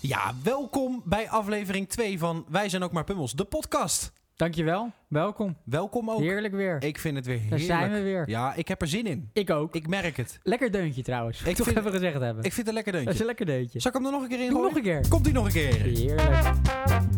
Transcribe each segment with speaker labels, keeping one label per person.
Speaker 1: Ja, welkom bij aflevering 2 van Wij zijn ook maar pummels, de podcast.
Speaker 2: Dankjewel, welkom.
Speaker 1: Welkom ook.
Speaker 2: Heerlijk weer.
Speaker 1: Ik vind het weer
Speaker 2: Daar
Speaker 1: heerlijk.
Speaker 2: zijn we weer.
Speaker 1: Ja, ik heb er zin in.
Speaker 2: Ik ook.
Speaker 1: Ik merk het.
Speaker 2: Lekker deuntje trouwens.
Speaker 1: Ik
Speaker 2: Toch
Speaker 1: vind-
Speaker 2: even gezegd hebben.
Speaker 1: Ik vind het een lekker
Speaker 2: Dat is
Speaker 1: deuntje.
Speaker 2: een lekker deuntje.
Speaker 1: Zal ik hem er nog een keer in
Speaker 2: Doe
Speaker 1: gooien?
Speaker 2: nog een keer.
Speaker 1: Komt hij nog een keer?
Speaker 2: Heerlijk.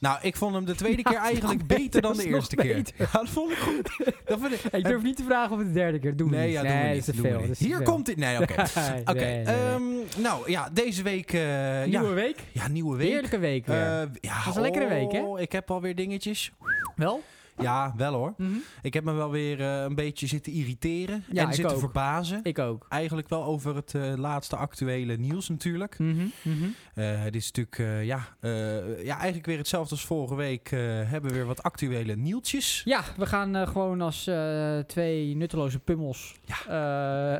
Speaker 1: Nou, ik vond hem de tweede keer eigenlijk
Speaker 2: beter,
Speaker 1: beter dan
Speaker 2: dat
Speaker 1: de
Speaker 2: is nog
Speaker 1: eerste keer.
Speaker 2: beter.
Speaker 1: Ja, dat vond ik goed. Dat vond ik...
Speaker 2: Ik durf niet te vragen of het de derde keer doen. we
Speaker 1: Nee,
Speaker 2: niet.
Speaker 1: ja, doen we
Speaker 2: dat
Speaker 1: niet,
Speaker 2: is te
Speaker 1: doen we
Speaker 2: veel.
Speaker 1: niet.
Speaker 2: dat is te
Speaker 1: Hier
Speaker 2: veel.
Speaker 1: komt hij. Nee, oké.
Speaker 2: Nee,
Speaker 1: Oké,
Speaker 2: nee, nee.
Speaker 1: ehm, nou ja, deze week... eh,
Speaker 2: Nieuwe
Speaker 1: ja,
Speaker 2: week.
Speaker 1: ja, nieuwe week.
Speaker 2: Heerlijke week weer.
Speaker 1: Eh, ja,
Speaker 2: Was een lekkere week, hè?
Speaker 1: oh, Ik heb alweer dingetjes.
Speaker 2: Wel?
Speaker 1: Ja, wel hoor.
Speaker 2: Mhm.
Speaker 1: Ik heb me wel weer eh, een beetje zitten irriteren
Speaker 2: Ja,
Speaker 1: en
Speaker 2: ik
Speaker 1: zitten
Speaker 2: ook.
Speaker 1: verbazen.
Speaker 2: Ik ook.
Speaker 1: Eigenlijk wel over het eh, laatste actuele nieuws natuurlijk.
Speaker 2: Mhm, mhm.
Speaker 1: Eh, het is natuurlijk, eh, ja, eh, ja, eigenlijk weer hetzelfde als vorige week. eh, hebben we weer wat actuele nieuwtjes.
Speaker 2: Ja, we gaan eh, gewoon als eh, twee nutteloze pummels eh,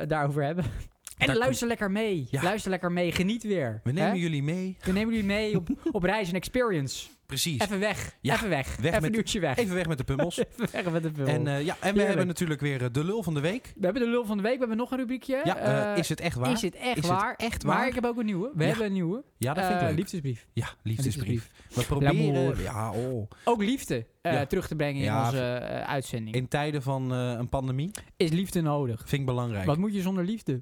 Speaker 2: daarover hebben. En
Speaker 1: Daar
Speaker 2: luister lekker mee.
Speaker 1: Ja.
Speaker 2: Luister lekker mee. Geniet weer.
Speaker 1: We nemen
Speaker 2: Hè?
Speaker 1: jullie mee.
Speaker 2: we nemen jullie mee op, op reis en experience.
Speaker 1: Precies.
Speaker 2: Even weg.
Speaker 1: Ja,
Speaker 2: Even weg.
Speaker 1: weg
Speaker 2: even
Speaker 1: met-
Speaker 2: een uurtje weg.
Speaker 1: Even weg met de pummels.
Speaker 2: Even weg met de film.
Speaker 1: en eh, ja, en we
Speaker 2: Heerlijk.
Speaker 1: hebben natuurlijk weer eh, de lul van de week.
Speaker 2: we hebben de lul van de week. We hebben nog een rubriekje.
Speaker 1: Ja, eh,
Speaker 2: Eh,
Speaker 1: is het echt waar?
Speaker 2: is het echt
Speaker 1: Is het
Speaker 2: waar?
Speaker 1: echt
Speaker 2: maar
Speaker 1: waar?
Speaker 2: ik heb ook een nieuwe. We
Speaker 1: Ja.
Speaker 2: hebben een nieuwe.
Speaker 1: ja, dat vind ik
Speaker 2: Eh,
Speaker 1: leuk.
Speaker 2: Liefdesbrief.
Speaker 1: Ja,
Speaker 2: Een
Speaker 1: liefdesbrief. We proberen...
Speaker 2: L'amour.
Speaker 1: Ja, oh.
Speaker 2: Ook liefde eh,
Speaker 1: Ja.
Speaker 2: terug te brengen in
Speaker 1: Ja,
Speaker 2: onze eh, uitzending.
Speaker 1: In tijden van eh, een pandemie
Speaker 2: Is liefde nodig?
Speaker 1: vind ik belangrijk.
Speaker 2: Wat moet je zonder liefde?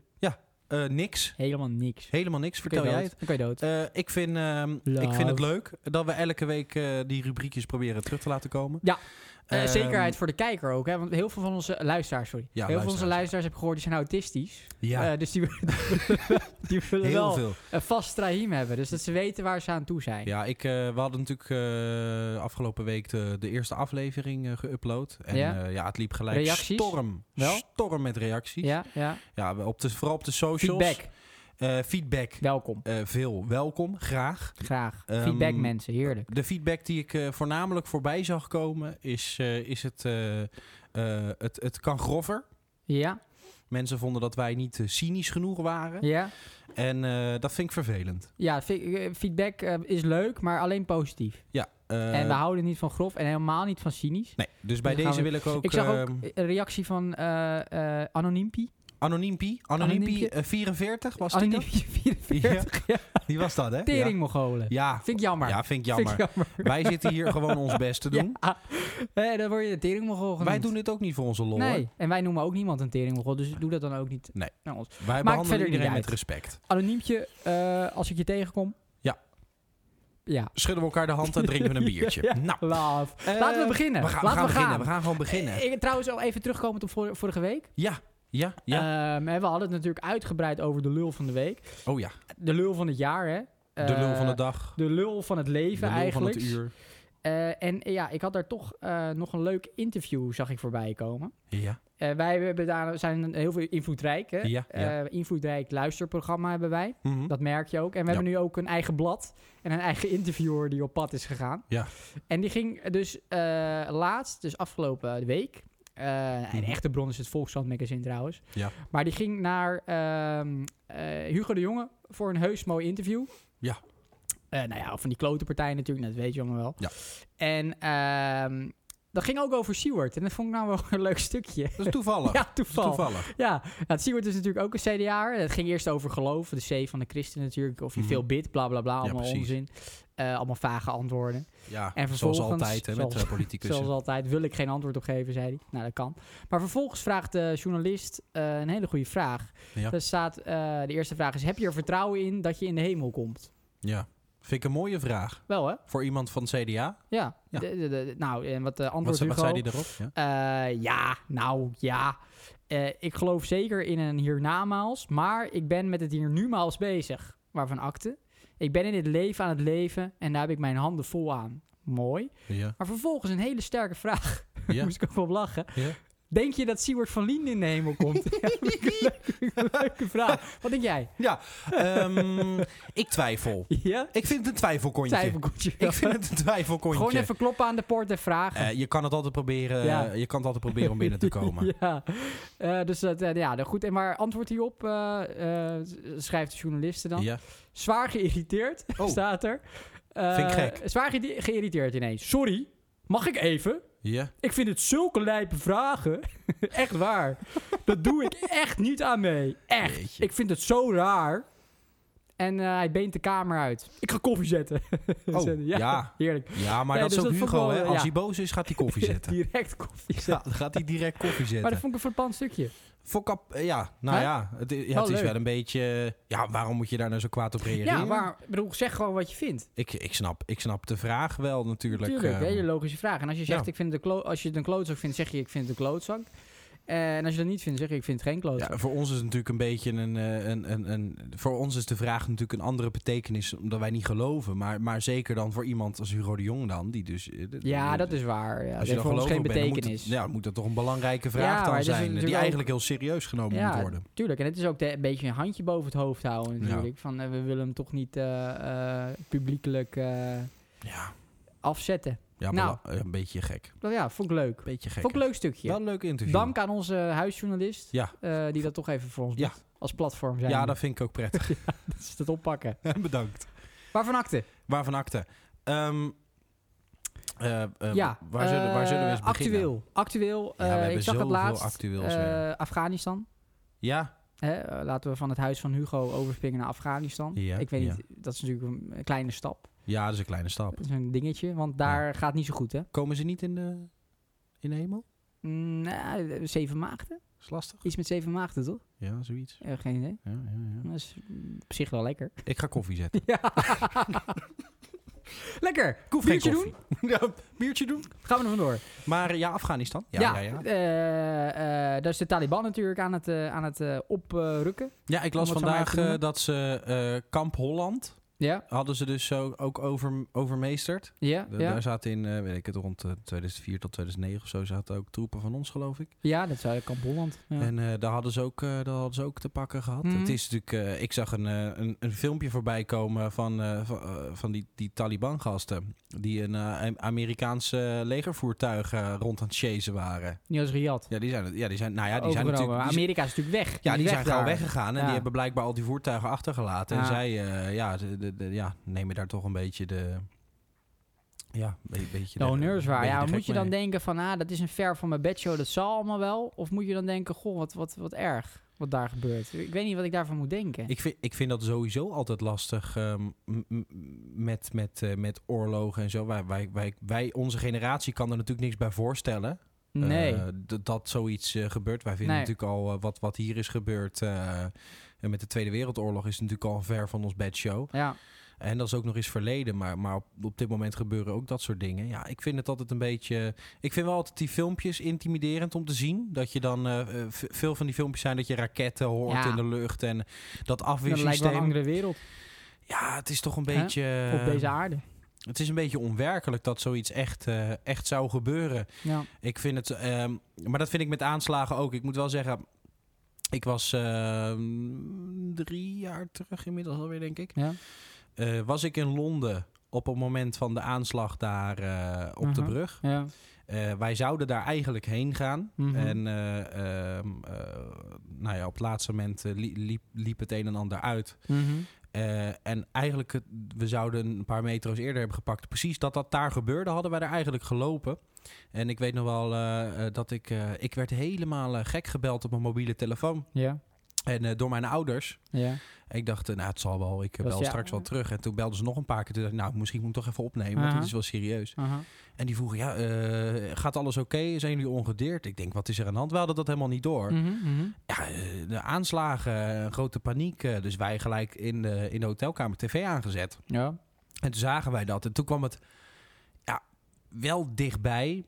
Speaker 1: Eh, niks.
Speaker 2: Helemaal niks.
Speaker 1: Helemaal niks, vertel
Speaker 2: Dan kan
Speaker 1: jij
Speaker 2: je
Speaker 1: het.
Speaker 2: dood. Dan kan je dood.
Speaker 1: Eh, ik, vind, ehm, ik vind
Speaker 2: Love.
Speaker 1: het leuk dat we elke week eh, die rubriekjes proberen terug te laten komen.
Speaker 2: Ja. Eh,
Speaker 1: Ehm,
Speaker 2: zekerheid voor de kijker ook, hè? want heel veel van onze luisteraars, sorry. heel veel van onze
Speaker 1: luisteraars.
Speaker 2: luisteraars heb ik gehoord, die zijn autistisch.
Speaker 1: Ja,
Speaker 2: Eh, dus die, die willen
Speaker 1: heel
Speaker 2: wel
Speaker 1: veel.
Speaker 2: een vast traïm hebben. Dus dat ze weten waar ze aan toe zijn.
Speaker 1: Ja, ik, eh, we hadden natuurlijk eh, afgelopen week de, de eerste aflevering eh, geüpload. En
Speaker 2: Ja.
Speaker 1: ja. ja, het liep gelijk
Speaker 2: Reacties?
Speaker 1: storm.
Speaker 2: Wel?
Speaker 1: Storm met reacties. Ja,
Speaker 2: ja. ja.
Speaker 1: we- op de, vooral op de socials.
Speaker 2: Feedback,
Speaker 1: Eh, feedback.
Speaker 2: welkom.
Speaker 1: Eh, veel. Welkom, graag.
Speaker 2: Graag.
Speaker 1: Ehm,
Speaker 2: feedback mensen, heerlijk.
Speaker 1: De feedback die ik eh, voornamelijk voorbij zag komen is, eh, is het, eh, eh, het, het kan grover.
Speaker 2: Ja,
Speaker 1: Mensen vonden dat wij niet eh, cynisch genoeg waren.
Speaker 2: ja.
Speaker 1: En eh, dat vind ik vervelend.
Speaker 2: Ja, fe- eh, feedback eh, is leuk, maar alleen positief.
Speaker 1: Ja, eh,
Speaker 2: en we houden niet van grof en helemaal niet van cynisch.
Speaker 1: nee, dus bij
Speaker 2: Dan gaan
Speaker 1: deze
Speaker 2: we-
Speaker 1: wil ik ook,
Speaker 2: ik zag ook
Speaker 1: ehm,
Speaker 2: eh, een reactie van eh eh Anoniempie.
Speaker 1: Anoniempie. Anoniempie
Speaker 2: Anoniempie.
Speaker 1: eh, 44 was die dat?
Speaker 2: Anoniempie 44. Ja.
Speaker 1: Die was dat, hè? Ja,
Speaker 2: Teringmogolen.
Speaker 1: ja,
Speaker 2: Vind ik jammer.
Speaker 1: ja vind ik
Speaker 2: Vind
Speaker 1: jammer.
Speaker 2: ik jammer.
Speaker 1: Wij zitten hier gewoon ons best te doen.
Speaker 2: Ja. Eh, dan word je een teringmogol genoemd.
Speaker 1: Wij doen dit ook niet voor onze lol.
Speaker 2: Nee,
Speaker 1: hoor.
Speaker 2: en wij noemen ook niemand een teringmogol, dus doe dat dan ook niet
Speaker 1: Nee.
Speaker 2: naar ons.
Speaker 1: Wij
Speaker 2: verder
Speaker 1: behandelen
Speaker 2: niet
Speaker 1: iedereen met
Speaker 2: uit.
Speaker 1: respect.
Speaker 2: Anoniempje, eh, als ik je tegenkom.
Speaker 1: Ja.
Speaker 2: Ja.
Speaker 1: Schudden we elkaar de hand en drinken we een biertje.
Speaker 2: Ja,
Speaker 1: Nou,
Speaker 2: Love.
Speaker 1: eh,
Speaker 2: Laten we beginnen.
Speaker 1: We gaan, we
Speaker 2: Laten
Speaker 1: gaan
Speaker 2: we
Speaker 1: beginnen.
Speaker 2: gaan. Eh,
Speaker 1: We gaan gewoon beginnen.
Speaker 2: Ik, trouwens, al even terugkomend op vor- vorige week.
Speaker 1: Ja, ja, ja.
Speaker 2: Ja. we hadden het natuurlijk uitgebreid over de lul van de week.
Speaker 1: oh ja,
Speaker 2: De lul van het jaar, hè?
Speaker 1: de lul van de
Speaker 2: Eh,
Speaker 1: dag.
Speaker 2: De lul van het
Speaker 1: De
Speaker 2: leven
Speaker 1: lul van
Speaker 2: eigenlijk.
Speaker 1: het uur.
Speaker 2: Eh, en eh, ja, ik had daar toch eh, nog een leuk interview, zag ik voorbij komen.
Speaker 1: Ja,
Speaker 2: Eh, wij hebben daar, zijn heel veel invloedrijk, hè?
Speaker 1: ja, ja.
Speaker 2: Eh, invloedrijk luisterprogramma hebben wij.
Speaker 1: Mhm.
Speaker 2: Dat merk je ook. En we
Speaker 1: Ja.
Speaker 2: hebben nu ook een eigen blad en een eigen interviewer die op pad is gegaan.
Speaker 1: Ja.
Speaker 2: En die ging dus eh, laatst, dus afgelopen week. eh en
Speaker 1: Mhm.
Speaker 2: echte bron is het Volkskrant magazine trouwens.
Speaker 1: Ja.
Speaker 2: Maar die ging naar ehm, eh, Hugo de Jonge voor een heus mooi interview.
Speaker 1: Ja.
Speaker 2: Eh, nou ja, van die klote partij natuurlijk, dat weet je allemaal wel.
Speaker 1: Ja.
Speaker 2: En ehm, dat ging ook over Seward. En dat vond ik nou wel een leuk stukje.
Speaker 1: Dat is toevallig.
Speaker 2: Ja,
Speaker 1: Dat is
Speaker 2: toeval.
Speaker 1: toevallig.
Speaker 2: Ja, nou, het Siewert is natuurlijk ook een CDA. Het ging eerst over geloof, de C van de christen natuurlijk. Of je
Speaker 1: Mhm.
Speaker 2: veel bidt, bla bla bla. Allemaal
Speaker 1: precies.
Speaker 2: onzin. Eh, allemaal vage antwoorden.
Speaker 1: Ja,
Speaker 2: En
Speaker 1: zoals
Speaker 2: vervolgens-
Speaker 1: altijd hè, met
Speaker 2: zoals-
Speaker 1: eh, politicus.
Speaker 2: Zoals altijd wil ik geen antwoord op geven, zei hij. Nou, dat kan. Maar vervolgens vraagt de journalist eh, een hele goede vraag.
Speaker 1: Ja.
Speaker 2: Daar staat, eh, de eerste vraag is, heb je er vertrouwen in dat je in de hemel komt?
Speaker 1: Ja. Vind ik een mooie vraag
Speaker 2: Wel hè?
Speaker 1: voor iemand van het CDA.
Speaker 2: Ja.
Speaker 1: Ja.
Speaker 2: De- de- de- nou, en wat de
Speaker 1: Wat,
Speaker 2: antwoord
Speaker 1: ze- wat
Speaker 2: Hugo?
Speaker 1: zei hij daarop? Ja.
Speaker 2: Eh, ja, nou ja. Eh, ik geloof zeker in een hiernamaals, maar ik ben met het hiernumaals bezig. Waarvan akte. Ik ben in dit leven aan het leven en daar heb ik mijn handen vol aan. Mooi.
Speaker 1: Ja.
Speaker 2: Maar vervolgens een hele sterke vraag.
Speaker 1: Ja.
Speaker 2: Moest ik ook wel om lachen.
Speaker 1: Ja.
Speaker 2: Denk je dat Siewert van Lien in de hemel komt? ja, vind ik een leuke, een leuke vraag. Wat denk jij?
Speaker 1: Ehm, ik twijfel.
Speaker 2: Ja?
Speaker 1: Ik vind het een twijfelkontje.
Speaker 2: Twijfelkontje.
Speaker 1: Ik vind het een twijfelkontje.
Speaker 2: Gewoon even kloppen aan de poort en vragen.
Speaker 1: Eh, je kan het altijd proberen.
Speaker 2: Ja.
Speaker 1: Je kan het altijd proberen om binnen te komen.
Speaker 2: ja, Eh, dus dat, eh, ja, nou goed. En maar antwoord hierop eh, eh, schrijft de journaliste dan.
Speaker 1: Ja.
Speaker 2: Zwaar geïrriteerd,
Speaker 1: Oh.
Speaker 2: staat er. Eh, Eh,
Speaker 1: Vind ik gek.
Speaker 2: Zwaar ge- geïrriteerd ineens. Sorry, mag ik even?
Speaker 1: Ja.
Speaker 2: Ik vind het zulke lijpe vragen. echt waar. Dat doe ik echt niet aan mee. Echt.
Speaker 1: Jeetje.
Speaker 2: Ik vind het zo raar. En eh, hij beent de kamer uit. Ik ga koffie zetten.
Speaker 1: Oh,
Speaker 2: Zetten.
Speaker 1: ja.
Speaker 2: Heerlijk.
Speaker 1: Ja, maar
Speaker 2: Ja,
Speaker 1: dat
Speaker 2: dus
Speaker 1: is ook
Speaker 2: dat vond ik
Speaker 1: Hugo,
Speaker 2: wel,
Speaker 1: hè.
Speaker 2: eh,
Speaker 1: Als
Speaker 2: ja.
Speaker 1: hij boos is, gaat hij koffie zetten.
Speaker 2: Direct koffie zetten.
Speaker 1: Ja, dan gaat hij direct koffie
Speaker 2: Maar dat
Speaker 1: zetten.
Speaker 2: vond ik een verpand stukje.
Speaker 1: Fokap, eh, ja, nou
Speaker 2: Hè?
Speaker 1: ja, het, i- ja,
Speaker 2: Wel
Speaker 1: het is
Speaker 2: leuk.
Speaker 1: wel een beetje... eh, Ja, waarom moet je daar nou zo kwaad op reageren?
Speaker 2: Ja, maar ik bedoel, zeg gewoon wat je vindt.
Speaker 1: Ik, ik, snap, ik snap de vraag wel natuurlijk.
Speaker 2: Tuurlijk,
Speaker 1: eh,
Speaker 2: hele logische vraag. En als je zegt,
Speaker 1: ja.
Speaker 2: ik vind het een klo- als je het een klootzak vindt, zeg je, ik vind het een klootzak. Eh, En als je dat niet vindt, zeg je, ik vind het geen klootzak.
Speaker 1: Ja, voor ons is het natuurlijk een beetje een, eh, een, een, een. Voor ons is de vraag natuurlijk een andere betekenis, omdat wij niet geloven. Maar, maar zeker dan voor iemand als Hugo de Jong dan, die dus. eh, de-
Speaker 2: Ja,
Speaker 1: de-
Speaker 2: dat is waar.
Speaker 1: Als
Speaker 2: Ja. Dat
Speaker 1: je
Speaker 2: heeft
Speaker 1: dan
Speaker 2: voor ons geen
Speaker 1: gelovig bent, dan moet
Speaker 2: betekenis.
Speaker 1: het- ja, moet dat toch een belangrijke
Speaker 2: Ja,
Speaker 1: vraag
Speaker 2: maar
Speaker 1: dan
Speaker 2: het is
Speaker 1: zijn,
Speaker 2: natuurlijk
Speaker 1: die
Speaker 2: ook-
Speaker 1: eigenlijk heel serieus genomen moet worden.
Speaker 2: tuurlijk. En het is ook de- een beetje een handje boven het hoofd houden natuurlijk. Van, eh, we willen hem toch niet eh, eh, publiekelijk eh,
Speaker 1: Ja,
Speaker 2: afzetten.
Speaker 1: ja
Speaker 2: Nou.
Speaker 1: bela- eh, een beetje gek.
Speaker 2: Wel ja, vond ik leuk.
Speaker 1: Beetje gek.
Speaker 2: Vond ik een leuk stukje.
Speaker 1: Wel een leuk interview.
Speaker 2: Dank aan onze huisjournalist,
Speaker 1: Ja.
Speaker 2: eh, die dat toch even voor ons
Speaker 1: Ja.
Speaker 2: doet. Als platform zijn.
Speaker 1: Ja,
Speaker 2: we.
Speaker 1: dat vind ik ook prettig.
Speaker 2: dat is het oppakken.
Speaker 1: Bedankt.
Speaker 2: Waarvan acte?
Speaker 1: Waarvan acte? Ehm, eh, eh,
Speaker 2: ja.
Speaker 1: waar, zullen, waar zullen we eens
Speaker 2: eh,
Speaker 1: beginnen?
Speaker 2: Actueel. Actueel.
Speaker 1: Ja, we
Speaker 2: eh,
Speaker 1: hebben
Speaker 2: ik zag het
Speaker 1: zoveel
Speaker 2: laatst.
Speaker 1: actueels
Speaker 2: eh,
Speaker 1: weer.
Speaker 2: Afghanistan.
Speaker 1: Ja,
Speaker 2: Hè, eh, laten we van het huis van Hugo overspringen naar Afghanistan.
Speaker 1: Ja,
Speaker 2: ik weet
Speaker 1: ja.
Speaker 2: niet, dat is natuurlijk een kleine stap.
Speaker 1: ja, dat is een kleine stap.
Speaker 2: Dat is een dingetje, want daar gaat niet zo goed, hè?
Speaker 1: Komen ze niet in de, in de hemel?
Speaker 2: Mm, nou, eh, zeven maagden?
Speaker 1: is lastig.
Speaker 2: Iets met zeven maagden, toch?
Speaker 1: Ja, zoiets.
Speaker 2: Eh, geen idee.
Speaker 1: Ja, ja, ja.
Speaker 2: Dat is mm, op zich wel lekker.
Speaker 1: Ik ga koffie zetten.
Speaker 2: Ja. lekker! Biertje doen?
Speaker 1: ja, biertje doen.
Speaker 2: Gaan we er vandoor.
Speaker 1: Maar ja, Afghanistan. Ja, ja. ja, ja.
Speaker 2: eh, eh, daar is de Taliban natuurlijk aan het, eh, aan het eh, oprukken.
Speaker 1: ik las
Speaker 2: Om het zo maar
Speaker 1: vandaag
Speaker 2: te noemen.
Speaker 1: eh, dat ze eh, Kamp Holland
Speaker 2: ja,
Speaker 1: hadden ze dus zo ook over, overmeesterd.
Speaker 2: ja,
Speaker 1: Da-
Speaker 2: ja.
Speaker 1: Daar zaten in, eh, weet ik het, rond eh, 2004 tot 2009 of zo zaten ook troepen van ons, geloof ik.
Speaker 2: Ja, dat zou Kamp Holland. Ja.
Speaker 1: En eh, daar, hadden ze ook, eh, daar hadden ze ook te pakken gehad.
Speaker 2: Mhm.
Speaker 1: Het is natuurlijk, eh, ik zag een, eh, een, een filmpje voorbij komen van, eh, van, eh, van die, die Taliban-gasten. Die een eh, Amerikaanse legervoertuig eh, rond aan het chasen waren.
Speaker 2: Niet als Riyadh.
Speaker 1: Ja, die zijn, ja, die zijn, nou ja, die zijn
Speaker 2: Overgenomen.
Speaker 1: natuurlijk... die zijn-
Speaker 2: Amerika is natuurlijk weg.
Speaker 1: ja, die,
Speaker 2: is
Speaker 1: zijn
Speaker 2: weg
Speaker 1: gauw
Speaker 2: daar.
Speaker 1: weggegaan en
Speaker 2: Ja.
Speaker 1: die hebben blijkbaar al die voertuigen achtergelaten. En
Speaker 2: Ja.
Speaker 1: zij eh, ja, de, de, de- ja, nemen daar toch een beetje de... Ja, een beetje
Speaker 2: De honneur is waar.
Speaker 1: beetje
Speaker 2: Ja,
Speaker 1: de
Speaker 2: moet
Speaker 1: gek
Speaker 2: je dan
Speaker 1: mee.
Speaker 2: denken van, ah, dat is een ver van mijn bedshow, dat zal allemaal wel. Of moet je dan denken, goh, wat, wat, wat erg wat daar gebeurt. Ik weet niet wat ik daarvan moet denken.
Speaker 1: Ik vind, ik vind dat sowieso altijd lastig ehm, m- m- met, met, eh, met oorlogen en zo. Wij, wij, wij, wij, onze generatie kan er natuurlijk niks bij voorstellen.
Speaker 2: nee.
Speaker 1: eh, d- dat zoiets eh, gebeurt. Wij vinden
Speaker 2: Nee.
Speaker 1: natuurlijk al eh, wat, wat hier is gebeurd. eh, en met de Tweede Wereldoorlog is het natuurlijk al ver van ons bedshow.
Speaker 2: ja.
Speaker 1: En dat is ook nog eens verleden. Maar, maar op, op dit moment gebeuren ook dat soort dingen. Ja, ik vind het altijd een beetje. Ik vind wel altijd die filmpjes intimiderend om te zien. Dat je dan. eh, eh, v- veel van die filmpjes zijn dat je raketten hoort
Speaker 2: Ja.
Speaker 1: in de lucht. En dat
Speaker 2: Dat lijkt wel een
Speaker 1: afweersysteem.
Speaker 2: andere wereld
Speaker 1: Ja, het is toch een
Speaker 2: Hè?
Speaker 1: beetje.
Speaker 2: op deze aarde.
Speaker 1: Het is een beetje onwerkelijk dat zoiets echt, eh, echt zou gebeuren.
Speaker 2: Ja.
Speaker 1: Ik vind het. ehm, maar dat vind ik met aanslagen ook. Ik moet wel zeggen. Ik was ehm, drie jaar terug inmiddels alweer, denk ik.
Speaker 2: Ja.
Speaker 1: Eh, was ik in Londen op het moment van de aanslag daar eh, op de
Speaker 2: Mhm.
Speaker 1: brug.
Speaker 2: Ja.
Speaker 1: Eh, wij zouden daar eigenlijk heen gaan.
Speaker 2: Mhm.
Speaker 1: En eh, ehm, eh, nou ja, op het laatste moment eh, li- liep, liep het een en ander uit.
Speaker 2: Mhm.
Speaker 1: Eh, en eigenlijk, het- we zouden een paar metro's eerder hebben gepakt. Precies dat dat daar gebeurde, hadden wij daar eigenlijk gelopen. En ik weet nog wel eh, eh, dat ik... eh, ik werd helemaal eh, gek gebeld op mijn mobiele telefoon.
Speaker 2: ja.
Speaker 1: En eh, door mijn ouders.
Speaker 2: Ja.
Speaker 1: En ik dacht, eh, nou, het zal wel. Ik eh,
Speaker 2: Was
Speaker 1: bel
Speaker 2: ja-
Speaker 1: straks wel terug. En toen belden ze nog een paar keer. Toen dacht ik, nou, misschien moet ik toch even opnemen. Want
Speaker 2: Aha.
Speaker 1: dit is wel serieus.
Speaker 2: Aha.
Speaker 1: En die vroegen, ja, eh, gaat alles oké? Zijn jullie ongedeerd? Ik denk, wat is er aan de hand? We hadden dat helemaal niet door.
Speaker 2: Mhm, mhm.
Speaker 1: Ja, eh, de aanslagen, eh, grote paniek. eh, Dus wij gelijk in de, in de hotelkamer tv aangezet.
Speaker 2: Ja.
Speaker 1: En toen zagen wij dat. En toen kwam het ja, wel dichtbij.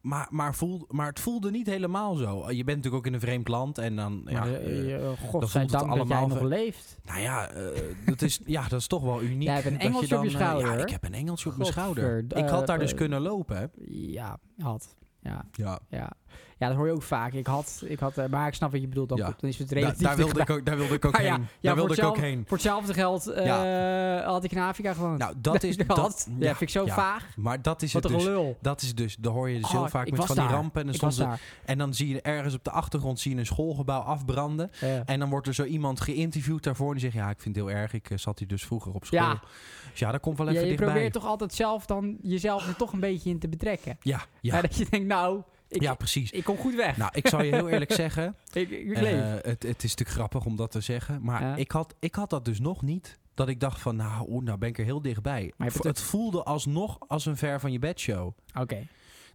Speaker 1: Maar, maar, voel, maar het voelde niet helemaal zo. Je bent natuurlijk ook in een vreemd land. En dan. Ja,
Speaker 2: Maar, eh,
Speaker 1: eh,
Speaker 2: eh,
Speaker 1: het
Speaker 2: godzijdank dat jij
Speaker 1: allemaal
Speaker 2: nog
Speaker 1: ver-
Speaker 2: leeft.
Speaker 1: nou ja, eh, dat is, ja, dat is toch wel uniek.
Speaker 2: Jij hebt een
Speaker 1: dat
Speaker 2: engeltje op je
Speaker 1: eh,
Speaker 2: schouder,
Speaker 1: ja,
Speaker 2: hoor.
Speaker 1: ik heb een engeltje op mijn schouder.
Speaker 2: Godverd-
Speaker 1: Ik had daar
Speaker 2: eh,
Speaker 1: dus
Speaker 2: eh,
Speaker 1: kunnen lopen. hè.
Speaker 2: Ja, had. Ja,
Speaker 1: Ja.
Speaker 2: ja. Ja, dat hoor je ook vaak. Ik had, ik had eh, maar ik snap wat je bedoelt. Dan,
Speaker 1: Ja.
Speaker 2: goed, dan is het
Speaker 1: Da-
Speaker 2: relatief
Speaker 1: daar, wilde
Speaker 2: dichtbij.
Speaker 1: ik ook, daar wilde ik ook
Speaker 2: Maar
Speaker 1: heen.
Speaker 2: Ah ja,
Speaker 1: daar
Speaker 2: ja, voor
Speaker 1: wilde ik ook
Speaker 2: hetzelfde-
Speaker 1: heen.
Speaker 2: Voor hetzelfde geld eh, had ik in Afrika gewoond.
Speaker 1: Nou, dat is...
Speaker 2: dat,
Speaker 1: dat,
Speaker 2: ja, vind ik zo
Speaker 1: ja.
Speaker 2: vaag.
Speaker 1: Maar dat is
Speaker 2: Wat
Speaker 1: het
Speaker 2: een
Speaker 1: dus.
Speaker 2: gelul.
Speaker 1: Dat is dus, daar hoor je dus heel
Speaker 2: Oh,
Speaker 1: vaak
Speaker 2: ik
Speaker 1: met
Speaker 2: was
Speaker 1: van die
Speaker 2: daar.
Speaker 1: rampen. En dan,
Speaker 2: Ik was
Speaker 1: stond
Speaker 2: daar.
Speaker 1: en dan zie je ergens op de achtergrond zie je een schoolgebouw afbranden.
Speaker 2: Ja.
Speaker 1: En dan wordt er zo iemand geïnterviewd daarvoor. En die zegt, ja, ik vind het heel erg. Ik eh, zat hier dus vroeger op school.
Speaker 2: Ja.
Speaker 1: Dus ja, dat komt wel
Speaker 2: Ja,
Speaker 1: even
Speaker 2: je
Speaker 1: dichtbij.
Speaker 2: probeert toch altijd zelf dan jezelf er toch een beetje in te betrekken.
Speaker 1: Ja,
Speaker 2: Ja.
Speaker 1: ja,
Speaker 2: dat je denkt, nou, ik,
Speaker 1: ja, precies.
Speaker 2: ik kom goed weg.
Speaker 1: Nou, ik zal je heel eerlijk zeggen.
Speaker 2: ik, ik, ik
Speaker 1: eh,
Speaker 2: leef.
Speaker 1: het, het is natuurlijk grappig om dat te zeggen. Maar
Speaker 2: Ja.
Speaker 1: ik, had, ik had dat dus nog niet. Dat ik dacht van, nou, oeh, nou ben ik er heel dichtbij.
Speaker 2: Maar je
Speaker 1: het voelde alsnog als een ver van je bedshow.
Speaker 2: Oké.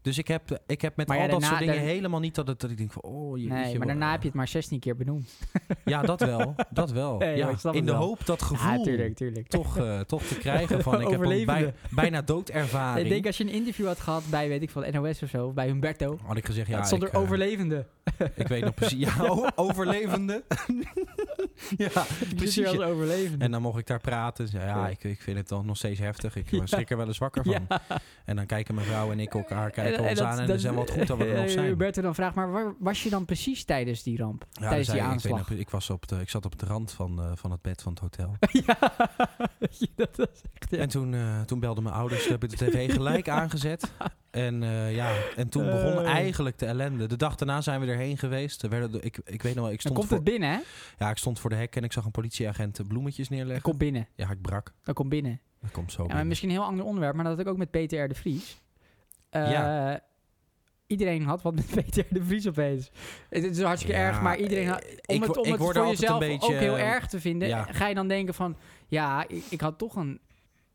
Speaker 1: Dus ik heb, ik heb met
Speaker 2: Maar
Speaker 1: al
Speaker 2: ja,
Speaker 1: dat
Speaker 2: daarna-
Speaker 1: soort dingen
Speaker 2: daar-
Speaker 1: helemaal niet dat, het, dat ik denk van, oh, je
Speaker 2: Nee, maar daarna heb je het maar 16 keer benoemd.
Speaker 1: Ja, dat wel. Dat wel.
Speaker 2: Nee,
Speaker 1: ja,
Speaker 2: ik snap
Speaker 1: in
Speaker 2: het
Speaker 1: de
Speaker 2: wel.
Speaker 1: hoop dat gevoel
Speaker 2: Ja, tuurlijk, tuurlijk.
Speaker 1: toch, eh, toch te krijgen van, ik heb een bij,
Speaker 2: Overlevende.
Speaker 1: bijna doodervaring.
Speaker 2: Ik denk als je een interview had gehad bij, weet ik veel, NOS of zo, of bij Humberto.
Speaker 1: had ik gezegd,
Speaker 2: Ja,
Speaker 1: ja,
Speaker 2: het stond
Speaker 1: ik,
Speaker 2: er
Speaker 1: eh,
Speaker 2: overlevende.
Speaker 1: ik weet nog precies. Ja, o- overlevende. ja,
Speaker 2: Precies.
Speaker 1: precies.
Speaker 2: als overlevende.
Speaker 1: En dan mocht ik daar praten. Zei, ja, ik, ik vind het dan nog steeds heftig. Ik eh, schrik er wel eens wakker van. En dan kijken mijn vrouw en ik
Speaker 2: Eh,
Speaker 1: elkaar kijken ons aan. En dan zijn we wat goed dat we er nog zijn.
Speaker 2: Humberto Eh, dan vraagt, maar waar was je dan precies tijdens die ramp?
Speaker 1: Ja,
Speaker 2: tijdens
Speaker 1: dan zei
Speaker 2: die
Speaker 1: ik, ik, weet
Speaker 2: aanslag.
Speaker 1: nog pre- ik, was op de, ik zat op de rand van, eh, van het bed van het hotel.
Speaker 2: ja, dat was echt...
Speaker 1: En toen, eh, toen belden mijn ouders, toen heb ik de tv gelijk aangezet. En, eh, ja, en toen begon
Speaker 2: Eh.
Speaker 1: eigenlijk de ellende. De dag daarna zijn we erheen geweest. Er werden, de- ik, ik weet nog wel, ik
Speaker 2: Dan
Speaker 1: stond,
Speaker 2: komt
Speaker 1: voor,
Speaker 2: het binnen, hè?
Speaker 1: ja, ik stond voor de hek en ik zag een politieagent eh, bloemetjes
Speaker 2: Dat
Speaker 1: neerleggen.
Speaker 2: komt binnen.
Speaker 1: Ja, ik brak.
Speaker 2: Dat komt binnen.
Speaker 1: Dat komt zo
Speaker 2: Ja, maar
Speaker 1: binnen.
Speaker 2: misschien een heel ander onderwerp, maar dat had ik ook met Peter R. de Vries. Eh, Iedereen had wat met Peter R. de Vries opeens. Het het is hartstikke
Speaker 1: Ja,
Speaker 2: erg, maar iedereen had...
Speaker 1: eh,
Speaker 2: Om
Speaker 1: ik
Speaker 2: het,
Speaker 1: wo-
Speaker 2: om
Speaker 1: ik
Speaker 2: het
Speaker 1: word er
Speaker 2: voor
Speaker 1: altijd
Speaker 2: jezelf
Speaker 1: een beetje, ehm,
Speaker 2: ook heel erg te vinden,
Speaker 1: ja.
Speaker 2: ga je dan denken van... Ja, ik, ik had toch een,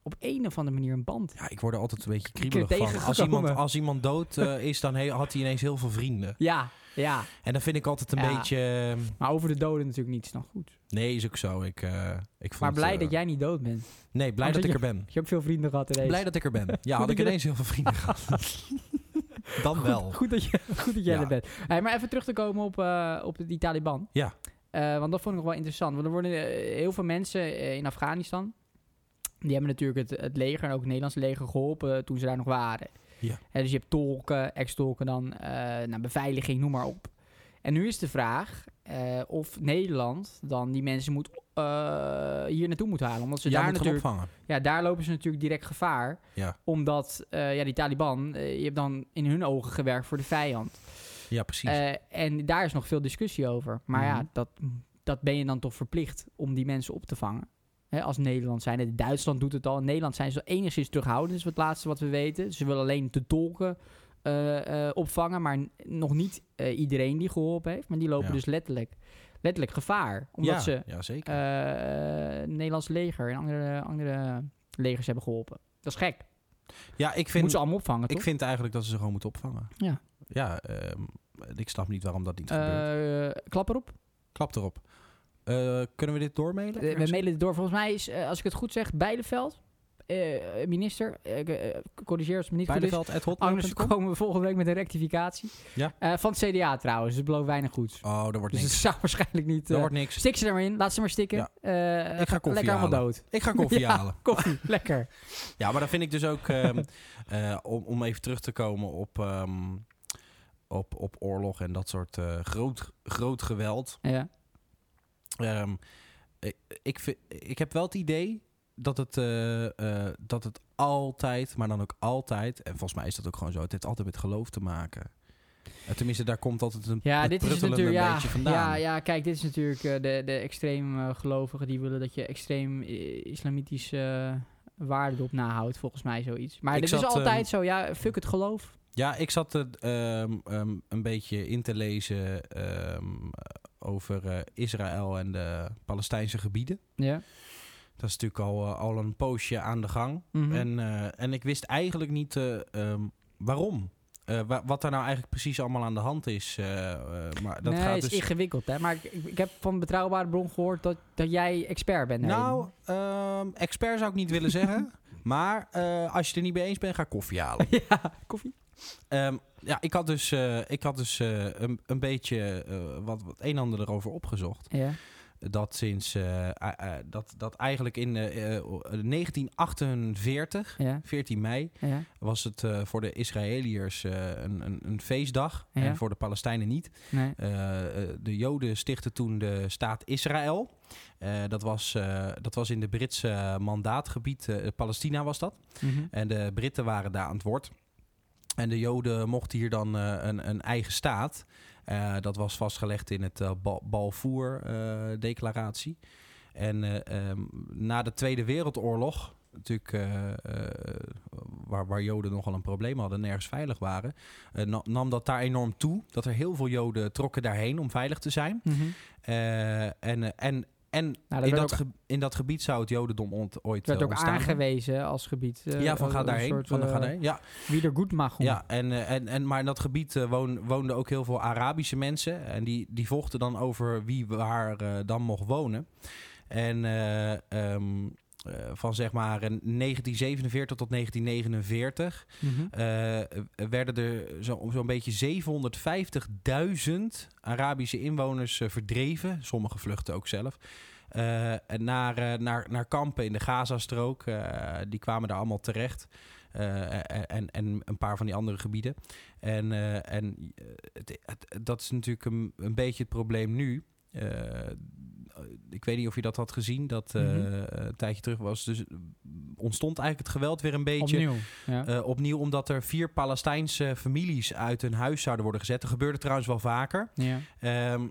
Speaker 2: op een of andere manier een band.
Speaker 1: Ja, ik word er altijd een beetje
Speaker 2: Ik- ik
Speaker 1: kriebelig van.
Speaker 2: tegengekomen.
Speaker 1: Als iemand, als iemand dood eh, is, dan he- had hij ineens heel veel vrienden.
Speaker 2: Ja, ja.
Speaker 1: En dan vind ik altijd een
Speaker 2: Ja.
Speaker 1: beetje... eh,
Speaker 2: Maar over de doden natuurlijk niets nog goed.
Speaker 1: Nee, is ook zo. Ik, eh, ik vond,
Speaker 2: Maar blij
Speaker 1: eh,
Speaker 2: dat jij niet dood bent.
Speaker 1: Nee, blij
Speaker 2: Omdat
Speaker 1: dat ik
Speaker 2: je-
Speaker 1: er ben.
Speaker 2: Je hebt veel vrienden gehad ineens.
Speaker 1: Blij dat ik er ben. Ja,
Speaker 2: dat
Speaker 1: had ik
Speaker 2: je dat-
Speaker 1: ineens heel veel vrienden gehad. Dan wel.
Speaker 2: Goed dat, je, goed dat jij
Speaker 1: Ja.
Speaker 2: er bent. Hey, maar even terug te komen op, eh, op die Taliban.
Speaker 1: Ja.
Speaker 2: Eh, want dat vond ik nog wel interessant. Want er worden eh, heel veel mensen eh, in Afghanistan... die hebben natuurlijk het, het leger en ook het Nederlandse leger geholpen... toen ze daar nog waren.
Speaker 1: Ja.
Speaker 2: Hè, dus je hebt tolken, ex-tolken dan... eh nou, beveiliging, noem maar op. En nu is de vraag eh, of Nederland dan die mensen moet, eh, hier naartoe moet halen. Omdat ze
Speaker 1: Jij
Speaker 2: daar
Speaker 1: moet gaan
Speaker 2: natuurlijk...
Speaker 1: opvangen.
Speaker 2: Ja, daar lopen ze natuurlijk direct gevaar.
Speaker 1: Ja.
Speaker 2: Omdat eh, ja, die Taliban, eh, je hebt dan in hun ogen gewerkt voor de vijand.
Speaker 1: Ja, precies.
Speaker 2: Eh, en daar is nog veel discussie over. Maar ja,
Speaker 1: Mhm.
Speaker 2: dat, dat ben je dan toch verplicht om die mensen op te vangen. Hè, als Nederland zijn. En Duitsland doet het al. In Nederland zijn ze enigszins terughoudend, is het laatste wat we weten. Ze willen alleen de tolken eh, eh, opvangen, maar n- nog niet eh, iedereen die geholpen heeft. Maar die lopen
Speaker 1: Ja.
Speaker 2: dus letterlijk, letterlijk gevaar. Omdat
Speaker 1: ja,
Speaker 2: ze
Speaker 1: ja, zeker.
Speaker 2: eh, het Nederlands leger en andere, andere legers hebben geholpen. Dat is gek.
Speaker 1: ja, ik
Speaker 2: Moeten
Speaker 1: vind,
Speaker 2: ze allemaal opvangen,
Speaker 1: ik
Speaker 2: toch?
Speaker 1: vind eigenlijk dat ze ze gewoon moeten opvangen.
Speaker 2: Ja.
Speaker 1: Ja, ehm, ik snap niet waarom dat niet gebeurt.
Speaker 2: Eh, klap erop.
Speaker 1: Klap erop. Eh, kunnen we dit
Speaker 2: Eh,
Speaker 1: doormelen?
Speaker 2: we mailen het door. Volgens mij is, eh, als ik het goed zeg, Bijleveld, eh, minister, eh, eh, corrigeer als het me niet goed is.
Speaker 1: Beideveld, at hotmail punt
Speaker 2: Anders
Speaker 1: com?
Speaker 2: komen we volgende week met een rectificatie.
Speaker 1: Ja.
Speaker 2: Eh, van het CDA trouwens, dus het belooft weinig goeds.
Speaker 1: Oh, daar wordt
Speaker 2: Dus het
Speaker 1: niks.
Speaker 2: zou waarschijnlijk niet...
Speaker 1: Daar
Speaker 2: eh,
Speaker 1: wordt niks.
Speaker 2: stik ze er maar in, laat ze maar stikken.
Speaker 1: Ja.
Speaker 2: Eh,
Speaker 1: Ik ga koffie
Speaker 2: Lekker allemaal
Speaker 1: halen.
Speaker 2: dood.
Speaker 1: Ik ga koffie
Speaker 2: Ja.
Speaker 1: halen.
Speaker 2: Koffie, lekker.
Speaker 1: Ja, maar dan vind ik dus ook... ehm, eh, om, om even terug te komen op, ehm, op, op oorlog en dat soort eh, groot, groot geweld.
Speaker 2: Ja.
Speaker 1: Ehm, ik, ik, vind- ik heb wel het idee dat het, eh, eh, dat het altijd, maar dan ook altijd, en volgens mij is dat ook gewoon zo, het heeft altijd met geloof te maken. Eh, tenminste, daar komt altijd een
Speaker 2: Ja,
Speaker 1: het
Speaker 2: dit is het
Speaker 1: pruttelende
Speaker 2: natuurlijk. Ja,
Speaker 1: beetje vandaan.
Speaker 2: ja, ja, kijk, dit is natuurlijk eh, de, de extreem eh, gelovigen die willen dat je extreem eh, islamitische eh, waarden erop nahoudt, volgens mij zoiets. Maar
Speaker 1: Ik
Speaker 2: dit is
Speaker 1: zat,
Speaker 2: altijd
Speaker 1: ehm,
Speaker 2: zo, ja, fuck het geloof.
Speaker 1: Ja, ik zat er ehm, ehm, een beetje in te lezen ehm, over eh, Israël en de Palestijnse gebieden.
Speaker 2: Ja.
Speaker 1: Dat is natuurlijk al, eh, al een poosje aan de gang.
Speaker 2: Mhm.
Speaker 1: En, eh, en ik wist eigenlijk niet eh, ehm, waarom. Eh, wa- wat daar nou eigenlijk precies allemaal aan de hand is. eh, eh, maar dat
Speaker 2: nee,
Speaker 1: gaat
Speaker 2: het is
Speaker 1: dus.
Speaker 2: ingewikkeld, hè. Maar ik, ik ik heb van een betrouwbare bron gehoord dat, dat jij expert bent. daarin.
Speaker 1: Nou, ehm, expert zou ik niet willen zeggen. Maar eh, als je het er niet mee eens bent, ga koffie halen.
Speaker 2: ja, koffie.
Speaker 1: Ehm, ja, ik had dus, eh, ik had dus eh, een, een beetje eh, wat, wat een en ander erover opgezocht.
Speaker 2: Ja.
Speaker 1: dat sinds eh, eh, eh, dat, dat eigenlijk in eh, eh, 1948,
Speaker 2: Ja,
Speaker 1: 14 mei,
Speaker 2: ja,
Speaker 1: was het eh, voor de Israëliërs eh, een, een, een feestdag
Speaker 2: Ja.
Speaker 1: en voor de Palestijnen niet.
Speaker 2: nee.
Speaker 1: Eh, eh, de Joden stichtten toen de staat Israël. Eh, dat, was, eh, dat was in de Britse mandaatgebied, eh, Palestina was dat.
Speaker 2: mhm.
Speaker 1: En de Britten waren daar aan het woord. En de Joden mochten hier dan eh, een, een eigen staat. Eh, dat was vastgelegd in het eh, Ba- Balfour-declaratie. en eh, ehm, na de Tweede Wereldoorlog, natuurlijk, eh, eh, waar, waar Joden nogal een probleem hadden, nergens veilig waren, eh, na- nam dat daar enorm toe. Dat er heel veel Joden trokken daarheen om veilig te zijn.
Speaker 2: mhm.
Speaker 1: Eh, en, eh, en, en
Speaker 2: Nou, dat
Speaker 1: in,
Speaker 2: werd
Speaker 1: dat
Speaker 2: ook,
Speaker 1: ge- in dat gebied zou het Jodendom ont- ooit
Speaker 2: werd
Speaker 1: eh,
Speaker 2: ook
Speaker 1: ontstaan.
Speaker 2: aangewezen als gebied. eh,
Speaker 1: ja, van
Speaker 2: als-
Speaker 1: ga
Speaker 2: als
Speaker 1: daarheen.
Speaker 2: soort,
Speaker 1: van, ga
Speaker 2: eh,
Speaker 1: daarheen. Ja,
Speaker 2: Wie er goed mag.
Speaker 1: ja, en, eh, en, en, maar in dat gebied eh, woon, woonden ook heel veel Arabische mensen. En die, die vochten dan over wie waar eh, dan mocht wonen. En eh, ehm, eh, van zeg maar eh, 1947 tot 1949
Speaker 2: Mhm.
Speaker 1: eh, werden er zo- zo'n beetje 750.000 Arabische inwoners eh, verdreven. Sommigen vluchten ook zelf. eh, naar, eh, naar, naar kampen in de Gazastrook. Eh, die kwamen daar allemaal terecht. Eh, en, en een paar van die andere gebieden. En, eh, en eh, het, het- dat is natuurlijk een, een beetje het probleem nu. Eh, ik weet niet of je dat had gezien. Dat eh,
Speaker 2: Mhm.
Speaker 1: een tijdje terug was. Dus ontstond eigenlijk het geweld weer een beetje.
Speaker 2: Opnieuw. Ja.
Speaker 1: Eh, opnieuw omdat er vier Palestijnse families uit hun huis zouden worden gezet. Dat gebeurde trouwens wel vaker.
Speaker 2: ja.
Speaker 1: Ehm,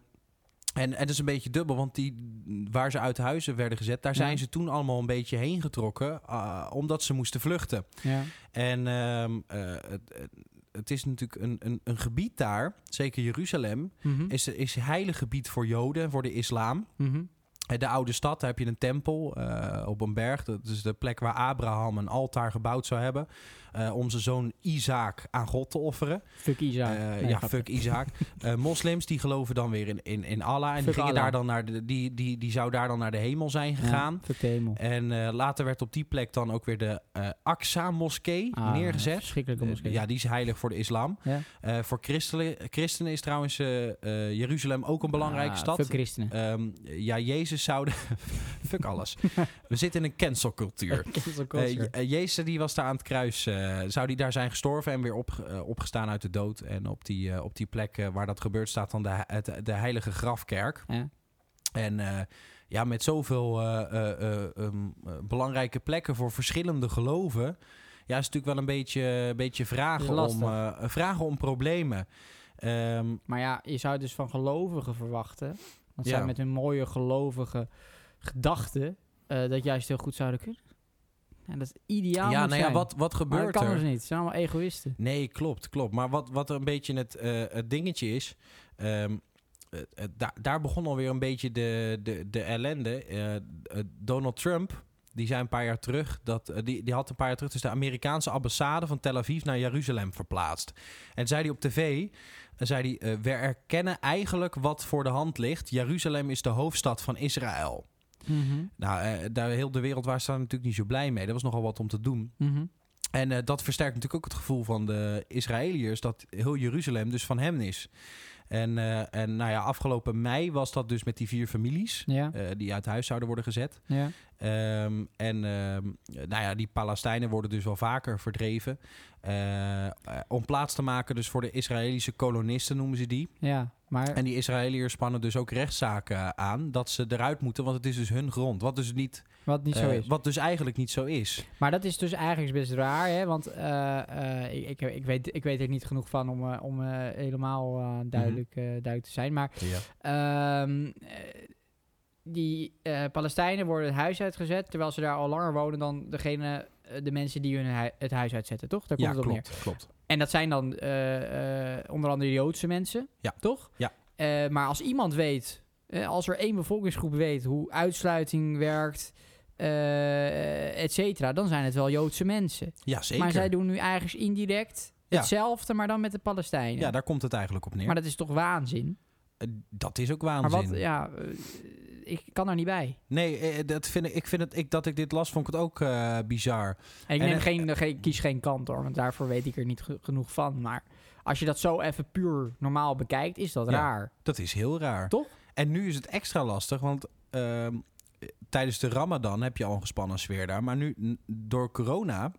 Speaker 1: en, en dat is een beetje dubbel, want die, waar ze uit huizen werden gezet, daar
Speaker 2: Ja.
Speaker 1: zijn ze toen allemaal een beetje heen getrokken, ah, omdat ze moesten vluchten.
Speaker 2: ja.
Speaker 1: En ehm, eh, het, het- het is natuurlijk een, een, een gebied daar, zeker Jeruzalem,
Speaker 2: Mhm.
Speaker 1: is, is heilig gebied voor Joden, en voor de islam.
Speaker 2: Mhm.
Speaker 1: Eh, De oude stad, daar heb je een tempel eh, op een berg. Dat is de plek waar Abraham een altaar gebouwd zou hebben. eh, om zijn zoon Isaac aan God te offeren.
Speaker 2: Fuck Isa.
Speaker 1: Eh,
Speaker 2: Nee,
Speaker 1: ja,
Speaker 2: grapje.
Speaker 1: fuck Isaac. Eh, moslims die geloven dan weer in, in, in Allah. En die,
Speaker 2: Fuck
Speaker 1: gingen
Speaker 2: Allah.
Speaker 1: Daar dan naar de, die, die, die zou daar dan naar de hemel zijn
Speaker 2: Ja,
Speaker 1: gegaan.
Speaker 2: fuck de hemel.
Speaker 1: En eh, later werd op die plek dan ook weer de eh Aqsa-moskee
Speaker 2: Ah,
Speaker 1: Eh, neergezet.
Speaker 2: Verschrikkelijke moskee.
Speaker 1: Eh, ja, die is heilig voor de islam.
Speaker 2: Ja.
Speaker 1: Eh, voor christenen, christenen is trouwens eh, eh, Jeruzalem ook een belangrijke
Speaker 2: Ah,
Speaker 1: stad.
Speaker 2: Fuck christenen.
Speaker 1: Ehm, ja, Jezus zouden... Fuck alles. We zitten in een cancelcultuur.
Speaker 2: Cancel
Speaker 1: Eh,
Speaker 2: culture.
Speaker 1: Je- eh, Jezus die was daar aan het kruis. eh, zou die daar zijn gestorven en weer op, eh, opgestaan uit de dood. En op die, eh, op die plek eh, waar dat gebeurt staat dan de, he- het- de heilige grafkerk.
Speaker 2: Ja.
Speaker 1: En eh, ja, met zoveel eh, eh, eh, ehm, eh, belangrijke plekken voor verschillende geloven... Ja, is natuurlijk wel een beetje, een beetje vragen, om,
Speaker 2: Lastig.
Speaker 1: eh, vragen om problemen. Ehm,
Speaker 2: Maar ja, je zou dus van gelovigen verwachten. Want zij
Speaker 1: Ja.
Speaker 2: met hun mooie gelovige gedachten. eh, dat juist heel goed zouden kunnen. En dat is ideaal.
Speaker 1: ja,
Speaker 2: moet
Speaker 1: nou ja,
Speaker 2: zijn.
Speaker 1: wat, wat
Speaker 2: maar dat
Speaker 1: gebeurt
Speaker 2: kan
Speaker 1: er?
Speaker 2: dus niet. Ze zijn allemaal egoïsten.
Speaker 1: Nee, klopt, klopt. Maar wat, wat een beetje het, eh, het dingetje is... ehm, eh, eh, daar- daar begon alweer een beetje de, de, de ellende. Eh, eh, Donald Trump, die zei een paar jaar terug... Dat, eh, die, die had een paar jaar terug dus de Amerikaanse ambassade van Tel Aviv naar Jeruzalem verplaatst. En zei hij op tv... eh, Zei hij, eh, we erkennen eigenlijk wat voor de hand ligt. Jeruzalem is de hoofdstad van Israël.
Speaker 2: Mhm,
Speaker 1: Nou, eh, daar, heel de wereld was daar natuurlijk niet zo blij mee. Dat was nogal wat om te doen.
Speaker 2: mhm.
Speaker 1: En eh, dat versterkt natuurlijk ook het gevoel van de Israëliërs dat heel Jeruzalem dus van hem is. En, eh, en nou ja, afgelopen mei was dat dus met die vier families
Speaker 2: Ja,
Speaker 1: eh, die uit huis zouden worden gezet.
Speaker 2: ja.
Speaker 1: Ehm, en ehm, nou ja, die Palestijnen worden dus wel vaker verdreven. eh, eh, om plaats te maken dus voor de Israëlische kolonisten noemen ze die.
Speaker 2: Ja, maar
Speaker 1: En die Israëliërs spannen dus ook rechtszaken aan dat ze eruit moeten, want het is dus hun grond. Wat dus, niet,
Speaker 2: wat niet zo
Speaker 1: eh,
Speaker 2: is.
Speaker 1: Wat dus eigenlijk niet zo is.
Speaker 2: Maar dat is dus eigenlijk best raar, hè? Want eh, eh, ik, ik, ik, weet, ik weet er niet genoeg van om, eh, om eh, helemaal eh,
Speaker 1: Mhm.
Speaker 2: duidelijk, eh, duidelijk te zijn. Maar
Speaker 1: Ja.
Speaker 2: Ehm, eh, die eh, Palestijnen worden het huis uitgezet, terwijl ze daar al langer wonen dan degene, eh, de mensen die hun hui- het huis uitzetten, toch? Daar komt
Speaker 1: Ja,
Speaker 2: het op neer.
Speaker 1: klopt, klopt.
Speaker 2: En dat zijn dan eh, eh, onder andere Joodse mensen,
Speaker 1: Ja.
Speaker 2: toch?
Speaker 1: Ja.
Speaker 2: Eh, maar als iemand weet, eh, als er één bevolkingsgroep weet hoe uitsluiting werkt, eh et cetera, dan zijn het wel Joodse mensen.
Speaker 1: Ja, zeker.
Speaker 2: Maar zij doen nu eigenlijk indirect
Speaker 1: Ja.
Speaker 2: hetzelfde, maar dan met de Palestijnen.
Speaker 1: Ja, daar komt het eigenlijk op neer.
Speaker 2: Maar dat is toch waanzin?
Speaker 1: Eh, dat is ook
Speaker 2: Maar
Speaker 1: waanzin.
Speaker 2: wat, ja, eh, ik kan er niet bij.
Speaker 1: Nee, eh, dat vind ik, ik vind het, ik, dat ik dit las, vond ik het ook eh, bizar.
Speaker 2: En ik
Speaker 1: En,
Speaker 2: neem
Speaker 1: eh,
Speaker 2: geen, geen- kies geen kant hoor, want daarvoor weet ik er niet ge- genoeg van. Maar als je dat zo even puur normaal bekijkt, is dat
Speaker 1: Ja.
Speaker 2: raar.
Speaker 1: Dat is heel raar.
Speaker 2: Toch?
Speaker 1: En nu is het extra lastig, want ehm, tijdens de Ramadan heb je al een gespannen sfeer daar. Maar nu, n- door corona,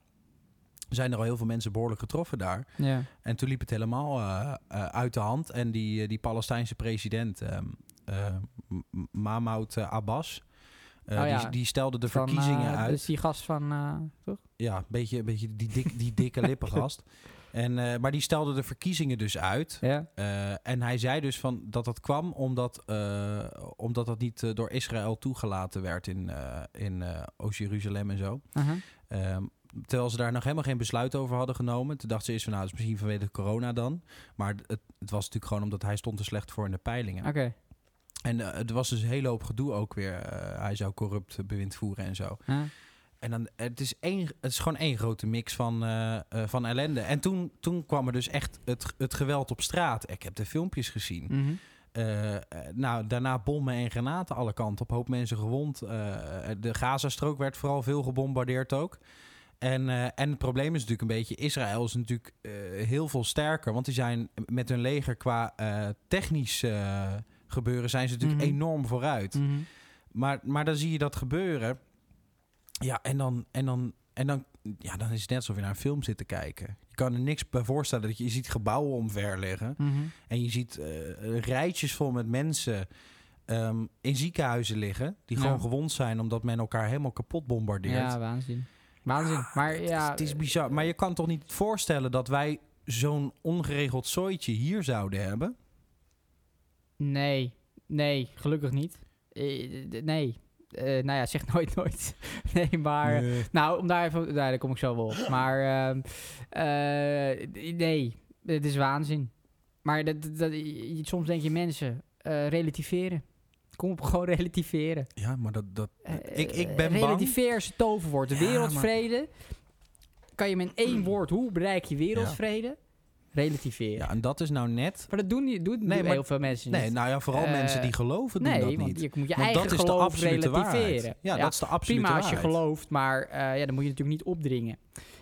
Speaker 1: zijn er al heel veel mensen behoorlijk getroffen daar.
Speaker 2: Ja.
Speaker 1: En toen liep het helemaal eh, eh, uit de hand. En die, eh, die Palestijnse president, ehm eh, M- Mahmoud eh, Abbas, eh,
Speaker 2: Oh ja,
Speaker 1: die, die stelde de
Speaker 2: Van,
Speaker 1: verkiezingen
Speaker 2: eh,
Speaker 1: uit.
Speaker 2: Dus die gast van... eh, toch?
Speaker 1: Ja, een beetje, een beetje die, dik, die dikke lippengast. En, eh, maar die stelde de verkiezingen dus uit.
Speaker 2: Ja.
Speaker 1: Eh, en hij zei dus van dat dat kwam omdat, eh, omdat dat niet eh, door Israël toegelaten werd in, eh, in eh, Oost-Jeruzalem en zo.
Speaker 2: aha.
Speaker 1: Ehm, terwijl ze daar nog helemaal geen besluit over hadden genomen. Toen dachten ze eerst van nou, dat is misschien vanwege corona dan. Maar het, het was natuurlijk gewoon omdat hij stond er slecht voor in de peilingen.
Speaker 2: Oké.
Speaker 1: En eh, het was dus een hele hoop gedoe ook weer. Eh, hij zou corrupt eh, bewind voeren en zo.
Speaker 2: Ja.
Speaker 1: En dan, het, is één, het is gewoon één grote mix van, eh, eh, van ellende. En toen, toen kwam er dus echt het, het geweld op straat. Ik heb de filmpjes gezien.
Speaker 2: Mhm.
Speaker 1: Eh, eh, nou, daarna bommen en granaten alle kanten op. Hoop mensen gewond. Eh, de Gazastrook werd vooral veel gebombardeerd ook. En, eh, en het probleem is natuurlijk een beetje... Israël is natuurlijk eh, heel veel sterker. Want die zijn met hun leger qua eh, technisch eh, gebeuren... zijn ze natuurlijk
Speaker 2: Mhm.
Speaker 1: enorm vooruit.
Speaker 2: Mhm.
Speaker 1: Maar, maar dan zie je dat gebeuren. Ja, en dan, en dan, en dan, ja, dan is het net alsof je naar een film zit te kijken. Je kan er niks bij voorstellen dat je, je ziet gebouwen omver liggen.
Speaker 2: Mhm.
Speaker 1: En je ziet eh, rijtjes vol met mensen ehm, in ziekenhuizen liggen. Die
Speaker 2: Ja.
Speaker 1: gewoon gewond zijn omdat men elkaar helemaal kapot bombardeert.
Speaker 2: Ja, waanzin. Waanzin. maar
Speaker 1: het,
Speaker 2: ja... eh,
Speaker 1: is, het is bizar. Maar je kan toch niet voorstellen dat wij zo'n ongeregeld zooitje hier zouden hebben?
Speaker 2: Nee, nee, gelukkig niet. Eh, d- nee. Eh, nou ja, zeg nooit nooit. nee, maar...
Speaker 1: Nee.
Speaker 2: Nou, om daar even... Nee, daar kom ik zo wel op. Maar ehm, eh, d- nee, het is waanzin. Maar dat, dat, dat- je- soms denk je mensen, eh, relativeren. Kom op, gewoon relativeren.
Speaker 1: Ja, maar dat... dat
Speaker 2: Eh,
Speaker 1: ik, ik ben bang...
Speaker 2: Relativeer is het toverwoord. De
Speaker 1: Ja, Hmm.
Speaker 2: wereldvrede. Kan je met één woord, hoe bereik je wereldvrede? Relativeren.
Speaker 1: Ja, en dat is nou net...
Speaker 2: Maar dat doen, die, doen,
Speaker 1: Nee,
Speaker 2: doen
Speaker 1: maar-
Speaker 2: heel veel mensen niet.
Speaker 1: Nee, nou ja, vooral
Speaker 2: Eh,
Speaker 1: mensen die geloven doen
Speaker 2: nee,
Speaker 1: dat niet.
Speaker 2: want je moet je
Speaker 1: Want
Speaker 2: eigen
Speaker 1: dat is de
Speaker 2: geloof
Speaker 1: absolute waarheid.
Speaker 2: relativeren.
Speaker 1: Ja, dat is de absolute
Speaker 2: prima als je
Speaker 1: waarheid.
Speaker 2: gelooft, maar eh, ja, dan moet je natuurlijk niet opdringen.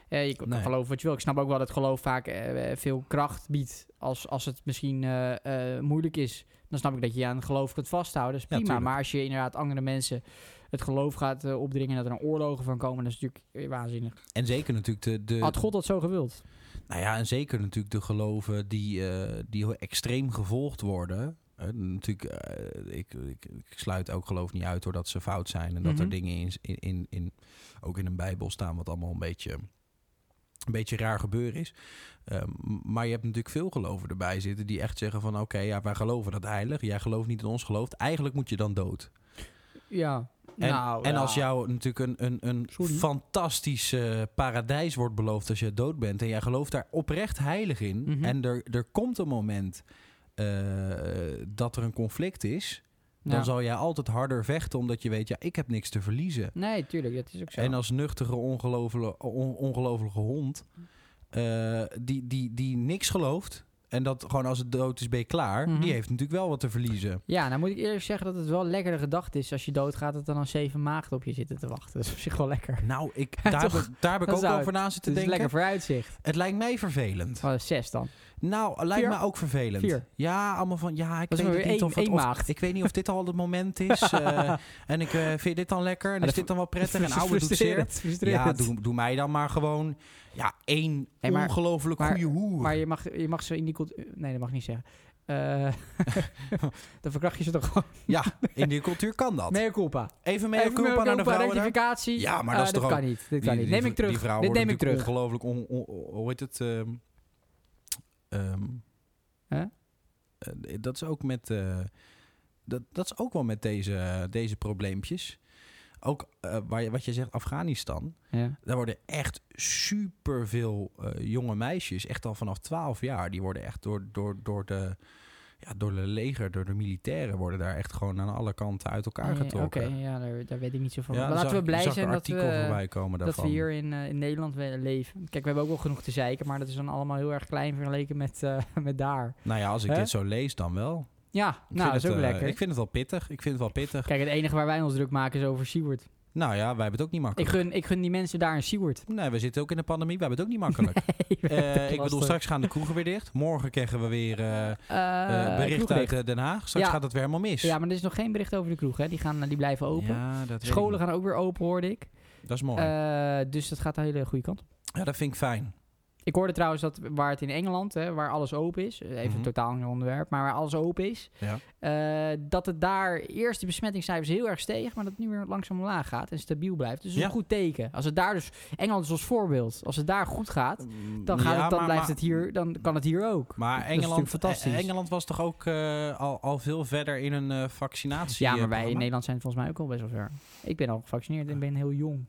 Speaker 2: Eh, je kan
Speaker 1: Nee.
Speaker 2: geloven wat je wil. Ik snap ook wel dat geloof vaak eh, eh, veel kracht biedt als, als het misschien eh, eh, moeilijk is. Dan snap ik dat je je aan geloof kunt vasthouden. Dat is
Speaker 1: Ja,
Speaker 2: prima.
Speaker 1: tuurlijk.
Speaker 2: maar als je inderdaad andere mensen het geloof gaat eh, opdringen en dat er dan oorlogen van komen, dat is natuurlijk eh, waanzinnig.
Speaker 1: En zeker natuurlijk de, de,
Speaker 2: Had God dat zo gewild?
Speaker 1: nou ja, en zeker natuurlijk de geloven die, eh, die heel extreem gevolgd worden. Eh, natuurlijk, eh, ik, ik, ik sluit ook geloof niet uit hoor dat ze fout zijn en dat er
Speaker 2: Mhm.
Speaker 1: dingen in, in, in, in- ook in een Bijbel staan wat allemaal een beetje, een beetje raar gebeuren is. Eh, m- maar je hebt natuurlijk veel geloven erbij zitten die echt zeggen van oké, ja, wij geloven dat heilig, jij gelooft niet in ons geloof, eigenlijk moet je dan dood.
Speaker 2: Ja.
Speaker 1: En,
Speaker 2: nou,
Speaker 1: en
Speaker 2: ja.
Speaker 1: als jou natuurlijk een, een, een
Speaker 2: Sorry.
Speaker 1: fantastisch eh, paradijs wordt beloofd als je dood bent... en jij gelooft daar oprecht heilig in...
Speaker 2: Mhm.
Speaker 1: en er, er komt een moment eh, dat er een conflict is... dan
Speaker 2: Ja.
Speaker 1: zal jij altijd harder vechten omdat je weet... ja, ik heb niks te verliezen.
Speaker 2: Nee, tuurlijk, dat is ook zo.
Speaker 1: En als nuchtere, ongelovelijke, on- ongelovelijke hond... eh, die, die, die niks gelooft... en dat gewoon als het dood is ben je klaar...
Speaker 2: Mhm.
Speaker 1: die heeft natuurlijk wel wat te verliezen.
Speaker 2: Ja, nou moet ik eerlijk zeggen dat het wel een lekkere gedachte is als je doodgaat, dat er dan zeven maagden op je zitten te wachten. Dat is op zich wel lekker.
Speaker 1: Nou, ik,
Speaker 2: Ja,
Speaker 1: daar, heb
Speaker 2: toch?
Speaker 1: ik- daar heb ik
Speaker 2: Dat
Speaker 1: ook
Speaker 2: zou-
Speaker 1: over na
Speaker 2: Het
Speaker 1: zitten
Speaker 2: is een
Speaker 1: denken.
Speaker 2: lekker vooruitzicht.
Speaker 1: Het lijkt mij vervelend.
Speaker 2: Oh, zes dan.
Speaker 1: Nou, lijkt
Speaker 2: Vier.
Speaker 1: me ook vervelend.
Speaker 2: Vier.
Speaker 1: Ja, allemaal van ja, ik
Speaker 2: Dat is
Speaker 1: weet
Speaker 2: maar
Speaker 1: het
Speaker 2: weer
Speaker 1: niet
Speaker 2: één,
Speaker 1: of, het,
Speaker 2: één
Speaker 1: of-
Speaker 2: maagd.
Speaker 1: ik weet niet of dit al het moment is. eh, en ik eh, vind dit dan lekker en
Speaker 2: Maar
Speaker 1: is
Speaker 2: dat
Speaker 1: dit dan wel prettig en
Speaker 2: Frus-
Speaker 1: oude doet zeer.
Speaker 2: frustrerend, frustrerend.
Speaker 1: Ja, doe, doe mij dan maar gewoon ja, één
Speaker 2: Nee, maar-
Speaker 1: ongelooflijk
Speaker 2: maar-
Speaker 1: goede hoer.
Speaker 2: Maar je mag, je mag zo in die cult- Nee, dat mag ik niet zeggen. Eh, dan verkracht je ze toch gewoon.
Speaker 1: ja, in die cultuur kan dat.
Speaker 2: Mea culpa.
Speaker 1: Even mee
Speaker 2: Even mea
Speaker 1: culpa naar de
Speaker 2: culpa,
Speaker 1: vrouwen. daar.
Speaker 2: rectificatie.
Speaker 1: Ja, maar dat
Speaker 2: Eh,
Speaker 1: is toch ook-
Speaker 2: kan niet. Dit
Speaker 1: Die-
Speaker 2: kan niet.
Speaker 1: die-
Speaker 2: Neem ik
Speaker 1: die
Speaker 2: terug.
Speaker 1: vrouwen
Speaker 2: Dit
Speaker 1: worden
Speaker 2: neem ik terug.
Speaker 1: natuurlijk Ongelooflijk, on, on- on- hoe heet het? ehm, ehm,
Speaker 2: Hè?
Speaker 1: eh, dat is ook met. eh, dat, dat is ook wel met deze, deze probleempjes. Ook eh, waar, je- wat je zegt, Afghanistan.
Speaker 2: Ja.
Speaker 1: Daar worden echt superveel eh jonge meisjes, echt al vanaf 12 jaar, die worden echt door, door, door de. Ja, door de leger, door de militairen worden daar echt gewoon aan alle kanten uit elkaar
Speaker 2: Nee, Oké,
Speaker 1: getrokken.
Speaker 2: ja, daar, daar weet ik niet zo van.
Speaker 1: Ja,
Speaker 2: maar laten
Speaker 1: zag-
Speaker 2: we blij
Speaker 1: zag een
Speaker 2: zijn dat we,
Speaker 1: artikel voorbij komen
Speaker 2: dat
Speaker 1: daarvan.
Speaker 2: we hier in, eh, in Nederland we- leven. Kijk, we hebben ook wel genoeg te zeiken, maar dat is dan allemaal heel erg klein vergeleken met, eh, met daar.
Speaker 1: Nou ja, als ik
Speaker 2: Hè?
Speaker 1: dit zo lees, dan wel.
Speaker 2: Ja,
Speaker 1: Ik
Speaker 2: nou,
Speaker 1: vind
Speaker 2: dat is
Speaker 1: het,
Speaker 2: ook
Speaker 1: eh,
Speaker 2: lekker.
Speaker 1: Ik vind het wel pittig. Ik vind het wel pittig.
Speaker 2: Kijk, het enige waar wij ons druk maken is over Siewert.
Speaker 1: Nou ja, wij hebben het ook niet
Speaker 2: Ik
Speaker 1: makkelijk.
Speaker 2: gun, ik gun die mensen daar een Seward.
Speaker 1: Nee, we zitten ook in de pandemie, wij hebben het ook niet makkelijk. Eh, ik bedoel, straks gaan de kroegen weer dicht. Morgen krijgen we weer eh eh, bericht uit eh, Den Haag. Straks
Speaker 2: Ja.
Speaker 1: gaat het weer helemaal mis.
Speaker 2: Ja, maar er is nog geen bericht over de kroeg, hè. Die, gaan, eh, die blijven open.
Speaker 1: Ja, dat weet ik
Speaker 2: Scholen
Speaker 1: niet.
Speaker 2: gaan ook weer open, hoorde ik.
Speaker 1: Dat is mooi.
Speaker 2: Eh, dus dat gaat de hele goede kant op.
Speaker 1: ja, dat vind ik fijn.
Speaker 2: Ik hoorde trouwens dat waar het in Engeland, hè, waar alles open is... eh, Even
Speaker 1: Mhm.
Speaker 2: totaal een ander onderwerp, maar waar alles open is...
Speaker 1: Ja.
Speaker 2: eh, dat het daar eerst de besmettingscijfers heel erg steeg... maar dat het nu weer langzaam omlaag gaat en stabiel blijft. Dus dat is
Speaker 1: Ja.
Speaker 2: een goed teken. Als het daar dus... Engeland is als voorbeeld. Als het daar goed gaat, dan, gaat
Speaker 1: Ja,
Speaker 2: het, dan
Speaker 1: maar-
Speaker 2: blijft
Speaker 1: maar-
Speaker 2: het hier... dan kan het hier ook.
Speaker 1: Maar
Speaker 2: natuurlijk
Speaker 1: Engeland,
Speaker 2: fantastisch.
Speaker 1: eh, Engeland was toch ook eh, al, al veel verder in een eh, vaccinatie.
Speaker 2: Ja,
Speaker 1: eh,
Speaker 2: maar wij in
Speaker 1: programma?
Speaker 2: Nederland zijn volgens mij ook al best wel ver. Ik ben al gevaccineerd en ben heel jong.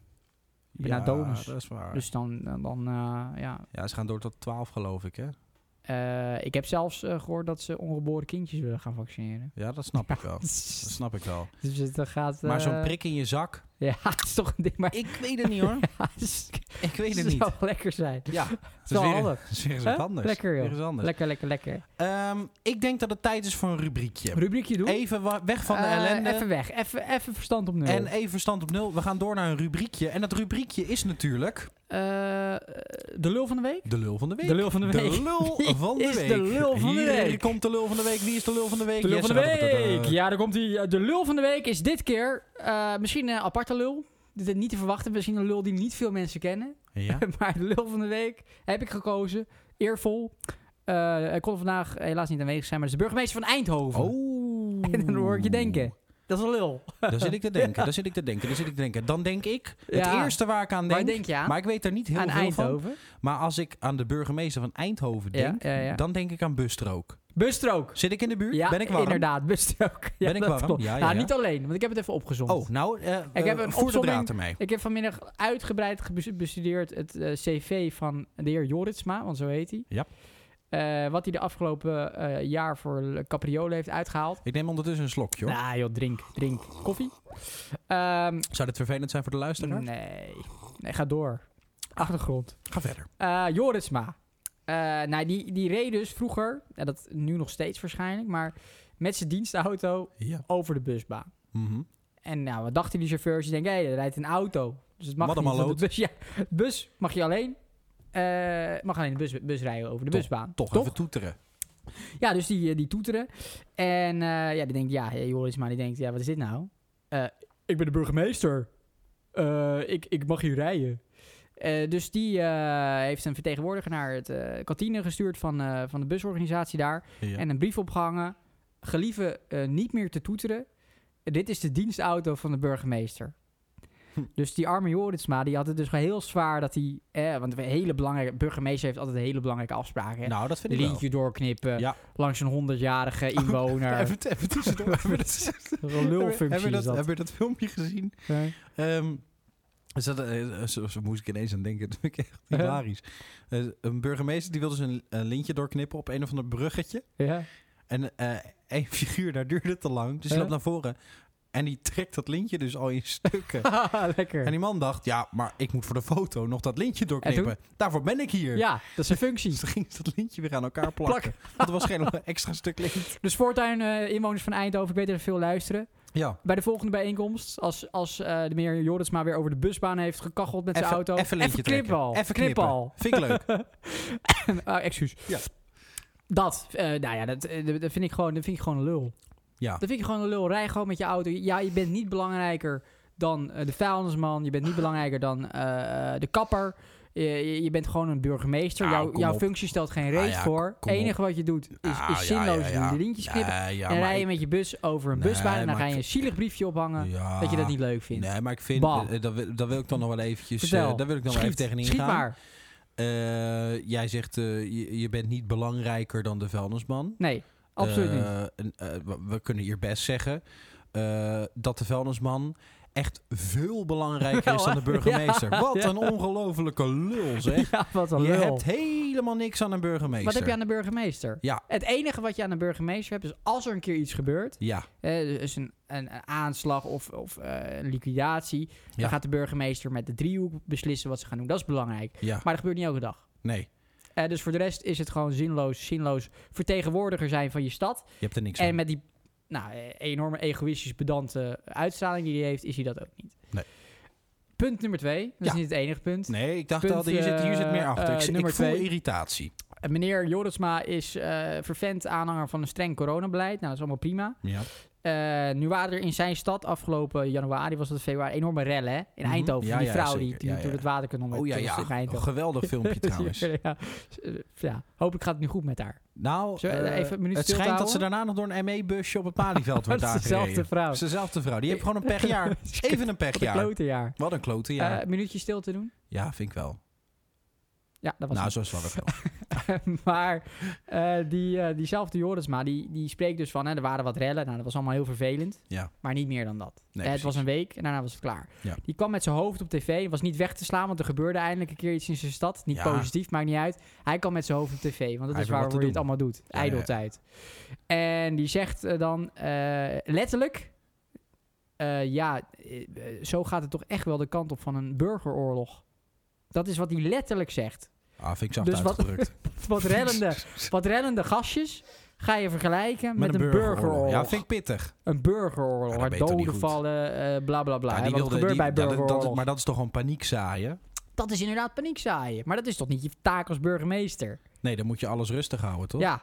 Speaker 2: ik ben
Speaker 1: ja,
Speaker 2: naar Donus.
Speaker 1: Dat is waar.
Speaker 2: Dus dan, dan, dan, eh, ja.
Speaker 1: Ja, ze gaan door tot 12 geloof ik, hè?
Speaker 2: Eh, ik heb zelfs eh, gehoord dat ze ongeboren kindjes willen gaan vaccineren.
Speaker 1: Ja, dat snap ik wel. Dat
Speaker 2: dus
Speaker 1: snap ik wel.
Speaker 2: het eh, gaat...
Speaker 1: Maar zo'n
Speaker 2: eh,
Speaker 1: prik in je zak.
Speaker 2: Ja, het is toch een ding, maar...
Speaker 1: Ik weet het niet hoor. Ik weet het niet.
Speaker 2: zou lekker zijn.
Speaker 1: Ja, het
Speaker 2: Het
Speaker 1: is
Speaker 2: zou
Speaker 1: weer,
Speaker 2: handig.
Speaker 1: het is weer eens
Speaker 2: Hè?
Speaker 1: wat anders.
Speaker 2: Lekker, joh.
Speaker 1: Weer eens anders.
Speaker 2: Lekker, lekker, lekker.
Speaker 1: Ehm, ik denk dat het tijd is voor een rubriekje.
Speaker 2: Rubriekje doen.
Speaker 1: Even wa- weg van de
Speaker 2: Eh,
Speaker 1: ellende.
Speaker 2: Even weg. Even, even verstand op nul.
Speaker 1: En even verstand op nul. We gaan door naar een rubriekje. En dat rubriekje is natuurlijk
Speaker 2: Eh, de lul van de week?
Speaker 1: de lul van de week.
Speaker 2: De lul van de week.
Speaker 1: De lul
Speaker 2: Wie
Speaker 1: van de
Speaker 2: is
Speaker 1: week.
Speaker 2: de lul van de
Speaker 1: Hier
Speaker 2: week?
Speaker 1: komt de lul van de week. Wie is de lul van de week?
Speaker 2: De lul van de
Speaker 1: Yes,
Speaker 2: week.
Speaker 1: da-da-da-da.
Speaker 2: Ja, daar komt hij. De lul van de week is dit keer eh, misschien een aparte lul. Dit is niet te verwachten. Misschien een lul die niet veel mensen kennen.
Speaker 1: Ja.
Speaker 2: maar de lul van de week heb ik gekozen. Eervol. Eh, hij kon vandaag helaas niet aanwezig zijn, maar het is de burgemeester van Eindhoven.
Speaker 1: Oh.
Speaker 2: En dan hoor ik je denken. Dat is een lul.
Speaker 1: Daar zit ik te denken. Daar zit ik te denken. Daar zit ik te denken. Dan denk ik, het
Speaker 2: Ja.
Speaker 1: eerste waar ik aan
Speaker 2: Waar
Speaker 1: denk...
Speaker 2: denk je aan?
Speaker 1: Maar ik weet er niet heel
Speaker 2: aan
Speaker 1: veel van.
Speaker 2: Eindhoven.
Speaker 1: Maar als ik aan de burgemeester van Eindhoven
Speaker 2: Ja,
Speaker 1: denk,
Speaker 2: ja, ja.
Speaker 1: dan denk ik aan Bustrook.
Speaker 2: Bustrook.
Speaker 1: Zit ik in de buurt?
Speaker 2: Ja,
Speaker 1: ben ik warm?
Speaker 2: inderdaad. Bustrook. Ja,
Speaker 1: Ben ik
Speaker 2: dat
Speaker 1: warm?
Speaker 2: klopt.
Speaker 1: Ja, ja,
Speaker 2: Nou,
Speaker 1: ja.
Speaker 2: niet alleen, want ik heb het even opgezond.
Speaker 1: Oh, nou, eh
Speaker 2: Ik heb
Speaker 1: eh,
Speaker 2: een
Speaker 1: voer de
Speaker 2: opzomming.
Speaker 1: draad ermee.
Speaker 2: Ik heb vanmiddag uitgebreid gebes- bestudeerd het eh, cv van de heer Joritsma, want zo heet hij.
Speaker 1: Ja.
Speaker 2: Eh, wat hij de afgelopen eh, jaar voor Le Capriole heeft uitgehaald.
Speaker 1: Ik neem ondertussen een slokje, hoor.
Speaker 2: Nou joh, drink, drink. Koffie? Ehm,
Speaker 1: Zou dit vervelend zijn voor de luisteraar?
Speaker 2: nee. nee, ga door. Achtergrond.
Speaker 1: Ga verder.
Speaker 2: Eh, Joritsma. Eh, nou, die, die reed dus vroeger, en dat nu nog steeds waarschijnlijk, maar met zijn dienstauto
Speaker 1: Ja.
Speaker 2: over de busbaan.
Speaker 1: Mhm.
Speaker 2: En nou, wat dachten die chauffeurs? Die denken, hé, er rijdt een auto. Dus het mag
Speaker 1: Madam
Speaker 2: niet. want
Speaker 1: Alloot.
Speaker 2: De bus, ja, de bus mag je alleen. eh, mag alleen de bus, bus rijden over de
Speaker 1: Toch,
Speaker 2: busbaan.
Speaker 1: Toch, even toeteren.
Speaker 2: Ja, dus die, eh, die toeteren. En eh, ja, die denkt, ja, hey, Joris, maar die denkt, ja, wat is dit nou? Eh, ik ben de burgemeester. Eh, ik, ik mag hier rijden. Eh, dus die eh, heeft een vertegenwoordiger naar het eh, kantine gestuurd van, eh, van de busorganisatie daar.
Speaker 1: Ja.
Speaker 2: En een brief opgehangen. Gelieve eh, niet meer te toeteren. Dit is de dienstauto van de burgemeester.
Speaker 1: Hm.
Speaker 2: Dus die arme Joritsma, die had het dus gewoon heel zwaar dat hij... Eh, want een hele belangrijke... Burgemeester heeft altijd hele belangrijke afspraken. hè.
Speaker 1: Nou, dat vind ik wel.
Speaker 2: Lintje doorknippen,
Speaker 1: Ja.
Speaker 2: langs een 100-jarige inwoner.
Speaker 1: Even, even tussendoor. Hebben we dat-
Speaker 2: Een
Speaker 1: hebben
Speaker 2: lulfunctie
Speaker 1: we dat,
Speaker 2: is dat.
Speaker 1: hebben we dat filmpje gezien?
Speaker 2: Nee.
Speaker 1: Ehm dus dat, eh, zo, zo moest ik ineens aan denken. Dat vind ik echt
Speaker 2: Ja.
Speaker 1: hilarisch. Eh, een burgemeester die wilde zijn een lintje doorknippen op een of ander bruggetje.
Speaker 2: Ja.
Speaker 1: En eh één figuur, daar duurde het te lang. Dus die
Speaker 2: Ja.
Speaker 1: loopt naar voren. En die trekt dat lintje dus al in stukken.
Speaker 2: Lekker.
Speaker 1: en die man dacht, ja, maar ik moet voor de foto nog dat lintje doorknippen. Daarvoor ben ik hier.
Speaker 2: Ja, dat is een functie.
Speaker 1: Dus toen ging ze dat lintje weer aan elkaar plakken. Want er was geen extra stuk lint.
Speaker 2: Dus voortuin inwoners van Eindhoven, ik weet dat er veel luisteren.
Speaker 1: Ja.
Speaker 2: Bij de volgende bijeenkomst, als, als eh, de meneer Jordensma weer over de busbaan heeft gekacheld met zijn auto.
Speaker 1: Even lintje trekken.
Speaker 2: al.
Speaker 1: Even
Speaker 2: knip
Speaker 1: knippen.
Speaker 2: al.
Speaker 1: Vind ik leuk.
Speaker 2: Ah, excuus.
Speaker 1: Ja.
Speaker 2: Dat, eh, nou ja, dat, eh, dat vind ik gewoon, dat vind ik gewoon een lul.
Speaker 1: Ja.
Speaker 2: Dat vind ik gewoon een lul. Rij gewoon met je auto. Ja, je bent niet belangrijker dan eh, de vuilnisman. Je bent niet belangrijker dan eh, eh, de kapper. Je, je- je bent gewoon een burgemeester.
Speaker 1: Nou,
Speaker 2: Jouw-
Speaker 1: kom
Speaker 2: jouw
Speaker 1: op.
Speaker 2: functie stelt geen reet
Speaker 1: Ah, ja,
Speaker 2: voor. Het
Speaker 1: kom op.
Speaker 2: enige wat je doet is,
Speaker 1: Ah, ja,
Speaker 2: is
Speaker 1: ja,
Speaker 2: zinloos
Speaker 1: ja.
Speaker 2: doen. De lintjes knippen.
Speaker 1: Nee, ja,
Speaker 2: en
Speaker 1: maar
Speaker 2: rij je
Speaker 1: ik-
Speaker 2: met je bus over een
Speaker 1: Nee,
Speaker 2: busbaan. En dan
Speaker 1: maar
Speaker 2: ga je
Speaker 1: ik-
Speaker 2: een zielig briefje ophangen
Speaker 1: ja.
Speaker 2: dat je dat niet leuk vindt.
Speaker 1: Nee, maar ik vind,
Speaker 2: Bah.
Speaker 1: eh, eh, dat, wil, dat wil ik dan nog wel eventjes,
Speaker 2: Vertel.
Speaker 1: eh daar wil ik dan wel
Speaker 2: Schiet.
Speaker 1: even tegenin
Speaker 2: Schiet
Speaker 1: gaan.
Speaker 2: maar.
Speaker 1: Eh, jij zegt, eh, je, je bent niet belangrijker dan de vuilnisman.
Speaker 2: Nee, absoluut niet.
Speaker 1: Eh, en, eh, we- we kunnen hier best zeggen eh, dat de vuilnisman echt veel belangrijker
Speaker 2: Wel,
Speaker 1: is dan
Speaker 2: hè?
Speaker 1: de burgemeester.
Speaker 2: Ja.
Speaker 1: Wat
Speaker 2: Ja.
Speaker 1: een ongelofelijke lul zeg.
Speaker 2: Ja, wat een
Speaker 1: Je
Speaker 2: lul.
Speaker 1: hebt helemaal niks aan een burgemeester.
Speaker 2: Wat heb je aan de burgemeester?
Speaker 1: Ja.
Speaker 2: Het enige wat je aan de burgemeester hebt is als er een keer iets gebeurt,
Speaker 1: Ja,
Speaker 2: hè, dus een, een, een aanslag of, of eh, een liquidatie,
Speaker 1: Ja.
Speaker 2: dan gaat de burgemeester met de driehoek beslissen wat ze gaan doen. Dat is belangrijk.
Speaker 1: ja,
Speaker 2: Maar dat gebeurt niet elke dag.
Speaker 1: nee.
Speaker 2: Eh, dus voor de rest is het gewoon zinloos, zinloos vertegenwoordiger zijn van je stad.
Speaker 1: Je hebt er niks
Speaker 2: En
Speaker 1: aan.
Speaker 2: met die nou, eh, enorme egoïstisch pedante uitstraling die hij heeft, is hij dat ook niet.
Speaker 1: Nee.
Speaker 2: Punt nummer twee. Dat
Speaker 1: Ja.
Speaker 2: is niet het enige punt.
Speaker 1: Nee, ik dacht
Speaker 2: Punt,
Speaker 1: al, hier, zit, hier zit meer
Speaker 2: eh,
Speaker 1: achter.
Speaker 2: eh,
Speaker 1: ik ik
Speaker 2: nummer
Speaker 1: voel
Speaker 2: twee.
Speaker 1: irritatie.
Speaker 2: Eh, Meneer Jorisma is eh vervent aanhanger van een streng coronabeleid. Nou, dat is allemaal prima.
Speaker 1: Ja.
Speaker 2: Eh, nu waren er in zijn stad afgelopen januari, was dat februari, enorme rellen hè? in
Speaker 1: Mhm.
Speaker 2: Eindhoven.
Speaker 1: Ja,
Speaker 2: van die
Speaker 1: ja,
Speaker 2: vrouw die,
Speaker 1: zeker.
Speaker 2: die
Speaker 1: Ja, ja.
Speaker 2: door het water kon onder.
Speaker 1: Oh ja,
Speaker 2: dat was
Speaker 1: ja.
Speaker 2: in
Speaker 1: Een
Speaker 2: Eindhoven.
Speaker 1: geweldig filmpje trouwens.
Speaker 2: ja, Eh, ja, hopelijk gaat het nu goed met haar.
Speaker 1: Nou,
Speaker 2: Zullen we
Speaker 1: eh,
Speaker 2: even een minuut
Speaker 1: het
Speaker 2: stilte
Speaker 1: schijnt dat ze
Speaker 2: houden?
Speaker 1: daarna nog door een ME-busje op het Malieveld
Speaker 2: Dat
Speaker 1: wordt
Speaker 2: is
Speaker 1: aangereden.
Speaker 2: dezelfde vrouw.
Speaker 1: Dat is dezelfde vrouw. Die heeft gewoon een pechjaar. Even een
Speaker 2: Wat een
Speaker 1: pechjaar.
Speaker 2: klote jaar.
Speaker 1: Wat een klote
Speaker 2: Eh,
Speaker 1: jaar.
Speaker 2: Een minuutje stil te doen?
Speaker 1: ja, vind ik wel.
Speaker 2: Ja, dat was
Speaker 1: Nou,
Speaker 2: het.
Speaker 1: zo is het wel weer wel.
Speaker 2: maar eh, die, eh, diezelfde Jorisma, die, die spreekt dus van... Hè, er waren wat rellen, nou, dat was allemaal heel vervelend.
Speaker 1: Ja.
Speaker 2: Maar niet meer dan dat.
Speaker 1: Nee,
Speaker 2: Eh, het
Speaker 1: precies.
Speaker 2: was een week en daarna was het klaar.
Speaker 1: Ja.
Speaker 2: Die kwam met zijn hoofd op tv. Was niet weg te slaan, want er gebeurde eindelijk een keer iets in zijn stad. Niet
Speaker 1: Ja.
Speaker 2: positief, maakt niet uit. Hij kwam met zijn hoofd op tv, want dat
Speaker 1: Hij
Speaker 2: is
Speaker 1: wil wat
Speaker 2: waar
Speaker 1: te
Speaker 2: je het
Speaker 1: doen.
Speaker 2: allemaal doet.
Speaker 1: Ja, ja, ja.
Speaker 2: Ijdeltijd. En die zegt eh, dan eh, letterlijk... eh, ja, eh, eh, zo gaat het toch echt wel de kant op van een burgeroorlog. Dat is wat hij letterlijk zegt.
Speaker 1: Ah, vind ik zacht
Speaker 2: Dus wat-
Speaker 1: uitgedrukt.
Speaker 2: Wat rellende, wat rellende gastjes ga je vergelijken met, een, burgeroorlog.
Speaker 1: Ja, vind ik pittig.
Speaker 2: Een burgeroorlog,
Speaker 1: Ja, dat
Speaker 2: waar
Speaker 1: weet toch niet
Speaker 2: doden
Speaker 1: goed.
Speaker 2: vallen, eh bla bla bla.
Speaker 1: Ja,
Speaker 2: hè,
Speaker 1: die
Speaker 2: want
Speaker 1: wilde-
Speaker 2: het gebeurt
Speaker 1: die-
Speaker 2: bij
Speaker 1: ja, dat- dat,
Speaker 2: burgeroorlog.
Speaker 1: maar dat is toch gewoon paniek zaaien?
Speaker 2: Dat is inderdaad paniek zaaien. Maar dat is toch niet je taak als burgemeester?
Speaker 1: Nee, dan moet je alles rustig houden, toch?
Speaker 2: Ja,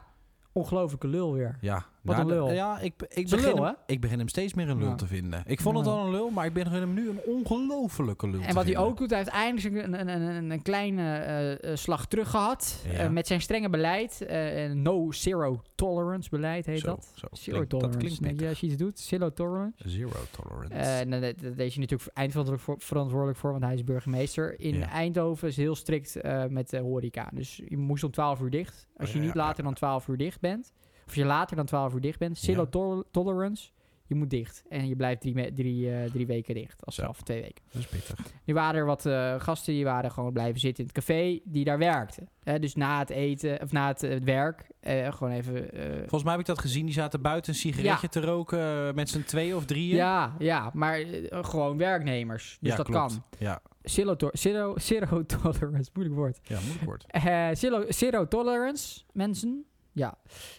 Speaker 2: ongelofelijke lul weer.
Speaker 1: Ja,
Speaker 2: Wat een
Speaker 1: de-
Speaker 2: lul.
Speaker 1: Ja, ik, ik,
Speaker 2: is een
Speaker 1: begin
Speaker 2: lul,
Speaker 1: hem, ik begin hem steeds meer een lul
Speaker 2: Ja.
Speaker 1: te vinden. Ik vond het
Speaker 2: Ja.
Speaker 1: al een lul, maar ik begin hem nu een ongelofelijke lul te
Speaker 2: En wat hij
Speaker 1: vinden.
Speaker 2: ook doet, hij heeft eindelijk een, een, een, een kleine eh, eh, slag terug gehad.
Speaker 1: Ja.
Speaker 2: eh, met zijn strenge beleid. eh, een no zero tolerance beleid heet
Speaker 1: Zo,
Speaker 2: dat.
Speaker 1: zo.
Speaker 2: Zero
Speaker 1: Klinkt-
Speaker 2: tolerance.
Speaker 1: Dat klinkt
Speaker 2: Nee,
Speaker 1: pittig.
Speaker 2: als je iets doet, zero tolerance.
Speaker 1: Zero tolerance.
Speaker 2: Eh, nou, dat- dat- daar is hij natuurlijk eindverantwoordelijk voor, verantwoordelijk voor, want hij is burgemeester. In
Speaker 1: Ja.
Speaker 2: Eindhoven is heel strikt eh, met de horeca. Dus je moest om 12 uur dicht. Als
Speaker 1: Oh,
Speaker 2: je
Speaker 1: ja,
Speaker 2: niet
Speaker 1: ja,
Speaker 2: later
Speaker 1: ja.
Speaker 2: dan 12 uur dicht bent, of je later dan 12 uur dicht bent, zero
Speaker 1: Ja.
Speaker 2: tol- tolerance, je moet dicht. En je blijft drie, me- drie, eh, drie weken dicht, als
Speaker 1: Zo.
Speaker 2: zelf twee weken.
Speaker 1: dat is pittig.
Speaker 2: Nu waren er wat eh, gasten die waren gewoon blijven zitten in het café, die daar werkten. Hè, dus na het eten, of na het, eh, werk, eh, gewoon even... eh,
Speaker 1: Volgens mij heb ik dat gezien. Die zaten buiten een sigaretje te roken eh, met z'n twee of drieën.
Speaker 2: ja, ja, maar eh, gewoon werknemers. Dus
Speaker 1: Ja,
Speaker 2: dat
Speaker 1: klopt.
Speaker 2: kan.
Speaker 1: Ja,
Speaker 2: Zero, to- zero, zero tolerance, moeilijk woord.
Speaker 1: ja moeilijk woord.
Speaker 2: Eh, zero, zero tolerance, mensen. Ja.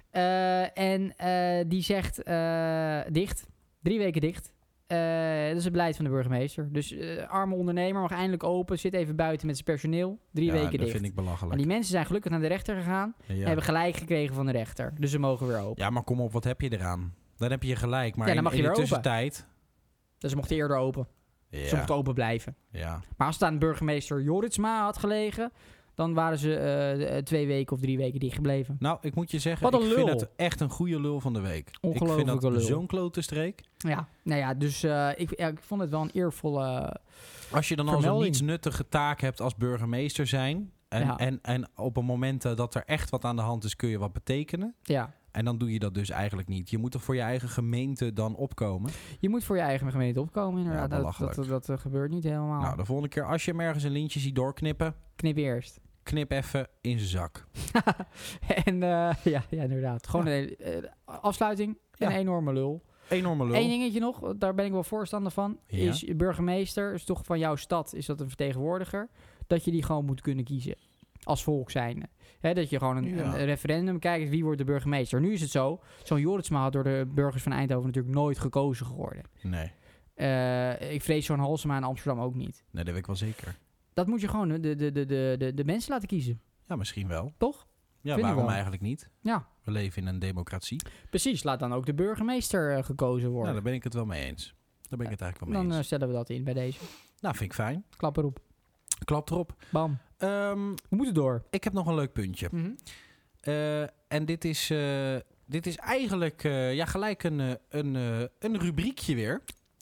Speaker 2: Eh, en eh, die zegt eh, dicht. Drie weken dicht. Eh, dat is het beleid van de burgemeester. Dus eh, arme ondernemer mag eindelijk open. Zit even buiten met zijn personeel. Drie
Speaker 1: ja,
Speaker 2: weken
Speaker 1: dat
Speaker 2: dicht.
Speaker 1: vind ik
Speaker 2: Maar
Speaker 1: belachelijk.
Speaker 2: die mensen zijn gelukkig naar de rechter gegaan. En
Speaker 1: Ja.
Speaker 2: hebben gelijk gekregen van de rechter. Dus ze mogen weer open.
Speaker 1: ja, maar kom op, wat heb je eraan? Dan heb je gelijk, maar
Speaker 2: Ja, dan
Speaker 1: in-
Speaker 2: mag je
Speaker 1: in,
Speaker 2: weer
Speaker 1: de
Speaker 2: open.
Speaker 1: tussentijd...
Speaker 2: Dus ze mochten eerder open. Ze
Speaker 1: Ja,
Speaker 2: mochten open blijven.
Speaker 1: ja.
Speaker 2: Maar als het aan burgemeester Joritsma had gelegen... dan waren ze eh, twee weken of drie weken dicht gebleven.
Speaker 1: Nou, ik moet je zeggen,
Speaker 2: Wat
Speaker 1: ik
Speaker 2: een
Speaker 1: vind
Speaker 2: lul.
Speaker 1: het echt een goede lul van de week. ik vind
Speaker 2: Ongelofelijke
Speaker 1: dat
Speaker 2: lul.
Speaker 1: zo'n klote streek.
Speaker 2: Ja, nou ja, dus eh, ik, ja, ik vond het wel een eervolle...
Speaker 1: Als je dan al zo'n
Speaker 2: Vermelding.
Speaker 1: niets nuttige taak hebt als burgemeester zijn... En,
Speaker 2: Ja.
Speaker 1: en, en op een moment eh, dat er echt wat aan de hand is, kun je wat betekenen.
Speaker 2: Ja,
Speaker 1: En dan doe je dat dus eigenlijk niet. Je moet er voor je eigen gemeente dan opkomen.
Speaker 2: je moet voor je eigen gemeente opkomen inderdaad.
Speaker 1: Ja,
Speaker 2: dat, dat,
Speaker 1: belachelijk.
Speaker 2: dat, eh, gebeurt niet helemaal.
Speaker 1: Nou, de volgende keer als je hem ergens een lintje ziet doorknippen...
Speaker 2: Knip eerst.
Speaker 1: knip even in zijn zak.
Speaker 2: en eh, ja, ja, inderdaad. Gewoon
Speaker 1: Ja.
Speaker 2: een hele- eh, afsluiting. Een
Speaker 1: Ja.
Speaker 2: enorme lul.
Speaker 1: Enorme lul.
Speaker 2: Eén dingetje nog, want daar ben ik wel voorstander van.
Speaker 1: Ja.
Speaker 2: Is je burgemeester, is toch van jouw stad, is dat een vertegenwoordiger? Dat je die gewoon moet kunnen kiezen. Als volk zijnde. Hè, dat je gewoon een,
Speaker 1: Ja.
Speaker 2: een referendum kijkt, wie wordt de burgemeester? Nu is het zo, zo'n Joritsma had door de burgers van Eindhoven natuurlijk nooit gekozen geworden.
Speaker 1: Nee.
Speaker 2: Eh, ik vrees zo'n Halsema in Amsterdam ook niet.
Speaker 1: nee, dat weet ik wel zeker.
Speaker 2: Dat moet je gewoon de, de, de, de, de, de mensen laten kiezen,
Speaker 1: Ja, misschien wel.
Speaker 2: toch?
Speaker 1: Ja,
Speaker 2: ik
Speaker 1: waarom
Speaker 2: wel.
Speaker 1: eigenlijk niet?
Speaker 2: Ja.
Speaker 1: We leven in een democratie.
Speaker 2: Precies, laat dan ook de burgemeester eh, gekozen
Speaker 1: Nou,
Speaker 2: worden.
Speaker 1: daar ben ik het wel mee eens. Daar ben ik het eigenlijk wel mee
Speaker 2: dan eh,
Speaker 1: eens.
Speaker 2: stellen we dat in bij deze.
Speaker 1: nou, vind ik fijn.
Speaker 2: Klap erop.
Speaker 1: Klap erop.
Speaker 2: Bam.
Speaker 1: Ehm,
Speaker 2: We moeten door.
Speaker 1: ik heb nog een leuk puntje.
Speaker 2: Mhm.
Speaker 1: Eh, en dit is, eh, dit is eigenlijk eh, ja, gelijk een, eh, een, eh, een rubriekje weer.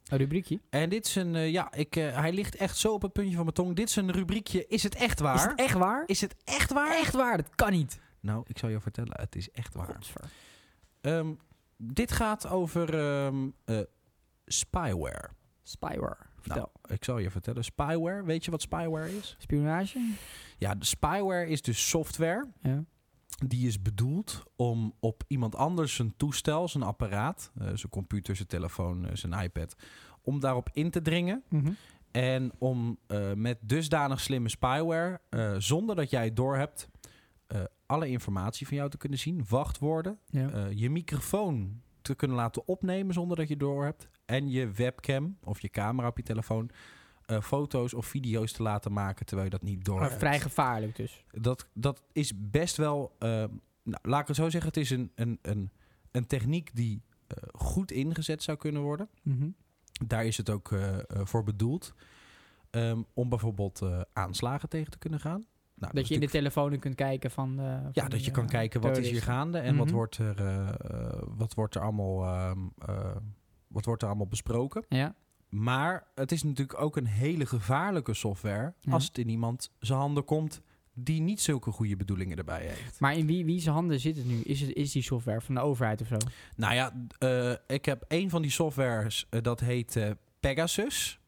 Speaker 2: Een Oh, rubriekje.
Speaker 1: En dit is een, eh, ja, ik, eh, hij ligt echt zo op het puntje van mijn tong. Dit is een rubriekje, is het echt waar?
Speaker 2: Is het echt waar?
Speaker 1: Is het echt waar?
Speaker 2: Echt waar, dat kan niet.
Speaker 1: Nou, ik zal je vertellen, het is echt waar.
Speaker 2: Godver.
Speaker 1: Ehm, dit gaat over ehm, eh, spyware.
Speaker 2: Spyware. Vertel.
Speaker 1: Ik zal je vertellen, spyware. Weet je wat spyware is?
Speaker 2: Spionage?
Speaker 1: Ja, de spyware is dus software
Speaker 2: Ja.
Speaker 1: die is bedoeld om op iemand anders zijn toestel, zijn apparaat, eh, zijn computer, zijn telefoon, eh, zijn iPad, om daarop in te dringen
Speaker 2: Mhm.
Speaker 1: en om eh, met dusdanig slimme spyware, eh, zonder dat jij het doorhebt, eh, alle informatie van jou te kunnen zien, wachtwoorden,
Speaker 2: ja.
Speaker 1: eh, je microfoon te kunnen laten opnemen zonder dat je door hebt. En je webcam of je camera op je telefoon eh, foto's of video's te laten maken terwijl je dat niet door
Speaker 2: Maar
Speaker 1: hebt.
Speaker 2: Oh, vrij gevaarlijk dus.
Speaker 1: dat, dat is best wel. eh, nou, laat ik het zo zeggen, het is een, een, een, een techniek die eh, goed ingezet zou kunnen worden.
Speaker 2: Mhm.
Speaker 1: Daar is het ook eh, eh, voor bedoeld. Ehm, om bijvoorbeeld eh, aanslagen tegen te kunnen gaan. Nou,
Speaker 2: Dat
Speaker 1: is
Speaker 2: je in de
Speaker 1: natuurlijk-
Speaker 2: telefoon kunt kijken van... eh, van
Speaker 1: ja, dat
Speaker 2: die,
Speaker 1: je kan
Speaker 2: eh,
Speaker 1: kijken wat is hier
Speaker 2: terroristen.
Speaker 1: gaande en wat,
Speaker 2: Mhm.
Speaker 1: wordt er, eh, eh, wat wordt er allemaal. ehm, eh, wat wordt er allemaal besproken?
Speaker 2: Ja,
Speaker 1: Maar het is natuurlijk ook een hele gevaarlijke software.
Speaker 2: Ja.
Speaker 1: als het in iemand zijn handen komt. die niet zulke goede bedoelingen erbij heeft.
Speaker 2: maar in wie, wie zijn handen zit het nu? Is, het, is die software van de overheid of zo?
Speaker 1: Nou ja, eh, ik heb een van die softwares, eh, dat heet eh, Pegasus.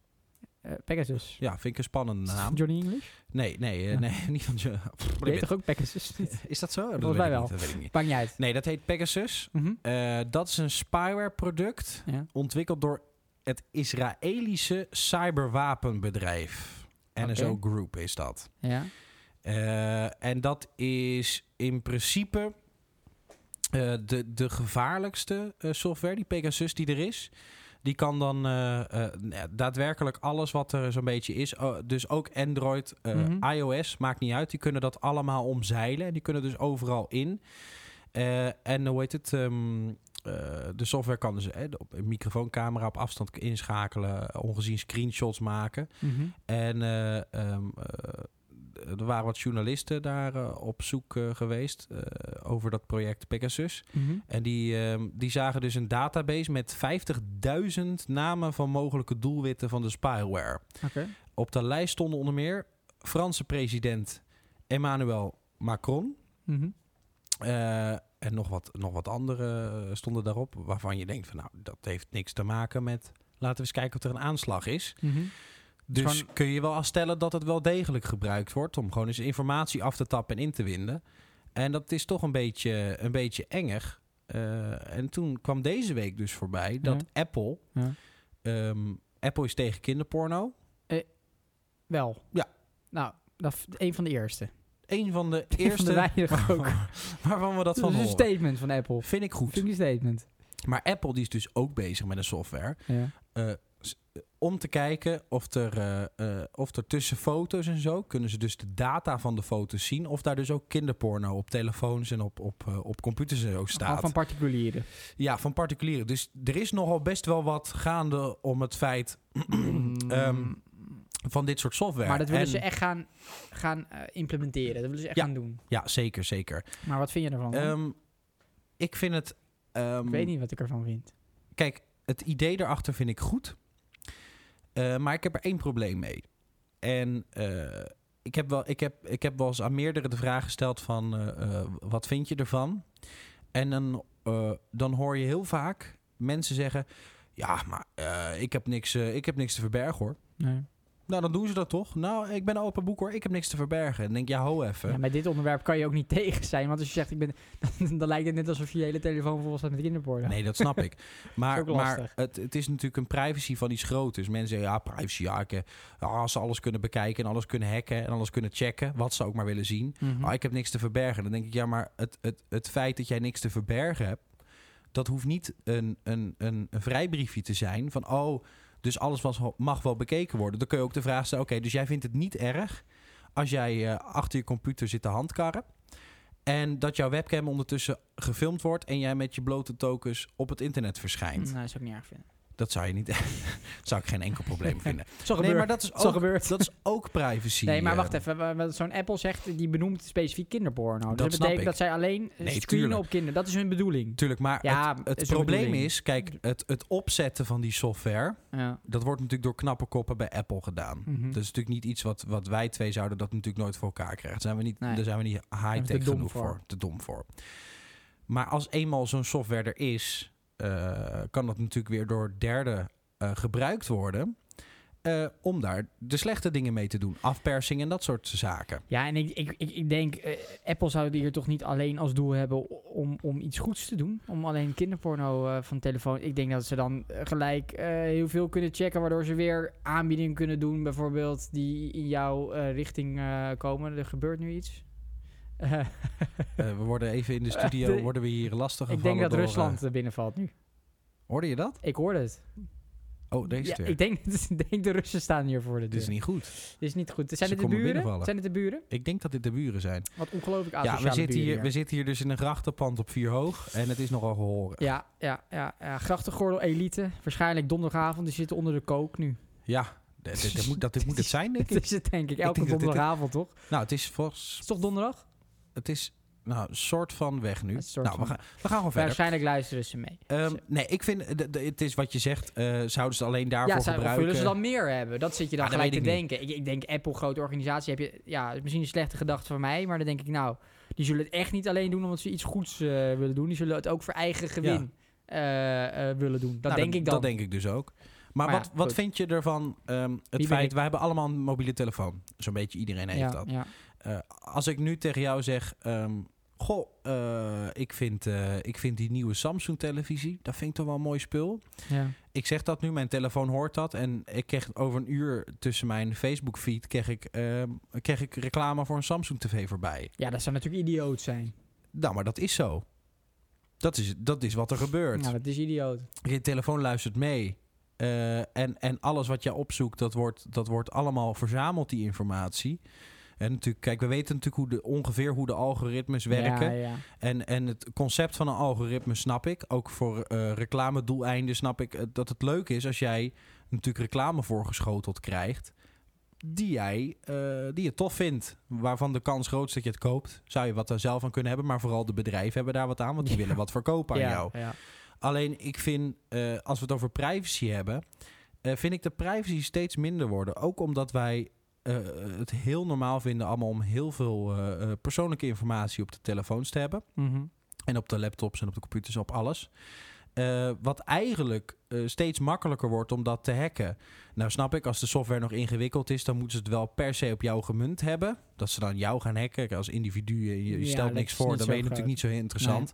Speaker 2: Eh, Pegasus.
Speaker 1: Ja, vind ik een spannende naam.
Speaker 2: Johnny English?
Speaker 1: Nee, nee, eh,
Speaker 2: Ja.
Speaker 1: nee, niet van je. Pff,
Speaker 2: Je heet
Speaker 1: ik
Speaker 2: toch ook Pegasus?
Speaker 1: weet- Is dat zo? Dat
Speaker 2: Volgens
Speaker 1: weet
Speaker 2: mij
Speaker 1: ik
Speaker 2: wel.
Speaker 1: niet, dat weet ik niet.
Speaker 2: Maakt niet uit.
Speaker 1: Nee, dat heet Pegasus.
Speaker 2: Mhm.
Speaker 1: Eh, dat is een spyware product
Speaker 2: Ja.
Speaker 1: ontwikkeld door het Israëlische cyberwapenbedrijf. NSO
Speaker 2: Oké.
Speaker 1: Group is dat.
Speaker 2: Ja.
Speaker 1: Eh, en dat is in principe eh, de, de gevaarlijkste eh, software, die Pegasus die er is. Die kan dan eh, eh, nou ja, daadwerkelijk alles wat er zo'n beetje is. oh, dus ook Android, eh,
Speaker 2: Mhm.
Speaker 1: iOS, maakt niet uit. Die kunnen dat allemaal omzeilen. En die kunnen dus overal in. Eh, en hoe heet het? ehm, eh, de software kan dus eh, op een microfooncamera op afstand inschakelen. Ongezien screenshots maken.
Speaker 2: Mhm.
Speaker 1: En eh, ehm, eh, er waren wat journalisten daar eh, op zoek eh, geweest eh, over dat project Pegasus.
Speaker 2: Mhm.
Speaker 1: En die, ehm, die zagen dus een database met 50.000 namen van mogelijke doelwitten van de spyware.
Speaker 2: Oké.
Speaker 1: Op de lijst stonden onder meer Franse president Emmanuel Macron.
Speaker 2: Mhm.
Speaker 1: eh, en nog wat, nog wat andere eh, stonden daarop, waarvan je denkt van nou, dat heeft niks te maken met. Laten we eens kijken of er een aanslag is.
Speaker 2: Mhm.
Speaker 1: Dus
Speaker 2: Gewoon-
Speaker 1: kun je wel afstellen dat het wel degelijk gebruikt wordt om gewoon eens informatie af te tappen en in te winden. En dat is toch een beetje, een beetje engig. Eh, en toen kwam deze week dus voorbij dat Apple.
Speaker 2: Ja.
Speaker 1: ehm, Apple is tegen kinderporno.
Speaker 2: Wel.
Speaker 1: Ja.
Speaker 2: Nou, dat is een van de eerste.
Speaker 1: Een van de Dus
Speaker 2: Een van
Speaker 1: eerste
Speaker 2: de weinige ook.
Speaker 1: waarvan we dat van
Speaker 2: dat is een
Speaker 1: horen.
Speaker 2: statement van Apple.
Speaker 1: Vind ik goed.
Speaker 2: Vind ik een statement.
Speaker 1: Maar Apple die is dus ook bezig met een software.
Speaker 2: Ja.
Speaker 1: eh, om te kijken of er, eh, eh, of er tussen foto's en zo kunnen ze dus de data van de foto's zien. Of daar dus ook kinderporno op telefoons en op, op, eh, op computers en zo staat.
Speaker 2: Al van particulieren.
Speaker 1: Ja, van particulieren. Dus er is nogal best wel wat gaande om het feit Ehm, van dit soort software.
Speaker 2: Mm. maar dat willen
Speaker 1: En-
Speaker 2: ze echt gaan, gaan eh, implementeren. Dat willen ze echt
Speaker 1: Ja.
Speaker 2: gaan doen.
Speaker 1: Ja, zeker, zeker.
Speaker 2: Maar wat vind je ervan? dan?
Speaker 1: Ehm, ik vind het... ehm,
Speaker 2: ik weet niet wat ik ervan vind.
Speaker 1: Kijk, het idee daarachter vind ik goed. Eh, maar ik heb er één probleem mee. En eh, ik, heb wel, ik, heb, ik heb wel eens aan meerdere de vraag gesteld van... eh, eh, wat vind je ervan? En dan, eh, dan hoor je heel vaak mensen zeggen... Ja, maar eh, ik, heb niks, eh, ik heb niks te verbergen hoor.
Speaker 2: Nee.
Speaker 1: Nou, dan doen ze dat toch? Nou, ik ben een open boek hoor. Ik heb niks te verbergen. En dan denk ik, ja, ho even.
Speaker 2: Ja,
Speaker 1: Ja,
Speaker 2: met dit onderwerp kan je ook niet tegen zijn. Want als je zegt, ik ben, dan, lijkt het net alsof je je hele telefoon vol staat met kinderporno.
Speaker 1: Nee, dat snap ik. Maar,
Speaker 2: Is ook lastig.
Speaker 1: maar het, het is natuurlijk een privacy van iets groots. Dus mensen zeggen, ja, privacy, ja, ik, eh, ja, als ze alles kunnen bekijken en alles kunnen hacken en alles kunnen checken, wat ze ook maar willen zien.
Speaker 2: Mhm.
Speaker 1: Ah, ik heb niks te verbergen. Dan denk ik, ja, maar het, het, het feit dat jij niks te verbergen hebt, dat hoeft niet een, een, een, een vrijbriefje te zijn van, oh, dus alles was, mag wel bekeken worden. Dan kun je ook de vraag stellen, oké, dus jij vindt het niet erg als jij eh, achter je computer zit te handkarren. En dat jouw webcam ondertussen gefilmd wordt en jij met je blote tokens op het internet verschijnt.
Speaker 2: Nou, dat zou ik niet erg vinden.
Speaker 1: Dat zou je niet. dat zou ik geen enkel probleem vinden.
Speaker 2: Zo
Speaker 1: nee,
Speaker 2: gebeurt.
Speaker 1: maar dat is
Speaker 2: Zo
Speaker 1: ook,
Speaker 2: gebeurt.
Speaker 1: dat is ook privacy.
Speaker 2: Nee, maar
Speaker 1: eh,
Speaker 2: wacht even. wa- wa- Zo'n Apple zegt, die benoemt specifiek kinderporno. Dus
Speaker 1: Dat
Speaker 2: dat
Speaker 1: snap
Speaker 2: betekent
Speaker 1: ik.
Speaker 2: dat zij alleen eh,
Speaker 1: Nee,
Speaker 2: screenen
Speaker 1: tuurlijk.
Speaker 2: op kinderen. Dat is hun bedoeling.
Speaker 1: Tuurlijk, maar
Speaker 2: Ja,
Speaker 1: het, het
Speaker 2: is een
Speaker 1: probleem
Speaker 2: bedoeling.
Speaker 1: is, kijk, het, het opzetten van die software,
Speaker 2: Ja.
Speaker 1: dat wordt natuurlijk door knappe koppen bij Apple gedaan.
Speaker 2: Mhm.
Speaker 1: Dat is natuurlijk niet iets wat, wat wij twee zouden dat natuurlijk nooit voor elkaar krijgen. Daar zijn we niet,
Speaker 2: Nee.
Speaker 1: daar zijn we niet
Speaker 2: we te
Speaker 1: high-tech
Speaker 2: dom
Speaker 1: genoeg
Speaker 2: voor.
Speaker 1: voor. te dom voor. Maar als eenmaal zo'n software er is, eh, kan dat natuurlijk weer door derden eh, gebruikt worden. eh, om daar de slechte dingen mee te doen. Afpersing en dat soort zaken.
Speaker 2: Ja, en ik, ik, ik, ik denk, eh, Apple zou die hier toch niet alleen als doel hebben om, om iets goeds te doen. Om alleen kinderporno eh, van telefoon. Ik denk dat ze dan eh, gelijk eh, heel veel kunnen checken, waardoor ze weer aanbiedingen kunnen doen. Bijvoorbeeld die in jouw eh, richting eh, komen. Er gebeurt nu iets. Eh,
Speaker 1: Eh, we worden even in de studio,
Speaker 2: de-
Speaker 1: worden we hier lastig
Speaker 2: ik
Speaker 1: gevallen
Speaker 2: denk dat
Speaker 1: door, eh,
Speaker 2: Rusland er binnenvalt nu.
Speaker 1: hoorde je dat?
Speaker 2: Ik hoorde het.
Speaker 1: Oh, deze
Speaker 2: Ja,
Speaker 1: twee.
Speaker 2: ik denk, dus ik denk de Russen staan hier voor de deur.
Speaker 1: Dit is niet goed.
Speaker 2: Dit is niet goed. Zijn
Speaker 1: Ze
Speaker 2: het de
Speaker 1: komen
Speaker 2: buren?
Speaker 1: binnenvallen.
Speaker 2: Zijn het de buren?
Speaker 1: Ik denk dat dit de buren zijn.
Speaker 2: Wat ongelooflijk
Speaker 1: Ja,
Speaker 2: asociale
Speaker 1: we zitten,
Speaker 2: Ah, buren
Speaker 1: hier, we zitten hier dus in een grachtenpand op vier hoog. En het is nogal gehoren. Ja,
Speaker 2: Ja, ja, ja, ja. Grachtengordel elite. Waarschijnlijk donderdagavond. Die zitten onder de kook nu.
Speaker 1: dat, dat, moet, dat, dit moet het zijn, denk
Speaker 2: Dat
Speaker 1: ik.
Speaker 2: is het denk ik. Elke
Speaker 1: denk dat dit-
Speaker 2: donderdagavond, toch?
Speaker 1: Nou, het is volgens...
Speaker 2: Is het toch donderdag?
Speaker 1: Het is nou, een soort van weg nu.
Speaker 2: Het is een soort
Speaker 1: nou, we
Speaker 2: van-
Speaker 1: gaan, we gaan gewoon verder.
Speaker 2: Waarschijnlijk luisteren ze mee.
Speaker 1: Ehm, nee, ik vind... eh, de- de- het is wat je zegt. eh, zouden ze het alleen daarvoor
Speaker 2: ja, zou, of
Speaker 1: gebruiken?
Speaker 2: willen ze dan meer hebben? Dat zit je dan
Speaker 1: Ah, dat
Speaker 2: gelijk te
Speaker 1: weet ik
Speaker 2: denken. Ik, ik denk Apple, grote organisatie, heb je... Ja, is misschien een slechte gedachte van mij, maar dan denk ik nou... Die zullen het echt niet alleen doen omdat ze iets goeds eh, willen doen. Die zullen het ook voor eigen gewin eh, eh, willen doen. Dat
Speaker 1: Nou,
Speaker 2: denk ik dan.
Speaker 1: Dat denk ik dus ook. Maar,
Speaker 2: Maar ja,
Speaker 1: wat, wat
Speaker 2: goed.
Speaker 1: vind je ervan? ehm, het
Speaker 2: ben
Speaker 1: feit,
Speaker 2: ik?
Speaker 1: wij hebben allemaal een mobiele telefoon. Zo'n beetje iedereen heeft
Speaker 2: ja,
Speaker 1: dat.
Speaker 2: ja.
Speaker 1: Eh, als ik nu tegen jou zeg... ehm, goh, eh, ik, vind, eh, ik vind die nieuwe Samsung-televisie... dat vind ik toch wel een mooi spul.
Speaker 2: Ja.
Speaker 1: Ik zeg dat nu, mijn telefoon hoort dat. En ik kreeg over een uur tussen mijn Facebook-feed... Kreeg ik, ehm, kreeg ik reclame voor een Samsung-tv voorbij.
Speaker 2: ja, dat zou natuurlijk idioot zijn.
Speaker 1: Nou, maar dat is zo. Dat is, dat is wat er gebeurt.
Speaker 2: Nou, dat is idioot.
Speaker 1: Je telefoon luistert mee. Eh, en, en alles wat jij opzoekt, dat wordt, dat wordt allemaal verzameld, die informatie. En natuurlijk, kijk, we weten natuurlijk hoe de, ongeveer hoe de algoritmes werken.
Speaker 2: Ja, ja.
Speaker 1: En, en het concept van een algoritme snap ik. Ook voor eh reclamedoeleinden snap ik eh, dat het leuk is als jij natuurlijk reclame voorgeschoteld krijgt. Die, jij, eh, die je tof vindt. Waarvan de kans groot is dat je het koopt. Zou je wat er zelf aan kunnen hebben. Maar vooral de bedrijven hebben daar wat aan. Want die
Speaker 2: Ja.
Speaker 1: willen wat verkopen aan
Speaker 2: ja,
Speaker 1: jou.
Speaker 2: Ja.
Speaker 1: Alleen ik vind, eh, als we het over privacy hebben, eh, vind ik de privacy steeds minder worden. Ook omdat wij eh, het heel normaal vinden allemaal om heel veel eh, eh, persoonlijke informatie op de telefoons te hebben.
Speaker 2: Mhm.
Speaker 1: En op de laptops en op de computers, op alles. Eh, wat eigenlijk eh, steeds makkelijker wordt om dat te hacken. Nou snap ik, als de software nog ingewikkeld is, dan moeten ze het wel per se op jou gemunt hebben. Dat ze dan jou gaan hacken Kijk, als individu. Je, je
Speaker 2: Ja,
Speaker 1: stelt
Speaker 2: dat
Speaker 1: niks
Speaker 2: is
Speaker 1: voor,
Speaker 2: niet
Speaker 1: dan
Speaker 2: zo
Speaker 1: ben je natuurlijk niet zo heel interessant.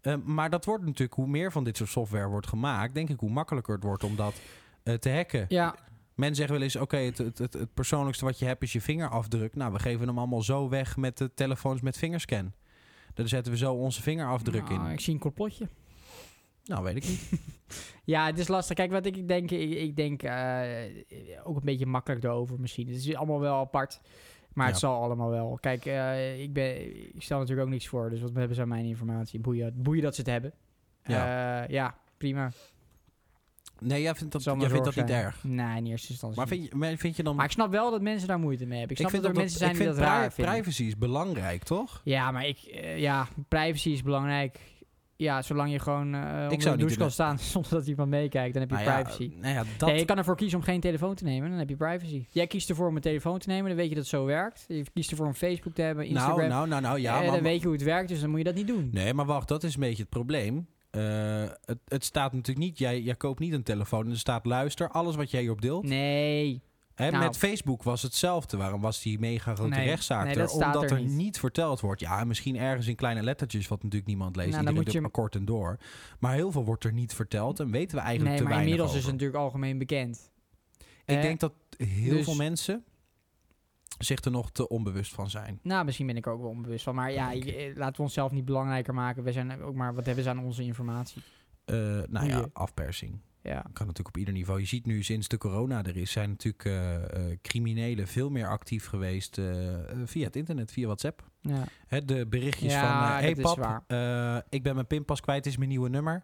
Speaker 1: Eh, maar dat wordt natuurlijk, hoe meer van dit soort software wordt gemaakt, denk ik hoe makkelijker het wordt om dat eh, te hacken.
Speaker 2: ja,
Speaker 1: Men zegt wel eens, oké, het, het, het, het persoonlijkste wat je hebt is je vingerafdruk. Nou, we geven hem allemaal zo weg met de telefoons met vingerscan. Daar zetten we zo onze vingerafdruk
Speaker 2: Nou,
Speaker 1: in.
Speaker 2: Ik zie een complotje.
Speaker 1: Nou, weet ik niet.
Speaker 2: Ja, het is lastig. Kijk, wat ik denk, ik, ik denk eh, ook een beetje makkelijk erover misschien. Het is allemaal wel apart, maar het
Speaker 1: Ja.
Speaker 2: zal allemaal wel. Kijk, eh, ik, ben, ik stel natuurlijk ook niks voor, dus wat hebben ze aan mijn informatie? Boeien, boeien dat ze het hebben. Ja, ja prima.
Speaker 1: Nee, jij vindt dat,
Speaker 2: Zal
Speaker 1: jij
Speaker 2: mijn
Speaker 1: vindt dat
Speaker 2: zorg
Speaker 1: niet
Speaker 2: zijn.
Speaker 1: erg.
Speaker 2: Nee, in eerste instantie
Speaker 1: Maar
Speaker 2: niet.
Speaker 1: vind je, maar vind je dan...
Speaker 2: maar ik snap wel dat mensen daar moeite mee hebben. Ik snap dat er
Speaker 1: dat-
Speaker 2: mensen zijn
Speaker 1: ik
Speaker 2: die
Speaker 1: vind
Speaker 2: dat raar
Speaker 1: pri-
Speaker 2: vinden.
Speaker 1: privacy is belangrijk, toch?
Speaker 2: Ja, maar ik, eh, ja, privacy is belangrijk. Ja, zolang je gewoon eh onder
Speaker 1: zou
Speaker 2: de
Speaker 1: niet
Speaker 2: douche
Speaker 1: in de-
Speaker 2: kan staan zonder dat iemand meekijkt, dan heb je
Speaker 1: Nou ja,
Speaker 2: privacy.
Speaker 1: eh, nou ja, dat...
Speaker 2: Nee, je kan ervoor kiezen om geen telefoon te nemen. Dan heb je privacy. Jij kiest ervoor om een telefoon te nemen. Dan weet je dat het zo werkt. Je kiest ervoor om Facebook te hebben, Instagram.
Speaker 1: nou, nou, nou, nou, ja,
Speaker 2: Eh,
Speaker 1: maar...
Speaker 2: dan weet je hoe het werkt, dus dan moet je dat niet doen.
Speaker 1: Nee, maar wacht, dat is een beetje het probleem. Eh, het, het staat natuurlijk niet... Jij, jij koopt niet een telefoon en er staat luister. Alles wat jij hierop deelt.
Speaker 2: Nee.
Speaker 1: Hè,
Speaker 2: Nou.
Speaker 1: Met Facebook was hetzelfde. Waarom was die mega grote
Speaker 2: Nee,
Speaker 1: rechtszaak
Speaker 2: nee,
Speaker 1: er?
Speaker 2: dat staat
Speaker 1: Omdat
Speaker 2: er
Speaker 1: er
Speaker 2: niet.
Speaker 1: niet. verteld wordt. Ja, misschien ergens in kleine lettertjes, wat natuurlijk niemand leest.
Speaker 2: Nou, dan
Speaker 1: Iedereen
Speaker 2: moet
Speaker 1: doet
Speaker 2: je
Speaker 1: maar kort en door. Maar heel veel wordt er niet verteld en weten we eigenlijk
Speaker 2: nee,
Speaker 1: te
Speaker 2: maar
Speaker 1: weinig
Speaker 2: inmiddels is
Speaker 1: over.
Speaker 2: het natuurlijk algemeen bekend.
Speaker 1: Ik
Speaker 2: Eh,
Speaker 1: denk dat heel
Speaker 2: dus-
Speaker 1: veel mensen zich er nog te onbewust van zijn.
Speaker 2: Nou, misschien ben ik er ook wel onbewust van. Maar ja, ik- eh, laten we onszelf niet belangrijker maken. We zijn ook maar, wat hebben ze aan onze informatie?
Speaker 1: Eh, nou ja,
Speaker 2: Goeie.
Speaker 1: afpersing.
Speaker 2: Ja.
Speaker 1: kan natuurlijk op ieder niveau. Je ziet nu sinds de corona er is, zijn natuurlijk eh, eh, criminelen veel meer actief geweest eh, eh, via het internet, via WhatsApp.
Speaker 2: ja.
Speaker 1: Hè, de berichtjes
Speaker 2: Ja,
Speaker 1: van, eh, hey
Speaker 2: dat is
Speaker 1: pap, eh, ik ben mijn pinpas kwijt, dit is mijn nieuwe nummer.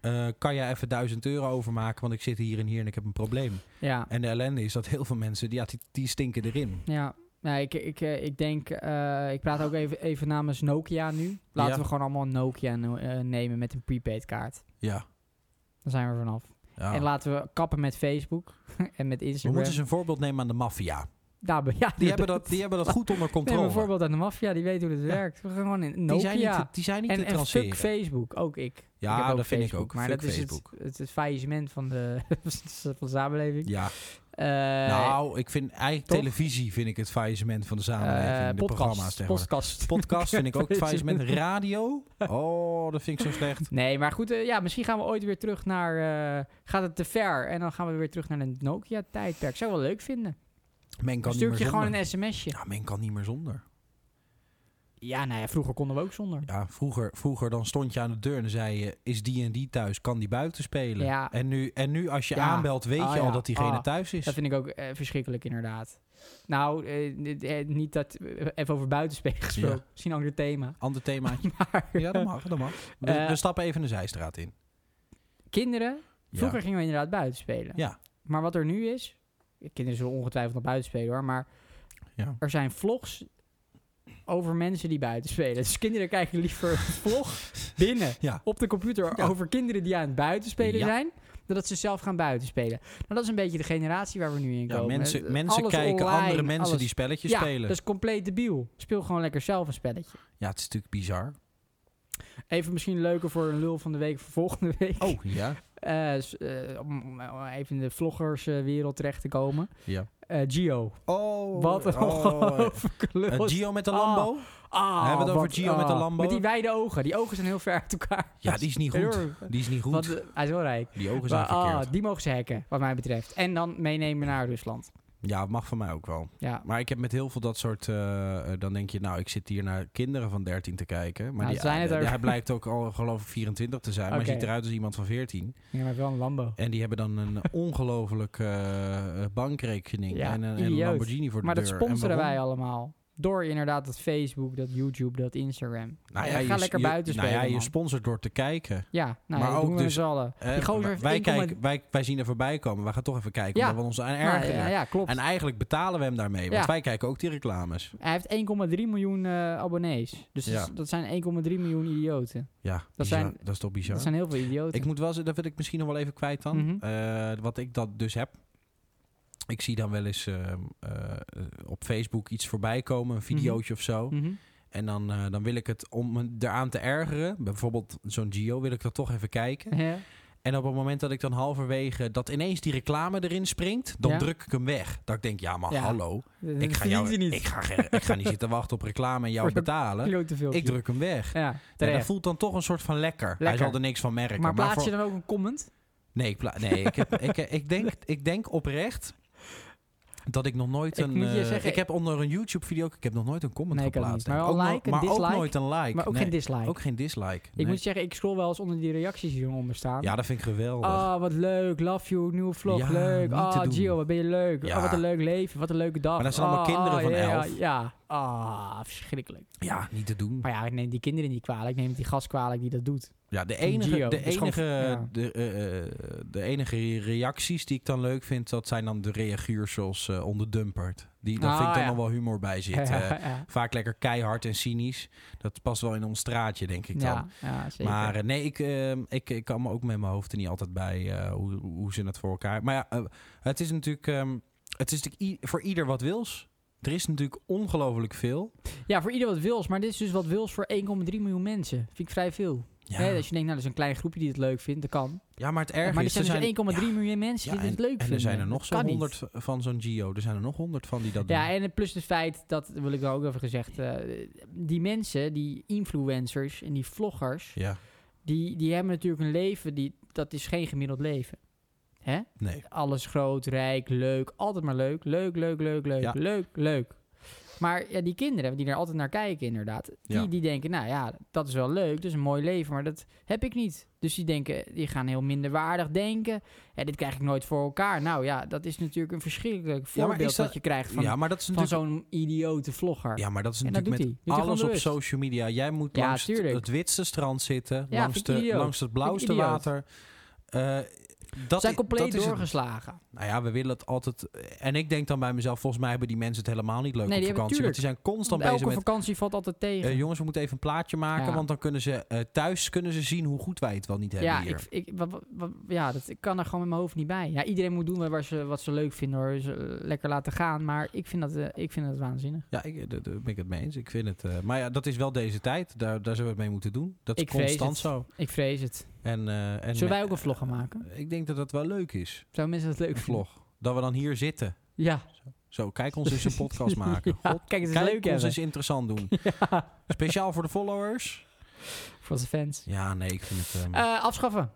Speaker 1: Eh, kan jij even 1000 euro overmaken, want ik zit hier en hier en ik heb een probleem.
Speaker 2: ja.
Speaker 1: En de ellende is dat heel veel mensen, ja, die, die stinken erin.
Speaker 2: Ja, nou, ik, ik, eh, ik denk, eh, ik praat ook even, even namens Nokia nu. Laten
Speaker 1: Ja.
Speaker 2: we gewoon allemaal Nokia no- eh, nemen met een prepaid kaart.
Speaker 1: Ja.
Speaker 2: Dan zijn we er vanaf.
Speaker 1: ja.
Speaker 2: En laten we kappen met Facebook en met
Speaker 1: Oh. We
Speaker 2: Instagram.
Speaker 1: moeten eens een voorbeeld nemen aan de maffia.
Speaker 2: Daar ben- ja,
Speaker 1: Die, hebben dat- die hebben dat goed onder
Speaker 2: Neem
Speaker 1: controle.
Speaker 2: een voorbeeld aan de maffia, die weet hoe het werkt. We gaan gewoon in
Speaker 1: die,
Speaker 2: Nokia.
Speaker 1: zijn niet, te- die zijn niet
Speaker 2: en,
Speaker 1: te
Speaker 2: en fuck
Speaker 1: transferen.
Speaker 2: Facebook, ook ik.
Speaker 1: Ja,
Speaker 2: ik heb
Speaker 1: dat vind ik
Speaker 2: Facebook,
Speaker 1: ook.
Speaker 2: Maar
Speaker 1: Fuck
Speaker 2: dat is het,
Speaker 1: Facebook.
Speaker 2: het, het faillissement van de, van de samenleving.
Speaker 1: ja.
Speaker 2: Eh,
Speaker 1: nou, ik vind eigenlijk
Speaker 2: toch?
Speaker 1: televisie vind ik het faillissement van de
Speaker 2: eh,
Speaker 1: samenleving. de programma's
Speaker 2: podcast,
Speaker 1: tegenwoordig.
Speaker 2: podcast.
Speaker 1: Podcast vind ik ook het faillissement.
Speaker 2: Faillissement.
Speaker 1: Radio? Oh, dat vind ik zo slecht.
Speaker 2: Nee, maar goed, eh, ja, misschien gaan we ooit weer terug naar. eh, gaat het te ver? En dan gaan we weer terug naar een Nokia-tijdperk. Zou ik wel leuk vinden.
Speaker 1: Men kan
Speaker 2: Stuur ik
Speaker 1: niet
Speaker 2: je
Speaker 1: meer
Speaker 2: gewoon
Speaker 1: zonder.
Speaker 2: een sms'je.
Speaker 1: Ja, men kan niet meer zonder.
Speaker 2: Ja, nou ja, vroeger konden we ook zonder.
Speaker 1: Ja, vroeger, vroeger dan stond je aan de deur en dan zei je... is die en die thuis, kan die buiten spelen?
Speaker 2: Ja.
Speaker 1: En, nu, en nu als je
Speaker 2: Ja.
Speaker 1: aanbelt, weet
Speaker 2: Ah,
Speaker 1: je
Speaker 2: ja.
Speaker 1: al dat diegene
Speaker 2: Ah,
Speaker 1: thuis is.
Speaker 2: Dat vind ik ook eh, verschrikkelijk, inderdaad. Nou, eh, eh, niet dat... Even over buitenspelen gesproken. Misschien een ander thema.
Speaker 1: Ander themaatje.
Speaker 2: Maar
Speaker 1: ja, dat mag, dat mag. We,
Speaker 2: Eh,
Speaker 1: we stappen even de zijstraat in.
Speaker 2: kinderen...
Speaker 1: Ja.
Speaker 2: Vroeger gingen we inderdaad buitenspelen.
Speaker 1: Ja.
Speaker 2: Maar wat er nu is... Kinderen zullen ongetwijfeld nog buiten spelen, hoor. Maar
Speaker 1: Ja.
Speaker 2: er zijn vlogs over mensen die buiten spelen. Dus kinderen kijken liever een vlog binnen
Speaker 1: Ja.
Speaker 2: op de computer
Speaker 1: Ja.
Speaker 2: over kinderen die aan het buiten spelen
Speaker 1: Ja.
Speaker 2: zijn, dan dat ze zelf gaan buiten spelen. Nou, dat is een beetje de generatie waar we nu in
Speaker 1: Ja,
Speaker 2: komen.
Speaker 1: mensen,
Speaker 2: Het-
Speaker 1: mensen
Speaker 2: alles
Speaker 1: kijken
Speaker 2: online,
Speaker 1: andere mensen
Speaker 2: alles-
Speaker 1: die spelletjes
Speaker 2: ja, dus-
Speaker 1: spelen.
Speaker 2: dat is compleet debiel. Speel gewoon lekker zelf een spelletje.
Speaker 1: Ja, het is natuurlijk bizar.
Speaker 2: Even misschien leuker voor een lul van de week voor volgende week.
Speaker 1: Oh, ja.
Speaker 2: Eh, s- eh, om om even in de vloggerswereld terecht te komen.
Speaker 1: ja.
Speaker 2: Eh, Gio.
Speaker 1: Oh,
Speaker 2: Wat een
Speaker 1: oh,
Speaker 2: ongelooflijke lul.
Speaker 1: eh, Gio met de Lambo?
Speaker 2: Ah,
Speaker 1: We hebben het over
Speaker 2: wat-
Speaker 1: Gio met de
Speaker 2: ah.
Speaker 1: Lambo.
Speaker 2: Met die wijde ogen. Die ogen zijn heel ver uit elkaar.
Speaker 1: Ja, die is niet goed.
Speaker 2: Heel-
Speaker 1: Die is niet goed.
Speaker 2: Want, eh, hij is wel rijk.
Speaker 1: die ogen zijn
Speaker 2: Maar, ah,
Speaker 1: verkeerd.
Speaker 2: die mogen ze hacken, wat mij betreft. En dan meenemen naar Rusland.
Speaker 1: Ja, mag van mij ook wel.
Speaker 2: Ja,
Speaker 1: Maar ik heb met heel veel dat soort... eh, eh, dan denk je, nou, ik zit hier naar kinderen van 13 te kijken. Maar
Speaker 2: Nou,
Speaker 1: die,
Speaker 2: zijn het
Speaker 1: eh,
Speaker 2: er.
Speaker 1: hij blijkt ook al, geloof ik, 24 te zijn. Maar
Speaker 2: Oké.
Speaker 1: hij ziet eruit als iemand van 14.
Speaker 2: ja maar wel een Lambo.
Speaker 1: En die hebben dan een ongelooflijk eh, eh, bankrekening.
Speaker 2: Ja,
Speaker 1: en, een- en een
Speaker 2: idioot.
Speaker 1: Lamborghini voor de
Speaker 2: Maar
Speaker 1: deur.
Speaker 2: dat
Speaker 1: En
Speaker 2: sponsoren
Speaker 1: waarom?
Speaker 2: wij allemaal. Door inderdaad dat Facebook, dat YouTube, dat Instagram.
Speaker 1: Nou
Speaker 2: Ja, ga
Speaker 1: je-
Speaker 2: lekker
Speaker 1: je-
Speaker 2: buiten
Speaker 1: Nou ja,
Speaker 2: spelen,
Speaker 1: je
Speaker 2: man.
Speaker 1: sponsort door te kijken.
Speaker 2: Ja, nou,
Speaker 1: Maar ook
Speaker 2: dat doen we
Speaker 1: dus,
Speaker 2: met z'n allen.
Speaker 1: Eh,
Speaker 2: Die gozer
Speaker 1: wa-
Speaker 2: heeft
Speaker 1: wij,
Speaker 2: 1,3
Speaker 1: kijken wij, wij zien er voorbij komen. Wij gaan toch even kijken
Speaker 2: Ja.
Speaker 1: omdat we ons aan
Speaker 2: Nou,
Speaker 1: ergeren.
Speaker 2: ja, ja, klopt.
Speaker 1: En eigenlijk betalen we hem daarmee. Want
Speaker 2: Ja.
Speaker 1: wij kijken ook die reclames.
Speaker 2: Hij heeft 1,3 miljoen eh, abonnees. Dus dat
Speaker 1: Ja.
Speaker 2: is- dat zijn 1,3 miljoen idioten.
Speaker 1: Ja,
Speaker 2: Dat
Speaker 1: dat,
Speaker 2: zijn-
Speaker 1: dat is toch bizar.
Speaker 2: Dat zijn heel veel idioten.
Speaker 1: Ik moet wel zeggen, dat wil ik misschien nog wel even kwijt dan.
Speaker 2: Mhm.
Speaker 1: Eh, wat ik dat dus heb. Ik zie dan wel eens eh, eh, op Facebook iets voorbij komen, een videootje of zo.
Speaker 2: Mhm.
Speaker 1: En dan, eh, dan wil ik het, om me eraan te ergeren, bijvoorbeeld zo'n Gio, wil ik dat toch even kijken.
Speaker 2: Ja.
Speaker 1: En op het moment dat ik dan halverwege dat ineens die reclame erin springt, dan
Speaker 2: Ja.
Speaker 1: druk ik hem weg. Dat ik denk, ja, maar
Speaker 2: Ja.
Speaker 1: hallo.
Speaker 2: Dat
Speaker 1: Ik ga,
Speaker 2: verdient
Speaker 1: jou,
Speaker 2: hij niet.
Speaker 1: ik, ga, geen- ik ga niet zitten wachten op reclame en jou
Speaker 2: Voor de
Speaker 1: betalen.
Speaker 2: Klote filmpje.
Speaker 1: Ik druk hem weg.
Speaker 2: Ja,
Speaker 1: En
Speaker 2: terecht.
Speaker 1: dat voelt dan toch een soort van lekker. Hij
Speaker 2: Lekker.
Speaker 1: zal er niks van merken.
Speaker 2: maar plaats
Speaker 1: voor-
Speaker 2: je dan ook een comment?
Speaker 1: Nee, ik, pla- nee ik, heb, ik, ik, denk, ik denk oprecht dat ik nog nooit
Speaker 2: Ik
Speaker 1: een...
Speaker 2: moet je
Speaker 1: eh,
Speaker 2: zeggen-
Speaker 1: ik heb onder een YouTube-video... Ik heb nog nooit een comment
Speaker 2: Nee, ik ook
Speaker 1: geplaatst.
Speaker 2: niet. Maar
Speaker 1: denk ik.
Speaker 2: wel
Speaker 1: ook,
Speaker 2: like,
Speaker 1: no-
Speaker 2: een
Speaker 1: maar ook
Speaker 2: dislike.
Speaker 1: nooit een like.
Speaker 2: maar ook
Speaker 1: nee.
Speaker 2: geen dislike.
Speaker 1: Ook geen dislike.
Speaker 2: Ik
Speaker 1: nee.
Speaker 2: moet zeggen, ik scroll wel eens onder die reacties die hieronder staan.
Speaker 1: Ja, dat vind ik geweldig.
Speaker 2: Ah, wat leuk. Love you. Nieuwe vlog.
Speaker 1: Oh, Ja,
Speaker 2: leuk.
Speaker 1: niet
Speaker 2: Ah,
Speaker 1: te doen.
Speaker 2: Gio, wat ben je leuk.
Speaker 1: Ja.
Speaker 2: Ah, wat een leuk leven. Wat een leuke dag.
Speaker 1: Maar dat zijn allemaal
Speaker 2: Ah,
Speaker 1: kinderen
Speaker 2: ah,
Speaker 1: van
Speaker 2: ja,
Speaker 1: elf.
Speaker 2: Ja, ja. Ah, verschrikkelijk.
Speaker 1: Ja, niet te doen.
Speaker 2: Maar ja, ik neem die kinderen niet kwalijk. Ik neem het die gast kwalijk die dat doet.
Speaker 1: Ja, de enige,
Speaker 2: Gio,
Speaker 1: de,
Speaker 2: dat is gewoon-
Speaker 1: enige,
Speaker 2: ja.
Speaker 1: de, eh, eh, de enige re- reacties die ik dan leuk vind, dat zijn dan de reaguurs zoals eh onder Dumpert. Die, daar
Speaker 2: Ah,
Speaker 1: vind ik dan
Speaker 2: ja.
Speaker 1: nog wel humor bij zitten.
Speaker 2: ja, ja.
Speaker 1: vaak lekker keihard en cynisch. Dat past wel in ons straatje, denk ik dan.
Speaker 2: ja, ja, zeker.
Speaker 1: Maar eh, nee, ik, eh, ik, ik kan me ook met mijn hoofd er niet altijd bij eh, hoe, hoe ze het voor elkaar. Maar ja, eh, het is natuurlijk, ehm, het is natuurlijk i- voor ieder wat wils. Er is natuurlijk ongelooflijk veel.
Speaker 2: ja, voor ieder wat wils. Maar dit is dus wat wils voor 1,3 miljoen mensen. Vind ik vrij veel.
Speaker 1: Ja,
Speaker 2: Hè, als je denkt, nou, dat is een klein groepje die het leuk vindt. Dat kan.
Speaker 1: ja maar het erg
Speaker 2: maar er
Speaker 1: is,
Speaker 2: zijn dus 1,3
Speaker 1: ja,
Speaker 2: miljoen mensen
Speaker 1: ja,
Speaker 2: die het
Speaker 1: en-
Speaker 2: leuk vinden.
Speaker 1: En er zijn er nog
Speaker 2: Dat
Speaker 1: zo'n
Speaker 2: kan niet.
Speaker 1: 100 van zo'n Gio. Er zijn er nog 100 van die dat doen.
Speaker 2: Ja, en het plus het feit, dat wil ik dan ook even gezegd, eh, die mensen, die influencers en die vloggers,
Speaker 1: Ja,
Speaker 2: die, die hebben natuurlijk een leven, die, dat is geen gemiddeld leven. Hè?
Speaker 1: nee.
Speaker 2: Alles groot, rijk, leuk, altijd maar leuk, leuk, leuk, leuk, leuk,
Speaker 1: Ja.
Speaker 2: leuk, leuk. Maar ja, die kinderen, die er altijd naar kijken inderdaad, die,
Speaker 1: Ja.
Speaker 2: die denken, nou ja, dat is wel leuk, dat is een mooi leven, maar dat heb ik niet. Dus die denken, die gaan heel minderwaardig denken, ja, dit krijg ik nooit voor elkaar. Nou ja, dat is natuurlijk een verschrikkelijk
Speaker 1: Ja, maar
Speaker 2: voorbeeld
Speaker 1: is dat-
Speaker 2: wat je krijgt van
Speaker 1: ja, maar dat is
Speaker 2: van
Speaker 1: natuurlijk,
Speaker 2: zo'n idiote vlogger.
Speaker 1: ja, maar dat is
Speaker 2: en dat
Speaker 1: natuurlijk
Speaker 2: doet
Speaker 1: met
Speaker 2: hij. Doet hij
Speaker 1: alles
Speaker 2: gewoon
Speaker 1: op
Speaker 2: bewust.
Speaker 1: social media. Jij moet
Speaker 2: Ja,
Speaker 1: langs het-
Speaker 2: tuurlijk.
Speaker 1: het witste strand zitten,
Speaker 2: Ja,
Speaker 1: langs,
Speaker 2: vind ik
Speaker 1: de,
Speaker 2: idioot.
Speaker 1: langs het blauwste
Speaker 2: idioot.
Speaker 1: water. Eh, dat
Speaker 2: zijn
Speaker 1: i-
Speaker 2: compleet
Speaker 1: dat is het
Speaker 2: doorgeslagen.
Speaker 1: Nou ja, we willen het altijd. En ik denk dan bij mezelf, volgens mij hebben die mensen het helemaal niet leuk op
Speaker 2: Nee, die hebben-
Speaker 1: vakantie. Want die zijn
Speaker 2: Want
Speaker 1: constant
Speaker 2: elke
Speaker 1: bezig met.
Speaker 2: vakantie valt altijd tegen.
Speaker 1: eh, jongens, we moeten even een plaatje maken.
Speaker 2: Ja.
Speaker 1: Want dan kunnen ze eh, thuis kunnen ze zien hoe goed wij het wel niet hebben
Speaker 2: ja,
Speaker 1: hier.
Speaker 2: ik, ik, wa- wa- wa- ja, dat ik kan er gewoon met mijn hoofd niet bij. Ja, iedereen moet doen waar ze, wat ze leuk vinden hoor. Ze, eh, lekker laten gaan. Maar ik vind dat, eh, ik vind dat waanzinnig.
Speaker 1: Ja, ik, daar daar ben ik het mee eens. Ik vind het. eh, maar ja, dat is wel deze tijd. Daar, daar zullen we het mee moeten doen. Dat is
Speaker 2: Ik vrees
Speaker 1: constant
Speaker 2: het.
Speaker 1: zo.
Speaker 2: Ik vrees het.
Speaker 1: En, eh, en
Speaker 2: Zullen wij ook een
Speaker 1: eh,
Speaker 2: vlog gaan maken?
Speaker 1: Ik denk dat dat wel leuk is.
Speaker 2: Zou mensen dat leuk
Speaker 1: Een
Speaker 2: vinden?
Speaker 1: vlog. Dat we dan hier zitten.
Speaker 2: Ja.
Speaker 1: Zo, kijk ons eens een podcast maken.
Speaker 2: Ja,
Speaker 1: God,
Speaker 2: kijk, het is
Speaker 1: kijk
Speaker 2: leuk
Speaker 1: ons
Speaker 2: hebben.
Speaker 1: eens interessant doen.
Speaker 2: ja.
Speaker 1: Speciaal voor de followers.
Speaker 2: Voor onze fans.
Speaker 1: Ja, nee, ik vind het. ehm,
Speaker 2: Eh, afschaffen.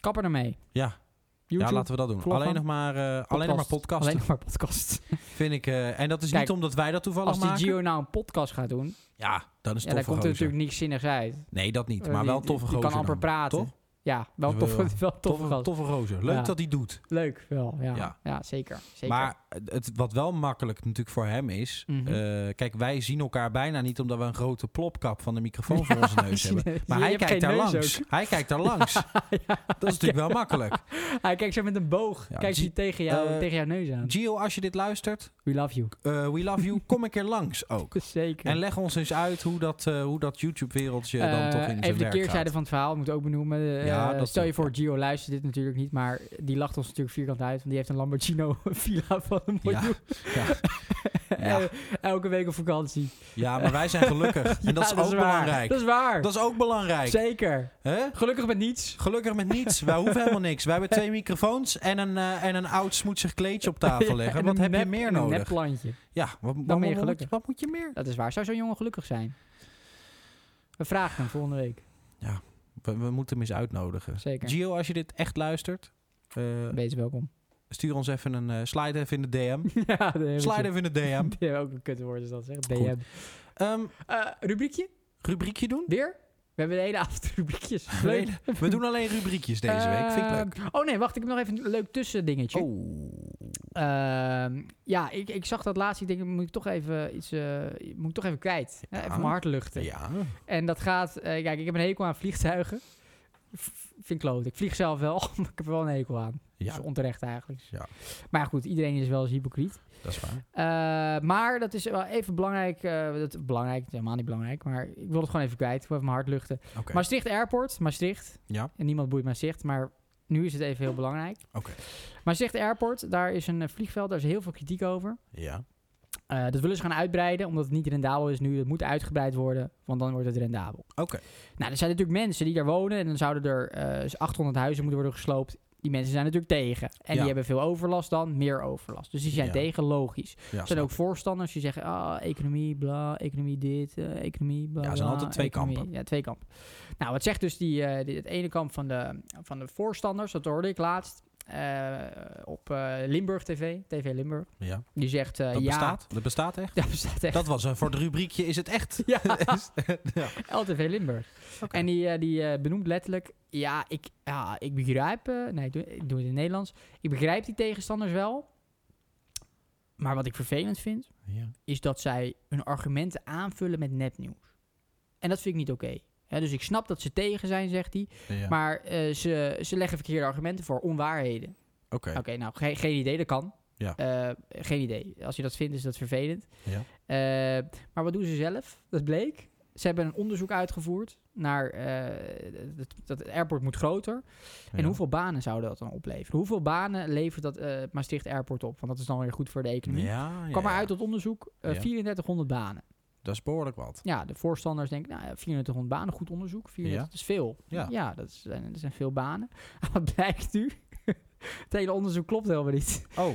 Speaker 2: Kapper ermee.
Speaker 1: ja.
Speaker 2: YouTube.
Speaker 1: ja, laten we dat doen.
Speaker 2: vloggen.
Speaker 1: Alleen nog maar, eh, alleen nog maar podcasten.
Speaker 2: Alleen nog maar podcast.
Speaker 1: Vind ik, eh, en dat is
Speaker 2: Kijk,
Speaker 1: niet omdat wij dat toevallig
Speaker 2: Als die
Speaker 1: maken.
Speaker 2: Gio nou een podcast gaat doen,
Speaker 1: Ja, dan is
Speaker 2: ja,
Speaker 1: het
Speaker 2: dan
Speaker 1: toffe
Speaker 2: komt er
Speaker 1: gozer.
Speaker 2: natuurlijk niks zinnigs uit.
Speaker 1: Nee, dat niet.
Speaker 2: Eh,
Speaker 1: Maar
Speaker 2: die-
Speaker 1: wel een
Speaker 2: die-
Speaker 1: toffe
Speaker 2: die
Speaker 1: gozer.
Speaker 2: kan amper
Speaker 1: dan.
Speaker 2: praten.
Speaker 1: toch?
Speaker 2: Ja, wel een
Speaker 1: Dus
Speaker 2: toffe,
Speaker 1: wel-
Speaker 2: wel een toffe
Speaker 1: Toffe,
Speaker 2: gast.
Speaker 1: toffe gozer. Leuk
Speaker 2: Ja.
Speaker 1: dat hij doet.
Speaker 2: Leuk wel, ja. Ja,
Speaker 1: Ja.
Speaker 2: zeker. zeker.
Speaker 1: Maar het, wat wel makkelijk natuurlijk voor hem is...
Speaker 2: Mhm.
Speaker 1: eh, kijk, wij zien elkaar bijna niet omdat we een grote plopkap van de microfoon voor onze neus hebben. Maar
Speaker 2: Je
Speaker 1: hij
Speaker 2: hebt
Speaker 1: kijkt
Speaker 2: geen
Speaker 1: daar
Speaker 2: neus
Speaker 1: langs.
Speaker 2: ook.
Speaker 1: Hij kijkt daar langs. Dat is natuurlijk wel makkelijk.
Speaker 2: Hij kijkt zo met een boog.
Speaker 1: Ja,
Speaker 2: kijkt
Speaker 1: G-
Speaker 2: hij tegen, jou,
Speaker 1: eh,
Speaker 2: tegen jouw neus aan.
Speaker 1: Gio, als je dit luistert,
Speaker 2: We love you.
Speaker 1: eh, we love you. Kom een keer langs ook.
Speaker 2: Zeker.
Speaker 1: En leg ons eens uit hoe dat, eh, hoe dat YouTube-wereldje dan
Speaker 2: Eh,
Speaker 1: toch in zijn werk
Speaker 2: even de
Speaker 1: gaat.
Speaker 2: keerzijde van het verhaal, moet ik ook benoemen. Eh,
Speaker 1: Ja, dat
Speaker 2: stel je
Speaker 1: ook,
Speaker 2: voor,
Speaker 1: ja.
Speaker 2: Gio luistert dit natuurlijk niet, maar die lacht ons natuurlijk vierkant uit, want die heeft een Lamborghini villa van een
Speaker 1: Ja,
Speaker 2: miljoen.
Speaker 1: ja. Ja.
Speaker 2: Eh, Elke week op vakantie.
Speaker 1: Ja, maar wij zijn gelukkig. En dat is
Speaker 2: Ja,
Speaker 1: ook
Speaker 2: waar.
Speaker 1: belangrijk.
Speaker 2: Dat is waar.
Speaker 1: Dat is ook belangrijk.
Speaker 2: Zeker.
Speaker 1: hè?
Speaker 2: Gelukkig met niets.
Speaker 1: Gelukkig met niets. Wij hoeven helemaal niks. Wij hebben twee microfoons en een, eh, en een oud smoetsig kleedje op tafel
Speaker 2: Ja,
Speaker 1: leggen.
Speaker 2: en
Speaker 1: Wat
Speaker 2: een
Speaker 1: heb je
Speaker 2: nep-
Speaker 1: meer
Speaker 2: en Een
Speaker 1: nodig?
Speaker 2: nepplantje.
Speaker 1: Ja, wat, wat,
Speaker 2: ben je
Speaker 1: moet-
Speaker 2: gelukkig.
Speaker 1: wat moet je meer?
Speaker 2: Dat is waar. Zou zo'n jongen gelukkig zijn? We vragen hem volgende week.
Speaker 1: We, we moeten hem eens uitnodigen.
Speaker 2: Zeker.
Speaker 1: Gio, als je dit echt luistert, eh,
Speaker 2: Wees welkom.
Speaker 1: stuur ons even een eh slide even in de DM.
Speaker 2: ja, dat hebben
Speaker 1: Slide
Speaker 2: ze.
Speaker 1: even in de DM.
Speaker 2: Die hebben ook een kutwoord, is dat zeg.
Speaker 1: Goed.
Speaker 2: DM.
Speaker 1: Ehm,
Speaker 2: Eh, rubriekje?
Speaker 1: rubriekje doen?
Speaker 2: Weer? We hebben de hele avond rubriekjes. Leuk.
Speaker 1: Alleen- We doen alleen rubriekjes deze week. Vind ik leuk.
Speaker 2: Eh, Oh nee, wacht. Ik heb nog even een leuk tussendingetje.
Speaker 1: Oh.
Speaker 2: Ehm, ja, ik, ik zag dat laatst. Ik denk, moet ik toch even iets... eh, moet ik toch even kwijt. Eh,
Speaker 1: Ja.
Speaker 2: Even mijn hart luchten.
Speaker 1: Ja.
Speaker 2: En dat gaat... eh, kijk, ik heb een hekel aan vliegtuigen. V- vind ik kloot. Ik vlieg zelf wel, maar ik heb er wel een hekel aan.
Speaker 1: ja,
Speaker 2: Dat is onterecht eigenlijk.
Speaker 1: Ja.
Speaker 2: Maar goed, iedereen is wel eens hypocriet.
Speaker 1: dat is waar.
Speaker 2: Eh, maar dat is wel even belangrijk. eh, dat, belangrijk, helemaal niet belangrijk. Maar ik wil het gewoon even kwijt. Ik wil even mijn hart luchten.
Speaker 1: Oké.
Speaker 2: Maastricht Airport, Maastricht.
Speaker 1: Ja.
Speaker 2: En niemand boeit Maastricht, maar nu is het even heel belangrijk.
Speaker 1: Oké.
Speaker 2: Maastricht Airport, daar is een eh, vliegveld, daar is heel veel kritiek over.
Speaker 1: Ja.
Speaker 2: Eh, dat willen ze gaan uitbreiden, omdat het niet rendabel is nu. Het moet uitgebreid worden, want dan wordt het rendabel.
Speaker 1: Oké.
Speaker 2: Nou, er zijn natuurlijk mensen die daar wonen en dan zouden er eh 800 huizen moeten worden gesloopt. Die mensen zijn natuurlijk tegen.
Speaker 1: Ja.
Speaker 2: En die hebben veel overlast dan, meer overlast. Dus die zijn
Speaker 1: Ja.
Speaker 2: tegen, logisch.
Speaker 1: Ja,
Speaker 2: Er zijn
Speaker 1: snap
Speaker 2: ook voorstanders die zeggen, ah, economie, bla, economie dit, eh, economie, bla.
Speaker 1: Ja, er zijn
Speaker 2: bla,
Speaker 1: altijd twee
Speaker 2: economie.
Speaker 1: kampen.
Speaker 2: Ja, twee kampen. Nou, wat zegt dus die, eh, die- het ene kamp van de, van de voorstanders, dat hoorde ik laatst, eh, op eh, Limburg TV, TV Limburg.
Speaker 1: ik. Ja.
Speaker 2: Die zegt, eh,
Speaker 1: Dat
Speaker 2: ja,
Speaker 1: bestaat? Dat bestaat echt?
Speaker 2: dat bestaat echt.
Speaker 1: Dat was een, voor het rubriekje is het echt.
Speaker 2: Ja,
Speaker 1: ja.
Speaker 2: LTV Limburg.
Speaker 1: Oké.
Speaker 2: En die, eh, die eh, benoemt letterlijk, ja, ik, ja, ik begrijp, eh, nee, ik doe, ik doe het in het Nederlands, ik begrijp die tegenstanders wel, maar wat ik vervelend vind, is dat zij hun argumenten aanvullen met nepnieuws. En dat vind ik niet oké. Hè, dus ik snap dat ze tegen zijn, zegt hij.
Speaker 1: Ja.
Speaker 2: Maar eh, ze, ze leggen verkeerde argumenten voor, onwaarheden. Oké,
Speaker 1: Oké.
Speaker 2: nou, geen- geen idee, dat kan.
Speaker 1: Ja.
Speaker 2: Eh, geen idee. Als je dat vindt, is dat vervelend.
Speaker 1: Ja.
Speaker 2: Eh, maar wat doen ze zelf? Dat bleek. Ze hebben een onderzoek uitgevoerd naar eh, dat, dat het airport moet groter. En
Speaker 1: Ja.
Speaker 2: hoeveel banen zouden dat dan opleveren? Hoeveel banen levert dat eh, Maastricht Airport op? Want dat is dan weer goed voor de economie.
Speaker 1: Ja, ja,
Speaker 2: Hmm? kwam
Speaker 1: ja.
Speaker 2: eruit tot onderzoek eh,
Speaker 1: Ja.
Speaker 2: 3400 banen.
Speaker 1: Dat is behoorlijk wat.
Speaker 2: Ja, de voorstanders denken, nou, ja, 2400 banen, goed onderzoek. 400 is veel.
Speaker 1: Ja.
Speaker 2: dat, is, eh, dat zijn veel banen. Wat blijkt nu? het hele onderzoek klopt helemaal niet.
Speaker 1: Oh,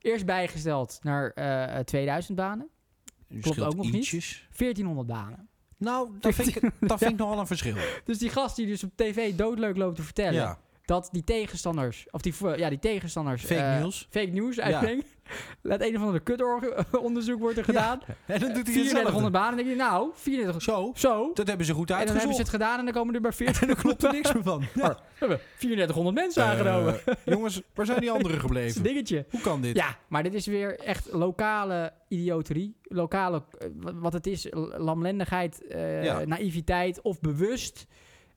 Speaker 2: Eerst bijgesteld naar eh, 2000 banen,
Speaker 1: klopt
Speaker 2: ook nog niet.
Speaker 1: ietsjes.
Speaker 2: 1400 banen.
Speaker 1: Nou, dat vind ik, dat vind ik nogal een verschil.
Speaker 2: Dus die gast die dus op tv doodleuk loopt te
Speaker 1: Ja,
Speaker 2: vertellen dat die tegenstanders, of die, vo- ja, die tegenstanders...
Speaker 1: fake
Speaker 2: eh,
Speaker 1: news.
Speaker 2: Fake news,
Speaker 1: Ja.
Speaker 2: uitbrengt. Dat een of andere kutonderzoek wordt er gedaan.
Speaker 1: En dan doet hij hetzelfde.
Speaker 2: 3400 banen. Dan denk je, nou, 3400...
Speaker 1: Zo,
Speaker 2: Zo.
Speaker 1: dat hebben ze goed
Speaker 2: En dan
Speaker 1: uitgezocht.
Speaker 2: hebben ze Oh, het gedaan en dan komen er maar 14.
Speaker 1: en er klopt er niks meer van. Ja.
Speaker 2: Maar we hebben 3400 mensen aangenomen.
Speaker 1: Eh, jongens, waar zijn die anderen
Speaker 2: Dat is
Speaker 1: gebleven?
Speaker 2: een dingetje.
Speaker 1: Hoe kan dit?
Speaker 2: Ja, maar dit is weer echt lokale idioterie. Lokale, eh, wa- wat het is, l- lamlendigheid, eh,
Speaker 1: Ja.
Speaker 2: naïviteit of bewust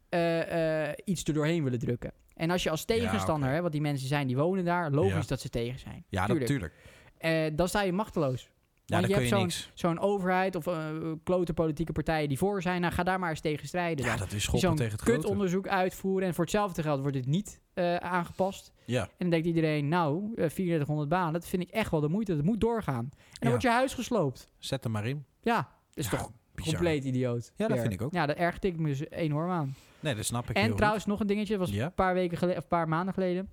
Speaker 2: eh, eh, iets er doorheen willen drukken. En als je als tegenstander,
Speaker 1: oké.
Speaker 2: hè, want die mensen zijn die wonen daar, logisch
Speaker 1: Ja.
Speaker 2: dat ze tegen zijn.
Speaker 1: Ja,
Speaker 2: tuurlijk.
Speaker 1: natuurlijk.
Speaker 2: Eh, dan sta je machteloos.
Speaker 1: Ja,
Speaker 2: Want
Speaker 1: dan
Speaker 2: je
Speaker 1: kun
Speaker 2: hebt
Speaker 1: je
Speaker 2: zo'n-
Speaker 1: niks.
Speaker 2: Zo'n overheid of eh klote politieke partijen die voor zijn, nou ga daar maar eens tegen strijden.
Speaker 1: Ja,
Speaker 2: dan.
Speaker 1: dat is
Speaker 2: Die
Speaker 1: schoppen
Speaker 2: zo'n
Speaker 1: tegen het grote.
Speaker 2: kutonderzoek uitvoeren en voor hetzelfde geld wordt dit niet eh, aangepast.
Speaker 1: Ja,
Speaker 2: En dan denkt iedereen, nou, eh, 3400 banen, dat vind ik echt wel de moeite. Dat moet doorgaan. En dan
Speaker 1: Ja.
Speaker 2: wordt je huis gesloopt.
Speaker 1: zet hem maar in.
Speaker 2: Ja, dat is
Speaker 1: Ja,
Speaker 2: toch
Speaker 1: Bizar.
Speaker 2: compleet idioot.
Speaker 1: Ja, dat
Speaker 2: Weer.
Speaker 1: vind ik ook.
Speaker 2: Ja, daar ergde ik me dus enorm aan.
Speaker 1: Nee, dat snap ik heel
Speaker 2: en
Speaker 1: goed.
Speaker 2: trouwens, nog een dingetje. Dat was
Speaker 1: Ja.
Speaker 2: een paar weken geleden, of een paar maanden geleden.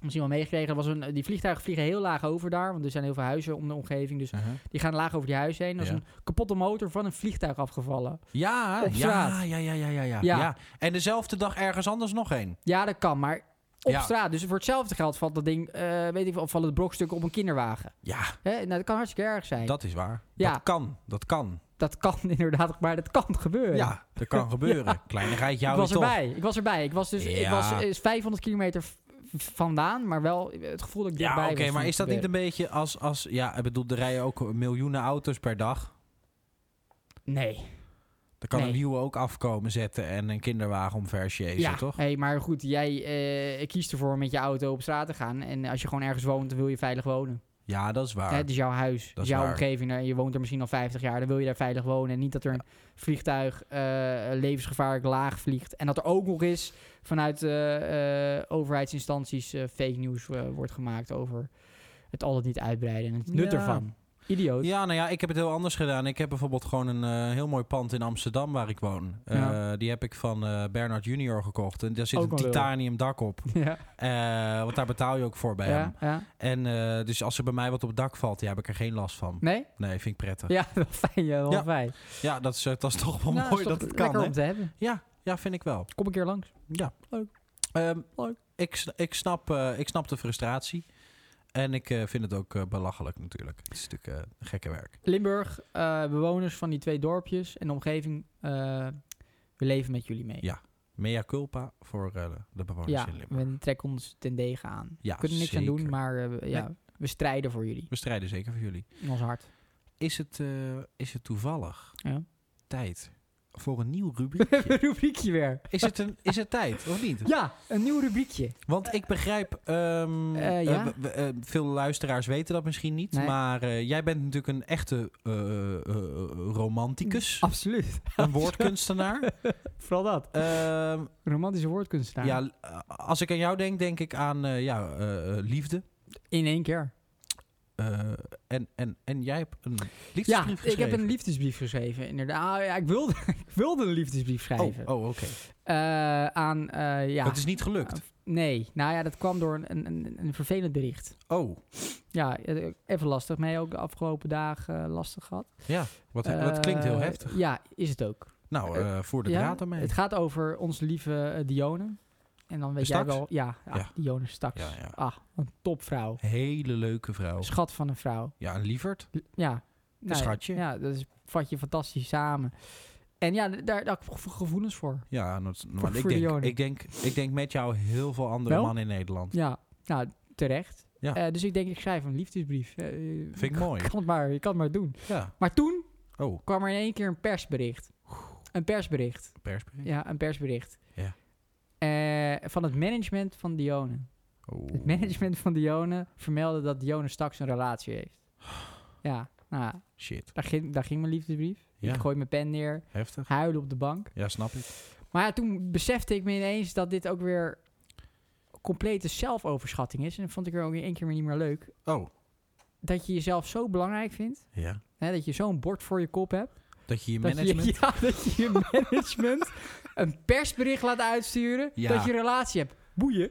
Speaker 2: Misschien wel meegekregen. Dat Was een, die vliegtuigen vliegen heel laag over daar. Want er zijn heel veel huizen om de omgeving. Dus
Speaker 1: Uh-huh.
Speaker 2: die gaan laag over die huizen heen. Er is
Speaker 1: Ja.
Speaker 2: een kapotte motor van een vliegtuig afgevallen.
Speaker 1: Ja,
Speaker 2: Op
Speaker 1: ja,
Speaker 2: straat.
Speaker 1: ja, ja, ja, ja, ja,
Speaker 2: Ja.
Speaker 1: ja. En dezelfde dag ergens anders nog één.
Speaker 2: Ja, dat kan. Maar op
Speaker 1: Ja.
Speaker 2: straat. Dus voor hetzelfde geld valt dat ding, eh, weet ik wel, vallen het brokstukken op een kinderwagen.
Speaker 1: Ja,
Speaker 2: Hè? Nou, dat kan hartstikke erg zijn. Dat,
Speaker 1: dat is waar.
Speaker 2: Ja.
Speaker 1: Dat kan, dat kan.
Speaker 2: kan inderdaad, maar dat kan gebeuren.
Speaker 1: Ja, dat kan gebeuren. Kleinigheid
Speaker 2: ik
Speaker 1: jou
Speaker 2: was
Speaker 1: is toch.
Speaker 2: erbij. Ik was erbij. Ik was dus ik
Speaker 1: Ja.
Speaker 2: was, eh, 500 kilometer v- vandaan, maar wel het gevoel dat ik
Speaker 1: Ja,
Speaker 2: dichtbij
Speaker 1: oké,
Speaker 2: was. toen
Speaker 1: maar
Speaker 2: het
Speaker 1: is dat niet
Speaker 2: gebeurde.
Speaker 1: een beetje als, als... Ja, ik bedoel, er rijden ook miljoenen auto's per dag.
Speaker 2: Nee.
Speaker 1: Dan kan
Speaker 2: Nee.
Speaker 1: een nieuwe ook afkomen zetten en een kinderwagen omver sjezen,
Speaker 2: ja,
Speaker 1: toch?
Speaker 2: Hey, maar goed, jij eh, kiest ervoor om met je auto op straat te gaan. En als je gewoon ergens woont, dan wil je veilig wonen.
Speaker 1: Ja, dat is waar.
Speaker 2: Hè, het is jouw huis, het
Speaker 1: Dat
Speaker 2: is
Speaker 1: is
Speaker 2: jouw
Speaker 1: waar.
Speaker 2: omgeving. En je woont er misschien al 50 jaar, dan wil je daar veilig wonen. En niet dat er een vliegtuig eh, levensgevaarlijk laag vliegt. En dat er ook nog eens vanuit eh, eh, overheidsinstanties eh, fake nieuws eh, wordt gemaakt over het altijd niet uitbreiden en het nut
Speaker 1: Ja.
Speaker 2: ervan. Idioot.
Speaker 1: Ja, nou ja, ik heb het heel anders gedaan. Ik heb bijvoorbeeld gewoon een eh, heel mooi pand in Amsterdam waar ik woon. Eh,
Speaker 2: Ja.
Speaker 1: Die heb ik van eh Bernard Junior gekocht. En daar zit
Speaker 2: Ook
Speaker 1: een
Speaker 2: wel leuk.
Speaker 1: titanium dak op.
Speaker 2: Ja,
Speaker 1: Eh, want daar betaal je ook voor bij
Speaker 2: ja,
Speaker 1: hem.
Speaker 2: ja.
Speaker 1: En eh, dus als er bij mij wat op het dak valt, ja, heb ik er geen last van.
Speaker 2: Nee?
Speaker 1: Nee, vind ik prettig. Ja,
Speaker 2: Ja, wel fijn. Ja, wel
Speaker 1: Ja.
Speaker 2: fijn.
Speaker 1: dat, is, eh, dat is toch wel
Speaker 2: Nou,
Speaker 1: mooi
Speaker 2: is toch
Speaker 1: dat het kan.
Speaker 2: lekker
Speaker 1: hè?
Speaker 2: om te hebben.
Speaker 1: Ja, ja, vind ik wel.
Speaker 2: Kom een keer langs.
Speaker 1: Ja.
Speaker 2: Leuk.
Speaker 1: Ehm,
Speaker 2: Leuk.
Speaker 1: Ik, s- ik, snap, eh, ik snap de frustratie. En ik eh, vind het ook eh, belachelijk natuurlijk. Het is natuurlijk eh, gekke werk.
Speaker 2: Limburg, eh, bewoners van die twee dorpjes en de omgeving, eh, we leven met jullie mee.
Speaker 1: Ja, Mea culpa voor eh, de bewoners
Speaker 2: Ja,
Speaker 1: in Limburg.
Speaker 2: we trekken ons ten degen aan.
Speaker 1: Ja,
Speaker 2: we kunnen niks aan doen,
Speaker 1: zeker.
Speaker 2: maar eh, we- ja, we strijden voor jullie
Speaker 1: We strijden zeker voor jullie.
Speaker 2: in ons hart.
Speaker 1: Is het, eh, is het toevallig
Speaker 2: Ja.
Speaker 1: tijd voor een nieuw rubriekje?
Speaker 2: rubriekje weer.
Speaker 1: is, het een, is het tijd of niet?
Speaker 2: Ja, een nieuw rubriekje.
Speaker 1: Want ik begrijp, ehm,
Speaker 2: Eh,
Speaker 1: eh,
Speaker 2: ja.
Speaker 1: we- we- eh, veel luisteraars weten dat misschien niet.
Speaker 2: Nee.
Speaker 1: Maar eh, jij bent natuurlijk een echte eh, eh, eh, romanticus.
Speaker 2: Absoluut.
Speaker 1: Een woordkunstenaar.
Speaker 2: Vooral dat.
Speaker 1: Ehm,
Speaker 2: Romantische woordkunstenaar.
Speaker 1: ja, eh, als ik aan jou denk, denk ik aan eh, ja, eh, eh, liefde.
Speaker 2: In één keer.
Speaker 1: Eh, en, en, en jij hebt een liefdesbrief
Speaker 2: Ja, ik
Speaker 1: geschreven.
Speaker 2: heb een liefdesbrief geschreven, inderdaad. Ah, Ja, ik, wilde, ik wilde een liefdesbrief schrijven.
Speaker 1: Oh, oh oké.
Speaker 2: Eh, aan, eh, ja...
Speaker 1: Het is niet gelukt.
Speaker 2: Nee, nou ja, dat kwam door een, een, een, een vervelend bericht.
Speaker 1: Oh,
Speaker 2: Ja, eh, even lastig mee. Ook de afgelopen dagen eh, lastig gehad.
Speaker 1: ja. Wat, wat klinkt heel
Speaker 2: Eh,
Speaker 1: heftig.
Speaker 2: Ja, is het ook.
Speaker 1: Nou,
Speaker 2: eh,
Speaker 1: eh, voer de
Speaker 2: ja,
Speaker 1: draad ermee.
Speaker 2: Het gaat over onze lieve eh, Dione. En dan weet
Speaker 1: De
Speaker 2: jij
Speaker 1: Staks?
Speaker 2: wel... Ja, ah,
Speaker 1: Ja.
Speaker 2: Dione Staks.
Speaker 1: Ja, ja.
Speaker 2: Ah, een topvrouw.
Speaker 1: Hele leuke vrouw.
Speaker 2: Schat van een vrouw.
Speaker 1: Ja, een lieverd.
Speaker 2: L- Ja. Nou ja,
Speaker 1: schatje.
Speaker 2: Ja, dat is, vat je fantastisch samen. En ja, d- daar, daar heb ik gevo- gevoelens voor.
Speaker 1: Ja, en dat- maar ik
Speaker 2: voor de
Speaker 1: denk,
Speaker 2: Joden.
Speaker 1: ik, denk, ik denk met jou heel veel andere
Speaker 2: Wel?
Speaker 1: mannen in Nederland.
Speaker 2: Ja, nou, terecht.
Speaker 1: Ja.
Speaker 2: Eh, dus ik denk, ik schrijf een liefdesbrief. Eh,
Speaker 1: Vind ik mooi.
Speaker 2: Kan het maar, je kan het maar doen.
Speaker 1: Ja.
Speaker 2: Maar toen
Speaker 1: Oh,
Speaker 2: kwam er in één keer een persbericht. Een persbericht.
Speaker 1: persbericht.
Speaker 2: Ja, een persbericht.
Speaker 1: Ja.
Speaker 2: Eh, van het management van Dione.
Speaker 1: Oh.
Speaker 2: Het management van Dione vermeldde dat Dione straks een relatie heeft. Ja, nou, ja,
Speaker 1: Shit.
Speaker 2: daar ging, daar ging mijn liefdesbrief.
Speaker 1: Ja,
Speaker 2: Ik gooi mijn pen neer,
Speaker 1: heftig.
Speaker 2: huilen op de bank.
Speaker 1: Ja, snap ik.
Speaker 2: Maar ja, toen besefte ik me ineens dat dit ook weer complete zelfoverschatting is. En dat vond ik er ook in één keer weer niet meer leuk.
Speaker 1: Oh,
Speaker 2: Dat je jezelf zo belangrijk vindt,
Speaker 1: ja.
Speaker 2: hè, dat je zo'n bord voor je kop hebt.
Speaker 1: Dat je je
Speaker 2: Dat
Speaker 1: management...
Speaker 2: Je, ja, dat je je management een persbericht laat uitsturen
Speaker 1: Ja.
Speaker 2: dat je een relatie hebt. Boeien.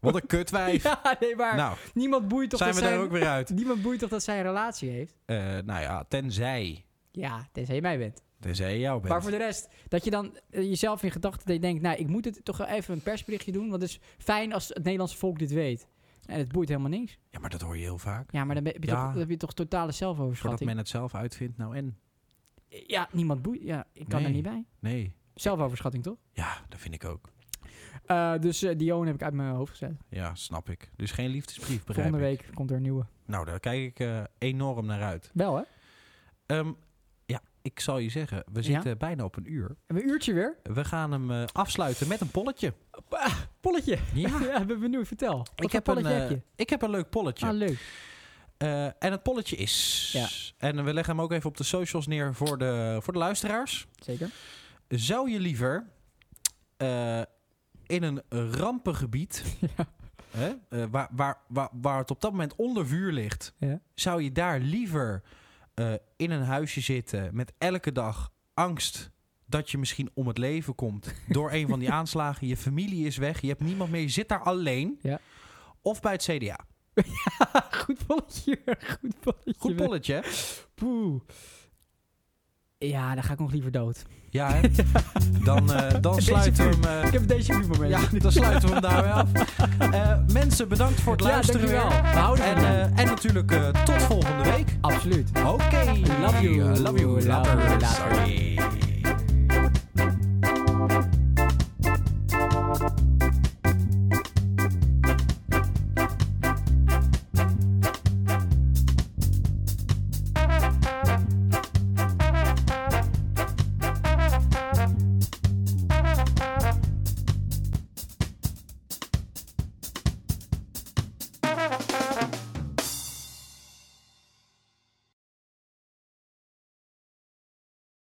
Speaker 1: Wat een kutwijf.
Speaker 2: Ja, nee, maar
Speaker 1: Nou,
Speaker 2: niemand boeit toch
Speaker 1: zijn we
Speaker 2: dat
Speaker 1: daar
Speaker 2: zij-
Speaker 1: ook weer uit.
Speaker 2: Niemand boeit toch dat zij een relatie heeft?
Speaker 1: Eh, nou ja, tenzij.
Speaker 2: Ja, tenzij je mij bent.
Speaker 1: Tenzij je jou bent.
Speaker 2: Maar voor de rest, dat je dan eh, jezelf in gedachten dat je denkt... nou, ik moet het toch wel even een persberichtje doen... want het is fijn als het Nederlandse volk dit weet. En het boeit helemaal niks.
Speaker 1: Ja, maar dat hoor je heel vaak.
Speaker 2: Ja, maar dan ben- heb je,
Speaker 1: Ja.
Speaker 2: toch, dan heb je toch totale
Speaker 1: Voordat
Speaker 2: zelfoverschatting.
Speaker 1: men het zelf uitvindt, nou en?
Speaker 2: Ja, niemand boeit. Ja, ik kan er
Speaker 1: Nee.
Speaker 2: niet bij.
Speaker 1: Nee.
Speaker 2: Zelfoverschatting, toch?
Speaker 1: Ja, dat vind ik ook.
Speaker 2: Eh, dus eh, Dion heb ik uit mijn hoofd gezet.
Speaker 1: Ja, snap ik. Dus geen liefdesbrief, begrijp
Speaker 2: Volgende
Speaker 1: ik.
Speaker 2: week komt er een nieuwe.
Speaker 1: Nou, daar kijk ik eh, enorm naar uit.
Speaker 2: Wel, hè?
Speaker 1: Ehm, ja, ik zal je zeggen, we
Speaker 2: Ja?
Speaker 1: zitten bijna op een uur.
Speaker 2: Hebben we een uurtje weer?
Speaker 1: We gaan hem eh, afsluiten met een polletje.
Speaker 2: Polletje.
Speaker 1: Ja.
Speaker 2: Ja, ben benieuwd. Vertel. Wat
Speaker 1: Ik
Speaker 2: voor
Speaker 1: heb, een,
Speaker 2: polletje heb
Speaker 1: eh, ik heb een leuk
Speaker 2: je?
Speaker 1: polletje.
Speaker 2: Ah, leuk.
Speaker 1: Eh, en het polletje is...
Speaker 2: Ja.
Speaker 1: En we leggen hem ook even op de socials neer voor de, voor de luisteraars.
Speaker 2: Zeker.
Speaker 1: Zou je liever eh, in een rampengebied, hè, eh, waar, waar, waar, waar het op dat moment onder vuur ligt,
Speaker 2: Ja.
Speaker 1: zou je daar liever eh, in een huisje zitten met elke dag angst dat je misschien om het leven komt door een van die aanslagen, je familie is weg, je hebt niemand meer, je zit daar alleen?
Speaker 2: Ja.
Speaker 1: Of bij het CDA.
Speaker 2: Goed polletje. Goed polletje.
Speaker 1: Goed polletje. hè?
Speaker 2: Poeh. Ja, dan ga ik nog liever dood.
Speaker 1: Ja, hè? Dan, eh, dan
Speaker 2: Deze
Speaker 1: sluiten we hem... eh,
Speaker 2: Ik heb deze vu moment.
Speaker 1: ja, dan sluiten we hem daarmee af. Eh, mensen, bedankt voor het luisteren.
Speaker 2: dankjewel.
Speaker 1: weer.
Speaker 2: We houden
Speaker 1: En,
Speaker 2: van
Speaker 1: eh,
Speaker 2: je.
Speaker 1: en natuurlijk eh, tot volgende week.
Speaker 2: Absoluut.
Speaker 1: Oké.
Speaker 2: Love
Speaker 1: Love
Speaker 2: you.
Speaker 1: you.
Speaker 2: Love you.
Speaker 1: Later.
Speaker 2: Later.
Speaker 1: Sorry.